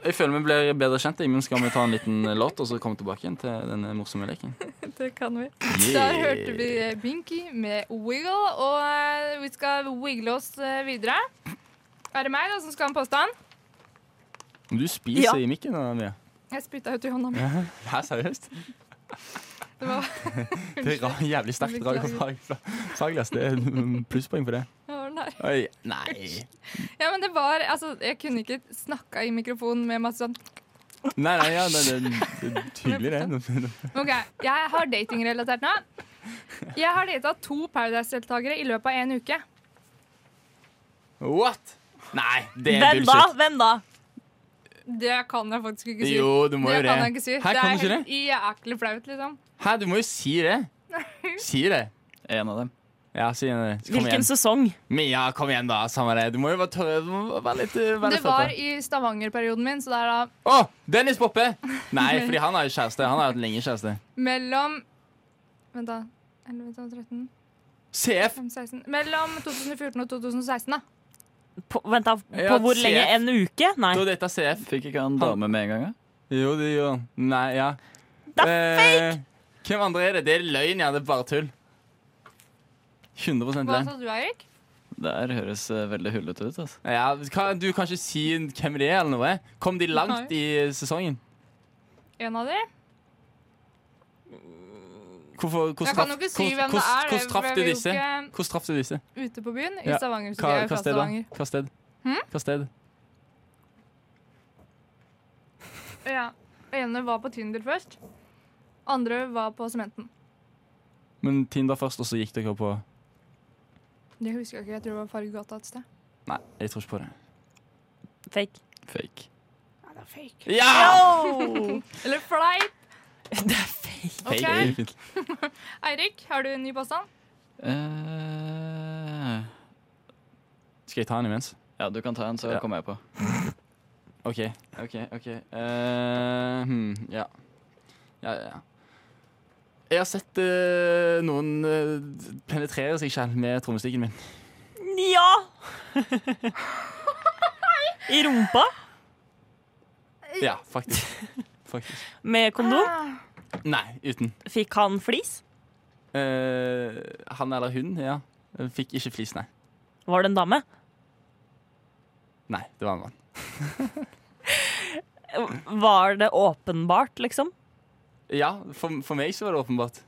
[SPEAKER 6] Jeg føler vi blir bedre kjent, jeg, men skal vi ta en liten låt, og så komme tilbake igjen til denne morsomme leken?
[SPEAKER 4] Det kan vi. Da hørte vi eh, Binky med Wiggle, og eh, vi skal wiggle oss eh, videre. Er det meg da som skal ha en påstand?
[SPEAKER 6] Du spiser
[SPEAKER 5] Ja.
[SPEAKER 6] i mikken, da, Mia.
[SPEAKER 4] Jeg spytta ut i hånda mi.
[SPEAKER 6] Hæ, seriøst?
[SPEAKER 4] Det var
[SPEAKER 6] Det er ra- jævlig sterkt drag og fag- fag- fagless. Det er mm, plusspoeng for det.
[SPEAKER 4] det var den der.
[SPEAKER 6] Oi, nei.
[SPEAKER 4] Ja, men det var Altså, jeg kunne ikke snakka i mikrofonen med masse sånn
[SPEAKER 6] Nei, nei, ja, det, det, det er tydelig det.
[SPEAKER 4] OK, jeg har datingrelatert nå. Jeg har data to Paradise-deltakere i løpet av en uke.
[SPEAKER 6] What? Nei, det er
[SPEAKER 5] Hvem da?
[SPEAKER 6] bullshit.
[SPEAKER 5] Hvem da?
[SPEAKER 4] Det kan jeg faktisk ikke si.
[SPEAKER 6] Jo, du må
[SPEAKER 4] det
[SPEAKER 6] jo det.
[SPEAKER 4] kan jeg ikke si.
[SPEAKER 6] Hæ, kan du ikke
[SPEAKER 4] det
[SPEAKER 6] det?
[SPEAKER 4] er helt jæklig flaut, liksom.
[SPEAKER 6] Hæ, du må jo si det. Si det.
[SPEAKER 2] En av dem.
[SPEAKER 6] Ja, si det. Kom
[SPEAKER 5] Hvilken
[SPEAKER 6] igjen.
[SPEAKER 5] sesong?
[SPEAKER 6] Mia, kom igjen, da. Samme det. Du må jo være, tø- du må være litt eh, være
[SPEAKER 4] Det
[SPEAKER 6] litt
[SPEAKER 4] var
[SPEAKER 6] tøffere.
[SPEAKER 4] i Stavanger-perioden min, så det er da
[SPEAKER 6] Å! Dennis Poppe! Nei, fordi han har jo kjæreste. Han har hatt lenge kjæreste.
[SPEAKER 4] mellom Vent, da. 11, 12, 13,
[SPEAKER 6] CF.
[SPEAKER 4] 15, 16 Mellom 2014 og 2016, da.
[SPEAKER 5] På, vent, da. På
[SPEAKER 6] Ja,
[SPEAKER 5] hvor
[SPEAKER 6] se.
[SPEAKER 5] lenge? En uke? Nei.
[SPEAKER 6] Da data CF.
[SPEAKER 2] Fikk ikke han dame med en gang? da?
[SPEAKER 6] Jo, det gjør han. Nei, ja.
[SPEAKER 5] Det er
[SPEAKER 6] fake! Hvem andre er det? Det er løgn, ja. Det er bare tull. 100
[SPEAKER 4] Hva
[SPEAKER 6] løgn.
[SPEAKER 4] sa du, Eirik?
[SPEAKER 2] Det her høres eh, veldig hullete ut. Altså.
[SPEAKER 6] Ja, hva- du kan ikke si hvem det er, eller noe. Kom de langt i sesongen?
[SPEAKER 4] En av de?
[SPEAKER 6] Hvorfor, hvordan
[SPEAKER 4] Jeg kan
[SPEAKER 6] traff-
[SPEAKER 4] jo ikke si
[SPEAKER 6] hvordan-
[SPEAKER 4] hvem det
[SPEAKER 6] hvordan-
[SPEAKER 4] er.
[SPEAKER 6] Hvordan traff du
[SPEAKER 4] vi er jo
[SPEAKER 6] disse?
[SPEAKER 4] ikke
[SPEAKER 6] Hvordan traff du disse?
[SPEAKER 4] Ute på byen i
[SPEAKER 6] Ja.
[SPEAKER 4] Stavanger. så
[SPEAKER 6] Hva,
[SPEAKER 4] de er jo Hm?
[SPEAKER 6] hva
[SPEAKER 4] fra
[SPEAKER 6] sted da?
[SPEAKER 4] Stavanger.
[SPEAKER 6] Hva sted? Hva sted?
[SPEAKER 4] Ja. Ene var på Tinder først. Andre var på Sementen.
[SPEAKER 6] Men Tinder først, og så gikk dere på
[SPEAKER 4] Det husker jeg ikke. Jeg tror det var Fargegata et sted.
[SPEAKER 6] Nei, jeg tror ikke på det.
[SPEAKER 5] Fake.
[SPEAKER 2] Fake.
[SPEAKER 6] Ja!
[SPEAKER 4] Eller fleip!
[SPEAKER 5] Det er fake.
[SPEAKER 4] Ok.
[SPEAKER 6] Det er fint.
[SPEAKER 4] Eirik, har du en ny påstand?
[SPEAKER 2] Eh,
[SPEAKER 6] Skal jeg ta den imens?
[SPEAKER 2] ja, du kan ta en, så
[SPEAKER 6] Ja.
[SPEAKER 2] kommer jeg på.
[SPEAKER 6] OK. OK. ok. Eh, hmm, ja. Ja, ja, ja. Jeg har sett eh, noen eh, penetrere seg selv med trommestikken min.
[SPEAKER 5] Ja! I rumpa?
[SPEAKER 6] Ja, faktisk. faktisk.
[SPEAKER 5] Med kondom?
[SPEAKER 6] Nei, uten.
[SPEAKER 5] Fikk han flis?
[SPEAKER 6] Eh, han eller hun, ja. Fikk ikke flis, nei.
[SPEAKER 5] Var det en dame?
[SPEAKER 6] Nei, det var en mann.
[SPEAKER 5] Var det åpenbart, liksom?
[SPEAKER 6] Ja, for, for meg så var det åpenbart.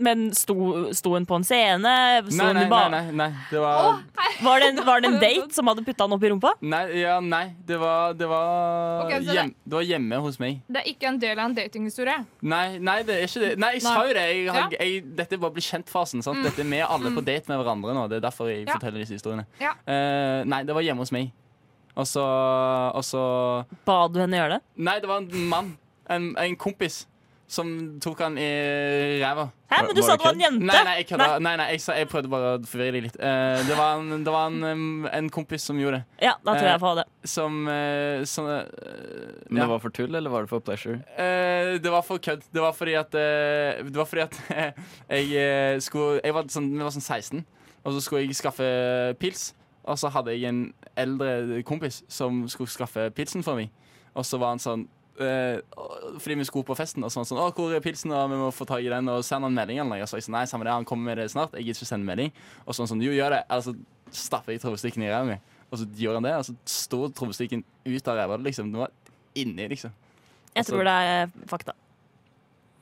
[SPEAKER 5] Men sto, sto hun på en scene? Sto
[SPEAKER 6] Nei,
[SPEAKER 5] hun
[SPEAKER 6] nei,
[SPEAKER 5] i
[SPEAKER 6] nei,
[SPEAKER 5] ba-
[SPEAKER 6] nei, nei. Det var
[SPEAKER 5] Var, det en, var det en date som hadde putta han opp i rumpa?
[SPEAKER 6] Nei, ja, nei. Det var, det var,
[SPEAKER 4] Ok, så det-
[SPEAKER 6] hjem, det var hjemme hos meg.
[SPEAKER 4] Det er ikke en del av en datinghistorie.
[SPEAKER 6] Nei, nei, det er ikke det. Nei, jeg sa
[SPEAKER 4] Nei.
[SPEAKER 6] jo det. Jeg, har-
[SPEAKER 4] Ja. Mm.
[SPEAKER 6] jeg, dette er bare bli kjent-fasen. sant? Dette er Vi er alle på date med hverandre nå. Det er derfor jeg
[SPEAKER 4] Ja.
[SPEAKER 6] forteller disse historiene.
[SPEAKER 4] Ja.
[SPEAKER 6] Eh, nei, det var hjemme hos meg. Og så Og så
[SPEAKER 5] Ba du henne gjøre det?
[SPEAKER 6] Nei, det var en mann. En, en kompis. Som tok han i ræva.
[SPEAKER 5] Hæ, men du
[SPEAKER 2] Var-
[SPEAKER 5] sa
[SPEAKER 2] var det
[SPEAKER 5] det var en jente!
[SPEAKER 6] Nei, nei, jeg, kødda. nei, nei jeg, sa, jeg prøvde bare å forvirre deg litt. Eh, det var, en, det var en, em, en kompis som gjorde det.
[SPEAKER 5] Ja, da tror jeg jeg får ha det.
[SPEAKER 6] Som, eh, som eh,
[SPEAKER 2] Men
[SPEAKER 6] ja.
[SPEAKER 2] det var for tull, eller var det for pleasure?
[SPEAKER 6] Eh, det var for kødd. Det var fordi at, eh, det var fordi at jeg eh, skulle jeg var sånn, Vi var sånn 16, og så skulle jeg skaffe pils. Og så hadde jeg en eldre kompis som skulle skaffe pilsen for meg. Og så var han sånn eh, å- Fordi vi skulle på festen, og så var han sånn 'Å, hvor er pilsen?' Og vi må få tak i den. Og send han melding eller noe. Og så jeg sa nei, samme det, han kommer med det snart. Jeg gidder ikke sende melding. Og så var han sånn 'Jo, gjør det.' Eller så stapper jeg trommestikken i ræva mi. Og så gjør han det, og så står trommestikken ut av ræva. Liksom. Den var inni, liksom.
[SPEAKER 5] Jeg tror det er eh, fakta.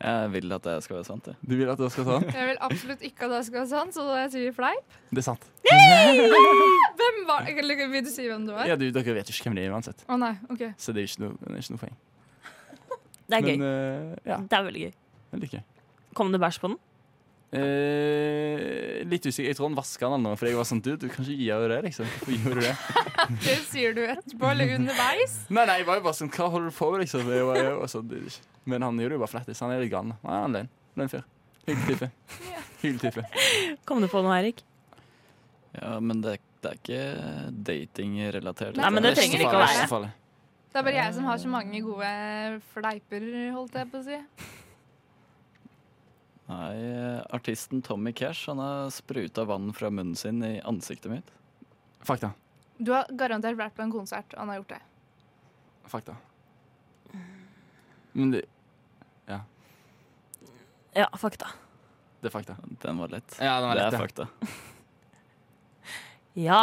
[SPEAKER 2] Jeg vil at det skal være sant. Jeg.
[SPEAKER 6] Du vil at jeg skal ta den?
[SPEAKER 4] Jeg vil absolutt ikke at det skal være sant, så jeg sier fleip.
[SPEAKER 6] Det er sant.
[SPEAKER 4] Hvem var eller, Vil du si hvem du var? Å
[SPEAKER 6] Ja, du, dere vet jo ikke hvem det er uansett.
[SPEAKER 4] nei, OK.
[SPEAKER 6] Så det er ikke noe, det er ikke noe poeng.
[SPEAKER 5] Det er gøy.
[SPEAKER 6] Men eh, ja,
[SPEAKER 5] Det er veldig gøy.
[SPEAKER 6] veldig gøy.
[SPEAKER 5] Kom det bæsj på den?
[SPEAKER 6] Eh, litt usikker. Jeg tror han vaska den eller noe, fordi jeg var sånn Du, du kan ikke gjøre det, liksom. Hvorfor gjorde du det?
[SPEAKER 4] Det sier du etterpå, eller underveis.
[SPEAKER 6] Nei, nei, jeg var jo bare sånn Hva holder du på med, liksom? Jeg var, jeg var sånn, det er ikke- Men han gjorde det jo bare flettis. Han er litt gal. da. Nei, han er løgn. Løgn fyr. Hyggelig type. Hyggelig type.
[SPEAKER 5] Kom du på noe, Eirik?
[SPEAKER 2] Ja, men det, det er ikke datingrelatert.
[SPEAKER 5] Nei, men det
[SPEAKER 6] Neste
[SPEAKER 5] trenger ikke å
[SPEAKER 6] fall,
[SPEAKER 5] være.
[SPEAKER 6] neste fall.
[SPEAKER 4] Det er bare jeg som har så mange gode fleiper, holdt jeg på å si.
[SPEAKER 2] Nei, eh, artisten Tommy Cash han har spruta vann fra munnen sin i ansiktet mitt.
[SPEAKER 6] Fakta.
[SPEAKER 4] Du har garantert vært på en konsert, og han har gjort det.
[SPEAKER 6] Fakta. Men det,
[SPEAKER 5] Ja, fakta.
[SPEAKER 6] det er fakta.
[SPEAKER 2] Den var lett.
[SPEAKER 6] Ja, den var
[SPEAKER 2] det
[SPEAKER 6] lett.
[SPEAKER 2] er
[SPEAKER 6] ja.
[SPEAKER 2] fakta.
[SPEAKER 5] Ja.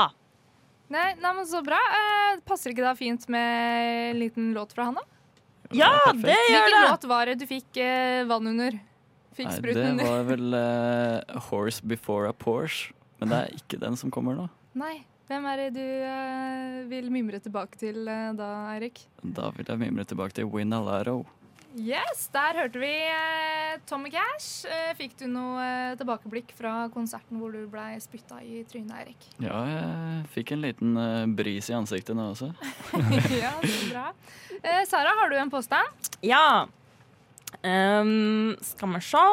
[SPEAKER 4] Nei, nei men så bra. Eh, passer ikke da fint med en liten låt fra han, da?
[SPEAKER 5] Ja,
[SPEAKER 2] perfekt.
[SPEAKER 5] det gjør
[SPEAKER 4] Hvilken
[SPEAKER 5] det!
[SPEAKER 4] låt var det du fikk eh, vann under? Fikk
[SPEAKER 2] Nei,
[SPEAKER 4] spruten
[SPEAKER 2] det
[SPEAKER 4] under?
[SPEAKER 2] var vel eh, Horse Before a Porsche. Men det er ikke den som kommer nå.
[SPEAKER 4] Nei. Hvem er det du eh, vil mimre tilbake til eh, da, Eirik?
[SPEAKER 2] Da vil jeg mimre tilbake til Winalaro.
[SPEAKER 4] Yes, der hørte vi eh, Tommy Cash. Eh, fikk du noe eh, tilbakeblikk fra konserten hvor du blei spytta i trynet, Eirik?
[SPEAKER 2] Ja, jeg fikk en liten eh, bris i ansiktet nå også.
[SPEAKER 4] ja, så bra. Eh, Sara, har du en påstand?
[SPEAKER 5] Ja. Ehm, skal vi se.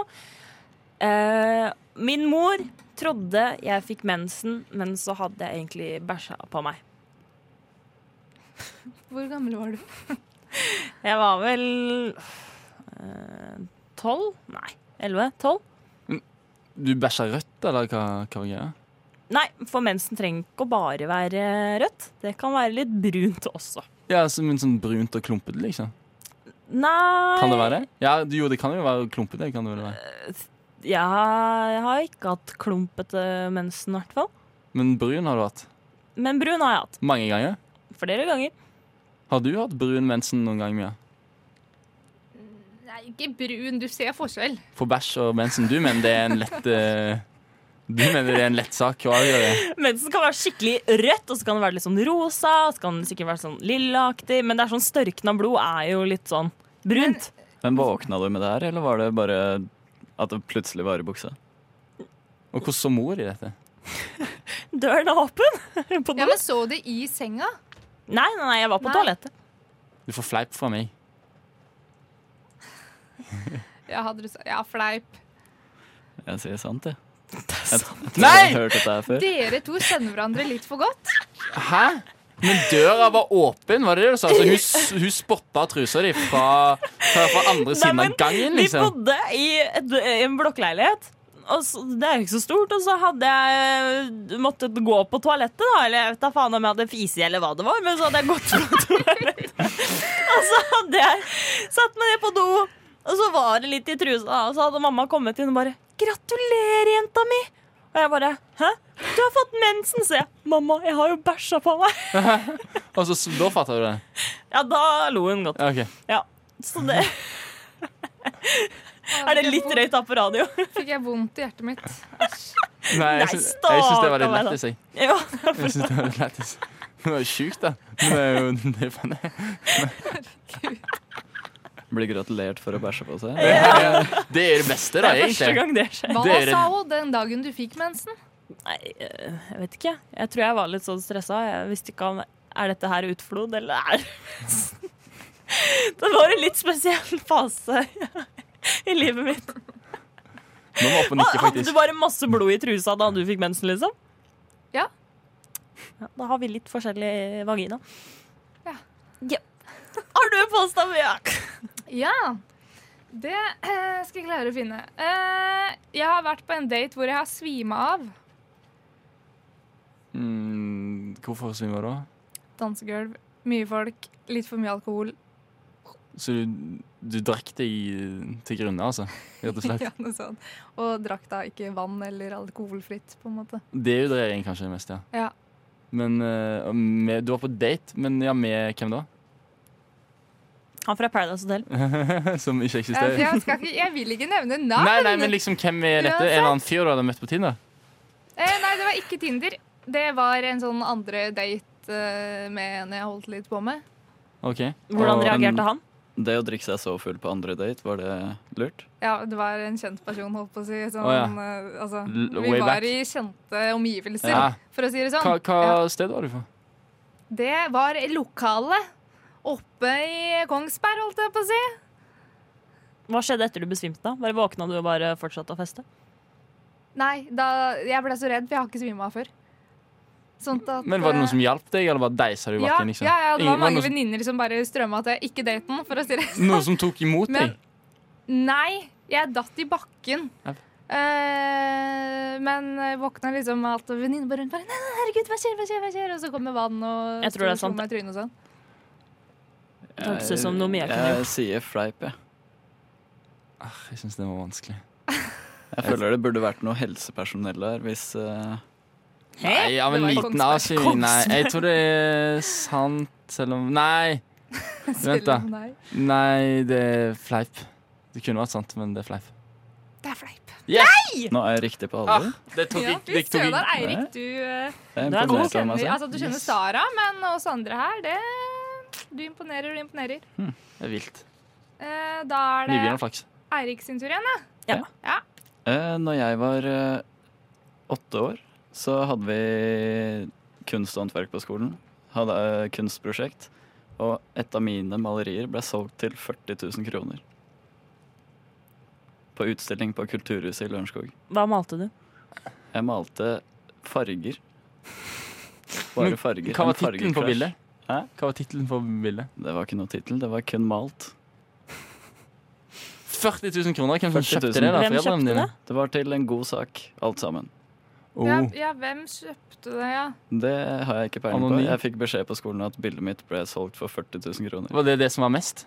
[SPEAKER 5] Eh, Min mor trodde jeg fikk mensen, men så hadde jeg egentlig bæsja på meg.
[SPEAKER 4] Hvor gammel var du?
[SPEAKER 5] Jeg var vel eh, tolv? Nei, elleve? Tolv?
[SPEAKER 6] Du bæsja rødt, eller hva, hva var greia?
[SPEAKER 5] Nei, for mensen trenger ikke å bare være rødt. Det kan være litt brunt også.
[SPEAKER 6] Ja, som en sånn brunt og klumpete, liksom.
[SPEAKER 5] Nei
[SPEAKER 6] Kan det være det? Ja, du- jo, det kan jo være klumpete. Kan det vel være.
[SPEAKER 5] Ja, jeg har ikke hatt klumpete mensen, i hvert fall.
[SPEAKER 6] Men brun har du hatt.
[SPEAKER 5] Men brun har jeg hatt.
[SPEAKER 6] Mange ganger.
[SPEAKER 5] Flere ganger.
[SPEAKER 6] Har du hatt brun mensen noen gang, Mia?
[SPEAKER 4] Nei, ikke brun. Du ser forskjell.
[SPEAKER 6] For bæsj og mensen. Du mener det er en lett eh, Du mener det er en lett sak å avgjøre.
[SPEAKER 5] Mensen kan være skikkelig rødt, og så kan det være litt sånn rosa, og så kan det sikkert være sånn lillaaktig, men det er sånn størkna blod er jo litt sånn brunt.
[SPEAKER 2] Men våkna du med det her, eller var det bare at det plutselig var i buksa?
[SPEAKER 6] Og hvordan så mor i dette?
[SPEAKER 5] Døren er åpen på do.
[SPEAKER 4] Ja, men Så du i senga?
[SPEAKER 5] Nei, nei, nei, jeg var på
[SPEAKER 4] Nei.
[SPEAKER 5] toalettet.
[SPEAKER 6] Du får fleip fra meg.
[SPEAKER 4] Ja, hadde du sa- ja fleip.
[SPEAKER 2] Jeg sier sant, jeg.
[SPEAKER 5] Det er sant.
[SPEAKER 2] Jeg tror jeg
[SPEAKER 6] Nei!
[SPEAKER 2] har hørt dette her før.
[SPEAKER 4] Dere to kjenner hverandre litt for godt.
[SPEAKER 6] Hæ? Men døra var åpen, var det det du sa? Så hun, s- hun spotta trusa di fra, fra, fra andre siden av
[SPEAKER 5] Nei, men
[SPEAKER 6] gangen,
[SPEAKER 5] Vi
[SPEAKER 6] liksom?
[SPEAKER 5] bodde i et, en blokkleilighet. Og så, det er jo ikke så stort, og så hadde jeg måttet gå på toalettet, da. Eller jeg vet da faen om jeg hadde fisi eller hva det var, men så hadde jeg gått på toalettet. Og så hadde jeg satt meg ned på do, og så var det litt i trusa, da, og så hadde mamma kommet inn og bare 'Gratulerer, jenta mi'. Og jeg bare 'Hæ? Du har fått mensen', sier jeg. 'Mamma, jeg har jo bæsja på meg'.
[SPEAKER 6] Og Altså, så, s- da fatta du det?
[SPEAKER 5] Ja, da lo hun godt.
[SPEAKER 6] Ja, ok.
[SPEAKER 5] Ja. Så det Er det litt drøyt da på radio?
[SPEAKER 4] Fikk jeg vondt i hjertet mitt.
[SPEAKER 6] Nei,
[SPEAKER 5] Nei,
[SPEAKER 6] jeg syns jeg syns det var litt
[SPEAKER 5] stakkar meg,
[SPEAKER 6] lættis, jeg.
[SPEAKER 5] Ja,
[SPEAKER 6] Jeg syns det var litt lættis. Det var jo sjukt, da. Men det er jo det er faen-
[SPEAKER 2] Blir gratulert for å bæsje på seg.
[SPEAKER 6] Det er det beste, da,
[SPEAKER 5] det er første
[SPEAKER 6] egentlig.
[SPEAKER 5] gang det skjer.
[SPEAKER 4] Hva
[SPEAKER 6] Dere-
[SPEAKER 4] sa hun den dagen du fikk mensen?
[SPEAKER 5] Nei, eh, jeg vet ikke. Jeg tror jeg var litt sånn stressa. Jeg visste ikke om Er dette her utflod, eller er det mensen? Det var en litt spesiell fase i livet mitt. Ah,
[SPEAKER 6] Nå må jeg opp og nikke,
[SPEAKER 5] Hadde du
[SPEAKER 6] faktisk.
[SPEAKER 5] bare masse blod i trusa da du fikk mensen, liksom?
[SPEAKER 4] Ja.
[SPEAKER 5] ja da har vi litt forskjellig vagina.
[SPEAKER 4] Ja.
[SPEAKER 5] ja. Har du en påstand, Mia?
[SPEAKER 4] Ja. Det eh, skal jeg klare å finne. Eh, jeg har vært på en date hvor jeg har svima av.
[SPEAKER 6] Mm, hvorfor svimer du da?
[SPEAKER 4] Dansegulv, mye folk, litt for mye alkohol.
[SPEAKER 6] Så du, du drakk deg til grunne, altså? Rett og slett.
[SPEAKER 4] Ja, noe sånt. Og drakk da ikke vann eller alkoholfritt, på en måte.
[SPEAKER 6] Dehydrering kanskje mest, ja.
[SPEAKER 4] Ja.
[SPEAKER 6] Men eh, og med, Du var på date, men ja, med hvem da?
[SPEAKER 5] Han fra Paradise Hotel.
[SPEAKER 6] Som ikke eksisterer?
[SPEAKER 4] Jeg, Eh, jeg, skal ikke, jeg vil ikke nevne navn.
[SPEAKER 6] Nei, nei, men liksom, hvem er dette? En eller annen fyr du hadde møtt på Tinder?
[SPEAKER 4] eh, nei, det var ikke Tinder. Det var en sånn andre date eh, med en jeg holdt litt på med.
[SPEAKER 6] Ok.
[SPEAKER 5] Hvordan
[SPEAKER 2] Og-
[SPEAKER 5] reagerte han?
[SPEAKER 2] Det å drikke seg så full på andre date, var det lurt?
[SPEAKER 4] Ja, det var en kjent person, holdt på å si. Sånn,
[SPEAKER 6] Å, ja.
[SPEAKER 4] eh, altså,
[SPEAKER 6] L-
[SPEAKER 4] vi
[SPEAKER 6] way
[SPEAKER 4] var
[SPEAKER 6] back.
[SPEAKER 4] i kjente omgivelser,
[SPEAKER 6] Ja.
[SPEAKER 4] for å si det sånn.
[SPEAKER 6] Hva, hva
[SPEAKER 4] Ja.
[SPEAKER 6] sted var du fra?
[SPEAKER 4] Det var lokalet oppe i Kongsberg, holdt jeg på å si.
[SPEAKER 5] Hva skjedde etter du besvimte? da? Bare Våkna du og bare fortsatte å feste?
[SPEAKER 4] Nei, da, jeg ble så redd, for jeg har ikke svima av før. Sånt at,
[SPEAKER 6] Men Var det
[SPEAKER 4] eh,
[SPEAKER 6] noen som hjalp deg, eller bare deisa du i
[SPEAKER 4] ja,
[SPEAKER 6] bakken? Liksom?
[SPEAKER 4] ja, ja, det
[SPEAKER 6] Ingen-
[SPEAKER 4] var mange
[SPEAKER 6] noen,
[SPEAKER 4] venninner som bare strømma til ikke daten, for å si det
[SPEAKER 6] som- noen som tok imot
[SPEAKER 4] Men-
[SPEAKER 6] deg?
[SPEAKER 4] Nei, jeg datt i bakken.
[SPEAKER 6] Ja.
[SPEAKER 4] Eh, men jeg våkna liksom med alt, og venninne bare rundt bare Nei, nei, herregud, hva skjer, hva skjer, hva skjer? Og så kommer vann og
[SPEAKER 5] Jeg tror det er
[SPEAKER 4] slo
[SPEAKER 5] sant.
[SPEAKER 4] meg i trynet og sånn.
[SPEAKER 2] Det
[SPEAKER 5] hørtes ut som noe Mia kunne
[SPEAKER 2] Jeg sier fleip, jeg.
[SPEAKER 6] Ah, Jeg syns det var vanskelig.
[SPEAKER 2] Jeg føler det burde vært noe helsepersonell der, hvis eh,
[SPEAKER 6] Nei, av en
[SPEAKER 4] Det var
[SPEAKER 6] liten
[SPEAKER 4] Kongsberg.
[SPEAKER 6] avsving. Nei, jeg tror det er sant, selv om Nei! Vent, da.
[SPEAKER 4] Selv om nei.
[SPEAKER 6] Nei, det er fleip. Det kunne vært sant, men det er fleip.
[SPEAKER 4] Det er fleip.
[SPEAKER 2] Nå er jeg riktig på
[SPEAKER 6] Ah,
[SPEAKER 2] alvor.
[SPEAKER 6] det tok
[SPEAKER 4] Ja,
[SPEAKER 6] jeg-
[SPEAKER 4] fy
[SPEAKER 6] det tok
[SPEAKER 4] søren,
[SPEAKER 6] jeg-
[SPEAKER 4] Eirik, du, eh,
[SPEAKER 2] Jeg
[SPEAKER 5] det er god
[SPEAKER 4] du
[SPEAKER 2] imponerte over meg
[SPEAKER 4] kjenner
[SPEAKER 2] selv.
[SPEAKER 4] Altså, du kjenner Sara, men oss andre her, det Du imponerer, du imponerer.
[SPEAKER 6] Det er vilt.
[SPEAKER 4] Eh, da er det
[SPEAKER 6] Nybegynnerflaks.
[SPEAKER 4] Eirik sin tur igjen, da.
[SPEAKER 2] Eh, Når jeg var eh, åtte år, så hadde vi kunst og håndverk på skolen. Hadde eh, kunstprosjekt. Og et av mine malerier ble solgt til 40 000 kroner. på utstilling på Kulturhuset i Lørenskog.
[SPEAKER 5] Hva malte du?
[SPEAKER 2] Jeg malte farger. Bare
[SPEAKER 6] Men
[SPEAKER 2] farger.
[SPEAKER 6] Hva
[SPEAKER 2] En
[SPEAKER 6] var tittelen på
[SPEAKER 2] fargecrash.
[SPEAKER 6] bildet?
[SPEAKER 2] Hæ?
[SPEAKER 6] Hva var tittelen på bildet?
[SPEAKER 2] Det var ikke noe tittel, det var kun malt.
[SPEAKER 6] 40 000 kroner. Hvem som
[SPEAKER 2] 40
[SPEAKER 6] kjøpte
[SPEAKER 2] 000?
[SPEAKER 6] det? da?
[SPEAKER 5] Hvem
[SPEAKER 6] Foreldrene
[SPEAKER 5] kjøpte
[SPEAKER 6] dine?
[SPEAKER 5] det?
[SPEAKER 2] Det var til en god sak, alt sammen.
[SPEAKER 6] Oh.
[SPEAKER 4] Ja, ja, hvem kjøpte det, ja?
[SPEAKER 2] Det har jeg ikke peiling på.
[SPEAKER 6] Anonym.
[SPEAKER 2] Jeg fikk beskjed på skolen at bildet mitt ble solgt for 40 000 kroner.
[SPEAKER 6] Oh. Var det det som var mest?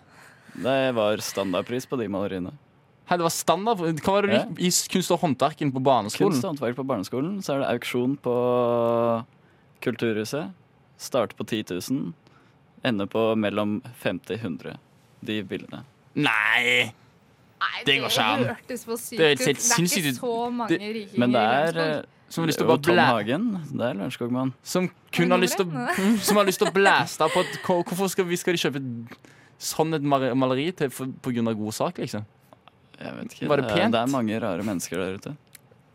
[SPEAKER 2] Det var standardpris på de maleriene.
[SPEAKER 6] Hæ, det var standard? Hva var det du
[SPEAKER 2] Ja.
[SPEAKER 6] gikk i kunst og håndverken på barneskolen?
[SPEAKER 2] Kunst og håndverk på barneskolen. Så er det auksjon på Kulturhuset. Starte på 10 000. Ende på mellom 50 og 100. De bildene.
[SPEAKER 6] Nei!
[SPEAKER 4] Nei,
[SPEAKER 6] Det går ikke an.
[SPEAKER 4] hørtes for sykt
[SPEAKER 6] Det
[SPEAKER 4] ut. Det
[SPEAKER 6] er
[SPEAKER 4] er,
[SPEAKER 6] helt sinnssykt
[SPEAKER 4] ikke
[SPEAKER 6] ut.
[SPEAKER 4] så mange
[SPEAKER 6] Det-
[SPEAKER 4] rikinger
[SPEAKER 2] Men det
[SPEAKER 4] i
[SPEAKER 2] er,
[SPEAKER 4] Lørenskog.
[SPEAKER 2] eh,
[SPEAKER 6] Som har lyst
[SPEAKER 2] det
[SPEAKER 6] til
[SPEAKER 2] er
[SPEAKER 6] å
[SPEAKER 2] jo
[SPEAKER 6] bare
[SPEAKER 2] Tom
[SPEAKER 6] blæ...
[SPEAKER 2] Hagen. Det er Lørenskogmann.
[SPEAKER 6] Som kun har lyst til å Som har lyst til å blæste på at hva- Hvorfor skal vi, skal de kjøpe sånn et mar- maleri til for, på grunn av god sak, liksom?
[SPEAKER 2] Jeg vet ikke.
[SPEAKER 6] Var det
[SPEAKER 2] er-
[SPEAKER 6] pent?
[SPEAKER 2] det er mange rare mennesker der ute.
[SPEAKER 5] Mhm.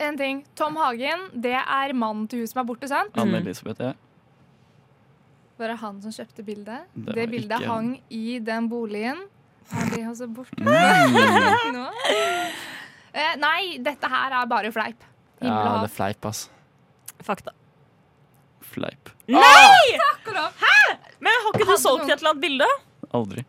[SPEAKER 4] En ting. Tom Hagen, det er mannen til hun som er borte, sant?
[SPEAKER 2] Anne Elisabeth, ja.
[SPEAKER 4] Var det han som kjøpte bildet?
[SPEAKER 2] Det
[SPEAKER 4] Det,
[SPEAKER 2] var
[SPEAKER 4] bildet
[SPEAKER 2] ikke han.
[SPEAKER 4] hang i den boligen. Er det også
[SPEAKER 6] Mm.
[SPEAKER 4] borte nå? Eh, nei, dette her er bare fleip. Himmel
[SPEAKER 6] Ja,
[SPEAKER 4] og
[SPEAKER 6] det
[SPEAKER 4] hav.
[SPEAKER 6] er fleip, ass.
[SPEAKER 5] Fakta.
[SPEAKER 2] Fleip.
[SPEAKER 4] Takk og lov.
[SPEAKER 5] Men har ikke du
[SPEAKER 4] Hadde
[SPEAKER 5] solgt
[SPEAKER 4] noen-
[SPEAKER 5] et eller annet bilde?
[SPEAKER 2] Aldri.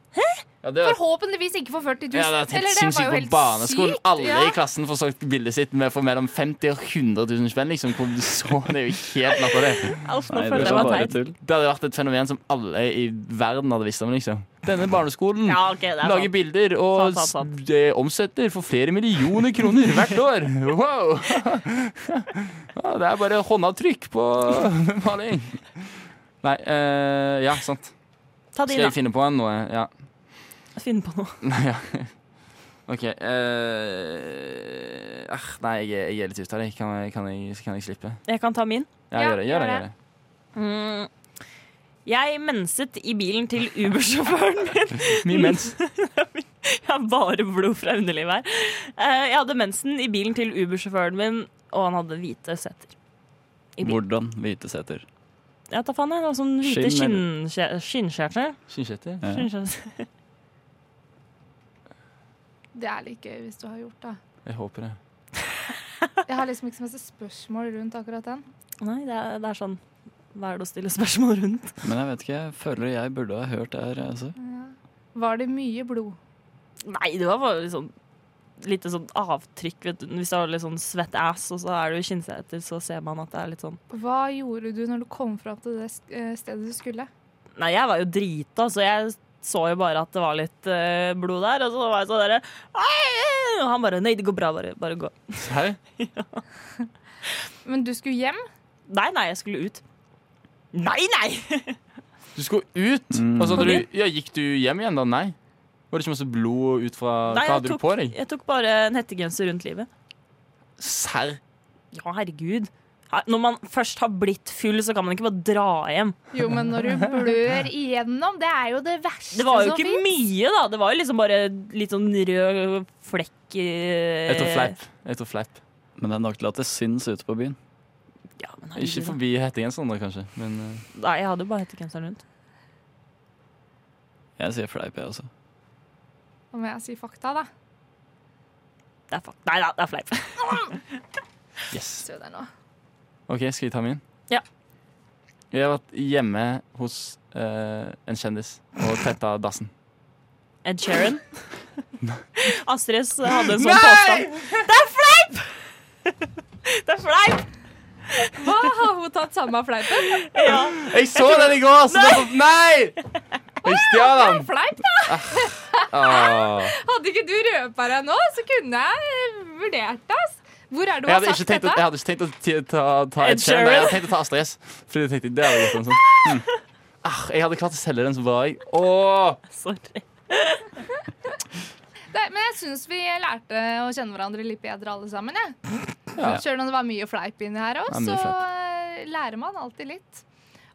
[SPEAKER 6] Ja, det
[SPEAKER 4] Forhåpentligvis ikke for 40 000.
[SPEAKER 6] Ja, det er
[SPEAKER 4] Eller
[SPEAKER 6] helt sinnssykt på barneskolen. Alle i klassen får solgt bildet sitt med for mellom 50 og 100 000 spenn. Liksom. Hvor så, det er jo helt natta, det.
[SPEAKER 5] Alf, nå
[SPEAKER 2] Nei, det
[SPEAKER 5] føler jeg
[SPEAKER 2] var
[SPEAKER 5] var
[SPEAKER 2] bare
[SPEAKER 5] teit.
[SPEAKER 2] tull.
[SPEAKER 6] Det hadde vært et fenomen som alle i verden hadde visst om. Liksom. Denne barneskolen
[SPEAKER 5] Ja, ok, det er
[SPEAKER 6] lager
[SPEAKER 5] sant.
[SPEAKER 6] bilder og
[SPEAKER 5] Sant, sant,
[SPEAKER 6] s- eh, omsetter for flere millioner kroner hvert år. Wow! Ja, det er bare håndavtrykk på maling. Nei, eh, ja, sant.
[SPEAKER 5] Ta
[SPEAKER 6] Skal
[SPEAKER 5] din,
[SPEAKER 6] jeg finne på en noe? Ja.
[SPEAKER 5] da. Finn på noe.
[SPEAKER 6] Nei, ja. OK. eh, ah, nei, jeg, er- jeg er litt ute av det. Kan jeg, kan jeg, kan jeg slippe?
[SPEAKER 5] Jeg kan ta min.
[SPEAKER 6] Ja,
[SPEAKER 4] Ja,
[SPEAKER 6] gjør det. Gjør det,
[SPEAKER 4] gjør
[SPEAKER 6] gjør det.
[SPEAKER 5] Mm. Jeg menset i bilen til Uber-sjåføren min.
[SPEAKER 6] Mye mens.
[SPEAKER 5] Jeg har bare blod fra underlivet her. Eh, Jeg hadde mensen i bilen til Uber-sjåføren min, og han hadde hvite setter. I bil.
[SPEAKER 2] Hvordan hvite seter.
[SPEAKER 5] Jeg tar faen, jeg. Det var sånn hvite
[SPEAKER 2] Skinn,
[SPEAKER 5] skinnskje- skinnskjærter.
[SPEAKER 6] Skinnkjøttet.
[SPEAKER 2] Ja.
[SPEAKER 5] Skinnskjærter.
[SPEAKER 4] Det er litt gøy hvis du har gjort det.
[SPEAKER 6] Jeg håper det.
[SPEAKER 4] Jeg har liksom ikke så masse spørsmål rundt akkurat den.
[SPEAKER 5] Nei, det er, det er sånn Hva er det å stille spørsmål rundt?
[SPEAKER 2] Men jeg vet ikke, jeg føler jeg burde ha hørt det her. Altså.
[SPEAKER 4] Var det mye blod?
[SPEAKER 5] Nei, det var bare litt sånn Lite sånn avtrykk, vet du. Hvis du har litt sånn svett ass, og så er du i skinnseter, så ser man at det er litt sånn
[SPEAKER 4] Hva gjorde du når du kom fram til det sk- eh, stedet du skulle?
[SPEAKER 5] Nei, jeg var jo drita, så jeg så jo bare at det var litt eh, blod der. Og så var jeg sånn derre «Ai!» Og han bare Nei, det går bra, bare, bare gå.
[SPEAKER 6] Serr?
[SPEAKER 4] Men du skulle hjem?
[SPEAKER 5] Nei, nei, jeg skulle ut. Nei, nei!
[SPEAKER 6] Du skulle ut, og så hadde du, ja, gikk du hjem igjen da? Nei. Var det ikke masse blod ut fra Hva
[SPEAKER 5] nei jeg,
[SPEAKER 6] hadde
[SPEAKER 5] tok,
[SPEAKER 6] du på deg?
[SPEAKER 5] jeg tok bare en hettegenser rundt livet.
[SPEAKER 6] Serr?
[SPEAKER 5] Ja, herregud. Ja, Når man først har blitt full, så kan man ikke bare dra hjem.
[SPEAKER 4] Jo, men når du blør igjennom, det er jo det verste
[SPEAKER 5] Det var jo
[SPEAKER 4] som
[SPEAKER 5] ikke
[SPEAKER 4] finnes.
[SPEAKER 5] mye, da. Det var jo liksom bare litt sånn rød flekk eh,
[SPEAKER 6] Jeg tok fleip. Jeg tok fleip.
[SPEAKER 2] Men det er nok til at det syns ute på byen.
[SPEAKER 5] Ja, men
[SPEAKER 6] Ikke
[SPEAKER 5] herregud, da.
[SPEAKER 6] forbi hettegenseren, da, kanskje. Men eh,
[SPEAKER 5] Nei, jeg hadde jo bare hettegenseren rundt.
[SPEAKER 2] Jeg sier fleip, jeg også.
[SPEAKER 4] Da må jeg si fakta, da.
[SPEAKER 5] Det er fa Nei da, det er fleip.
[SPEAKER 6] yes.
[SPEAKER 4] Se der nå.
[SPEAKER 6] OK, skal jeg ta min?
[SPEAKER 5] Ja.
[SPEAKER 6] Jeg har vært hjemme hos eh, en kjendis og tetta dassen.
[SPEAKER 5] Ed Sheeran. Astrid hadde en sånn påstand. Det er fleip!
[SPEAKER 4] Hva har hun tatt samme fleipen?
[SPEAKER 5] Det er fleip! Ja.
[SPEAKER 6] Jeg så den i går! Så nei! nei! Jeg stjal den!
[SPEAKER 4] Fleip, da!
[SPEAKER 6] Åh.
[SPEAKER 4] Hadde ikke du røpa deg nå, så kunne jeg eh, vurdert det. ass. Hvor er det
[SPEAKER 6] Jeg
[SPEAKER 4] hun
[SPEAKER 6] hadde
[SPEAKER 4] har
[SPEAKER 6] ikke
[SPEAKER 4] sagt
[SPEAKER 6] tenkt, å-
[SPEAKER 4] dette?
[SPEAKER 6] jeg hadde ikke tenkt å ti- ta, ta
[SPEAKER 5] Ed
[SPEAKER 6] Ed Sheeran. Nei, Jeg
[SPEAKER 5] Sheeran.
[SPEAKER 6] hadde tenkt å ta Astrid S. Fordi jeg tenkte, det hadde jeg gjort en sånn. Mm. Ah, jeg hadde klart å selge den så bra. Jeg. Åh.
[SPEAKER 5] Sorry.
[SPEAKER 4] Det, men jeg syns vi lærte å kjenne hverandre litt bedre alle sammen. Jeg.
[SPEAKER 6] Ja.
[SPEAKER 4] Selv om det var mye fleip inni her òg,
[SPEAKER 6] Det er
[SPEAKER 4] så
[SPEAKER 6] mye
[SPEAKER 4] eh, lærer man alltid litt.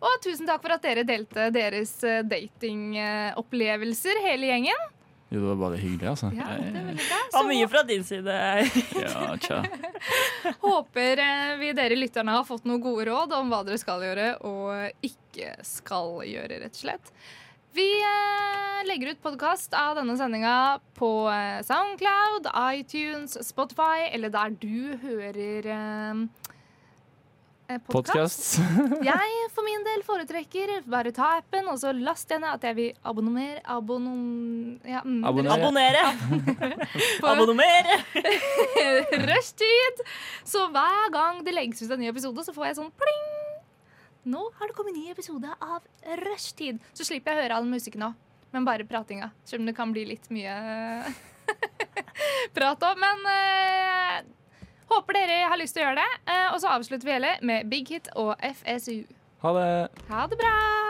[SPEAKER 4] Og tusen takk for at dere delte deres eh, datingopplevelser, hele gjengen.
[SPEAKER 6] Jo, det var bare hyggelig, altså.
[SPEAKER 4] Ja, det er veldig bra.
[SPEAKER 5] Det var mye fra din side.
[SPEAKER 2] Ja, tja.
[SPEAKER 4] Håper eh, vi dere lytterne har fått noen gode råd om hva dere skal gjøre og ikke skal gjøre, rett og slett. Vi eh, legger ut podkast av denne sendinga på eh, Soundcloud, iTunes, Spotify eller der du hører eh, podkast.
[SPEAKER 6] Podkast.
[SPEAKER 4] Jeg for min del foretrekker bare ta appen, og så last igjen at jeg vil abonnere Abonnom... Ja, mm,
[SPEAKER 6] Abonner.
[SPEAKER 5] Abonnere!
[SPEAKER 4] på
[SPEAKER 5] Abonnere!
[SPEAKER 4] rushtid! Så hver gang det legges ut en ny episode, så får jeg sånn pling! Nå har det kommet en ny episode av Rushtid. Så slipper jeg å høre all musikken òg, men bare pratinga. Selv om det kan bli litt mye prat òg. Men eh, håper dere har lyst til å gjøre det. Eh, og så avslutter vi hele med Big Hit og FSU.
[SPEAKER 6] Ha det.
[SPEAKER 4] Ha det bra!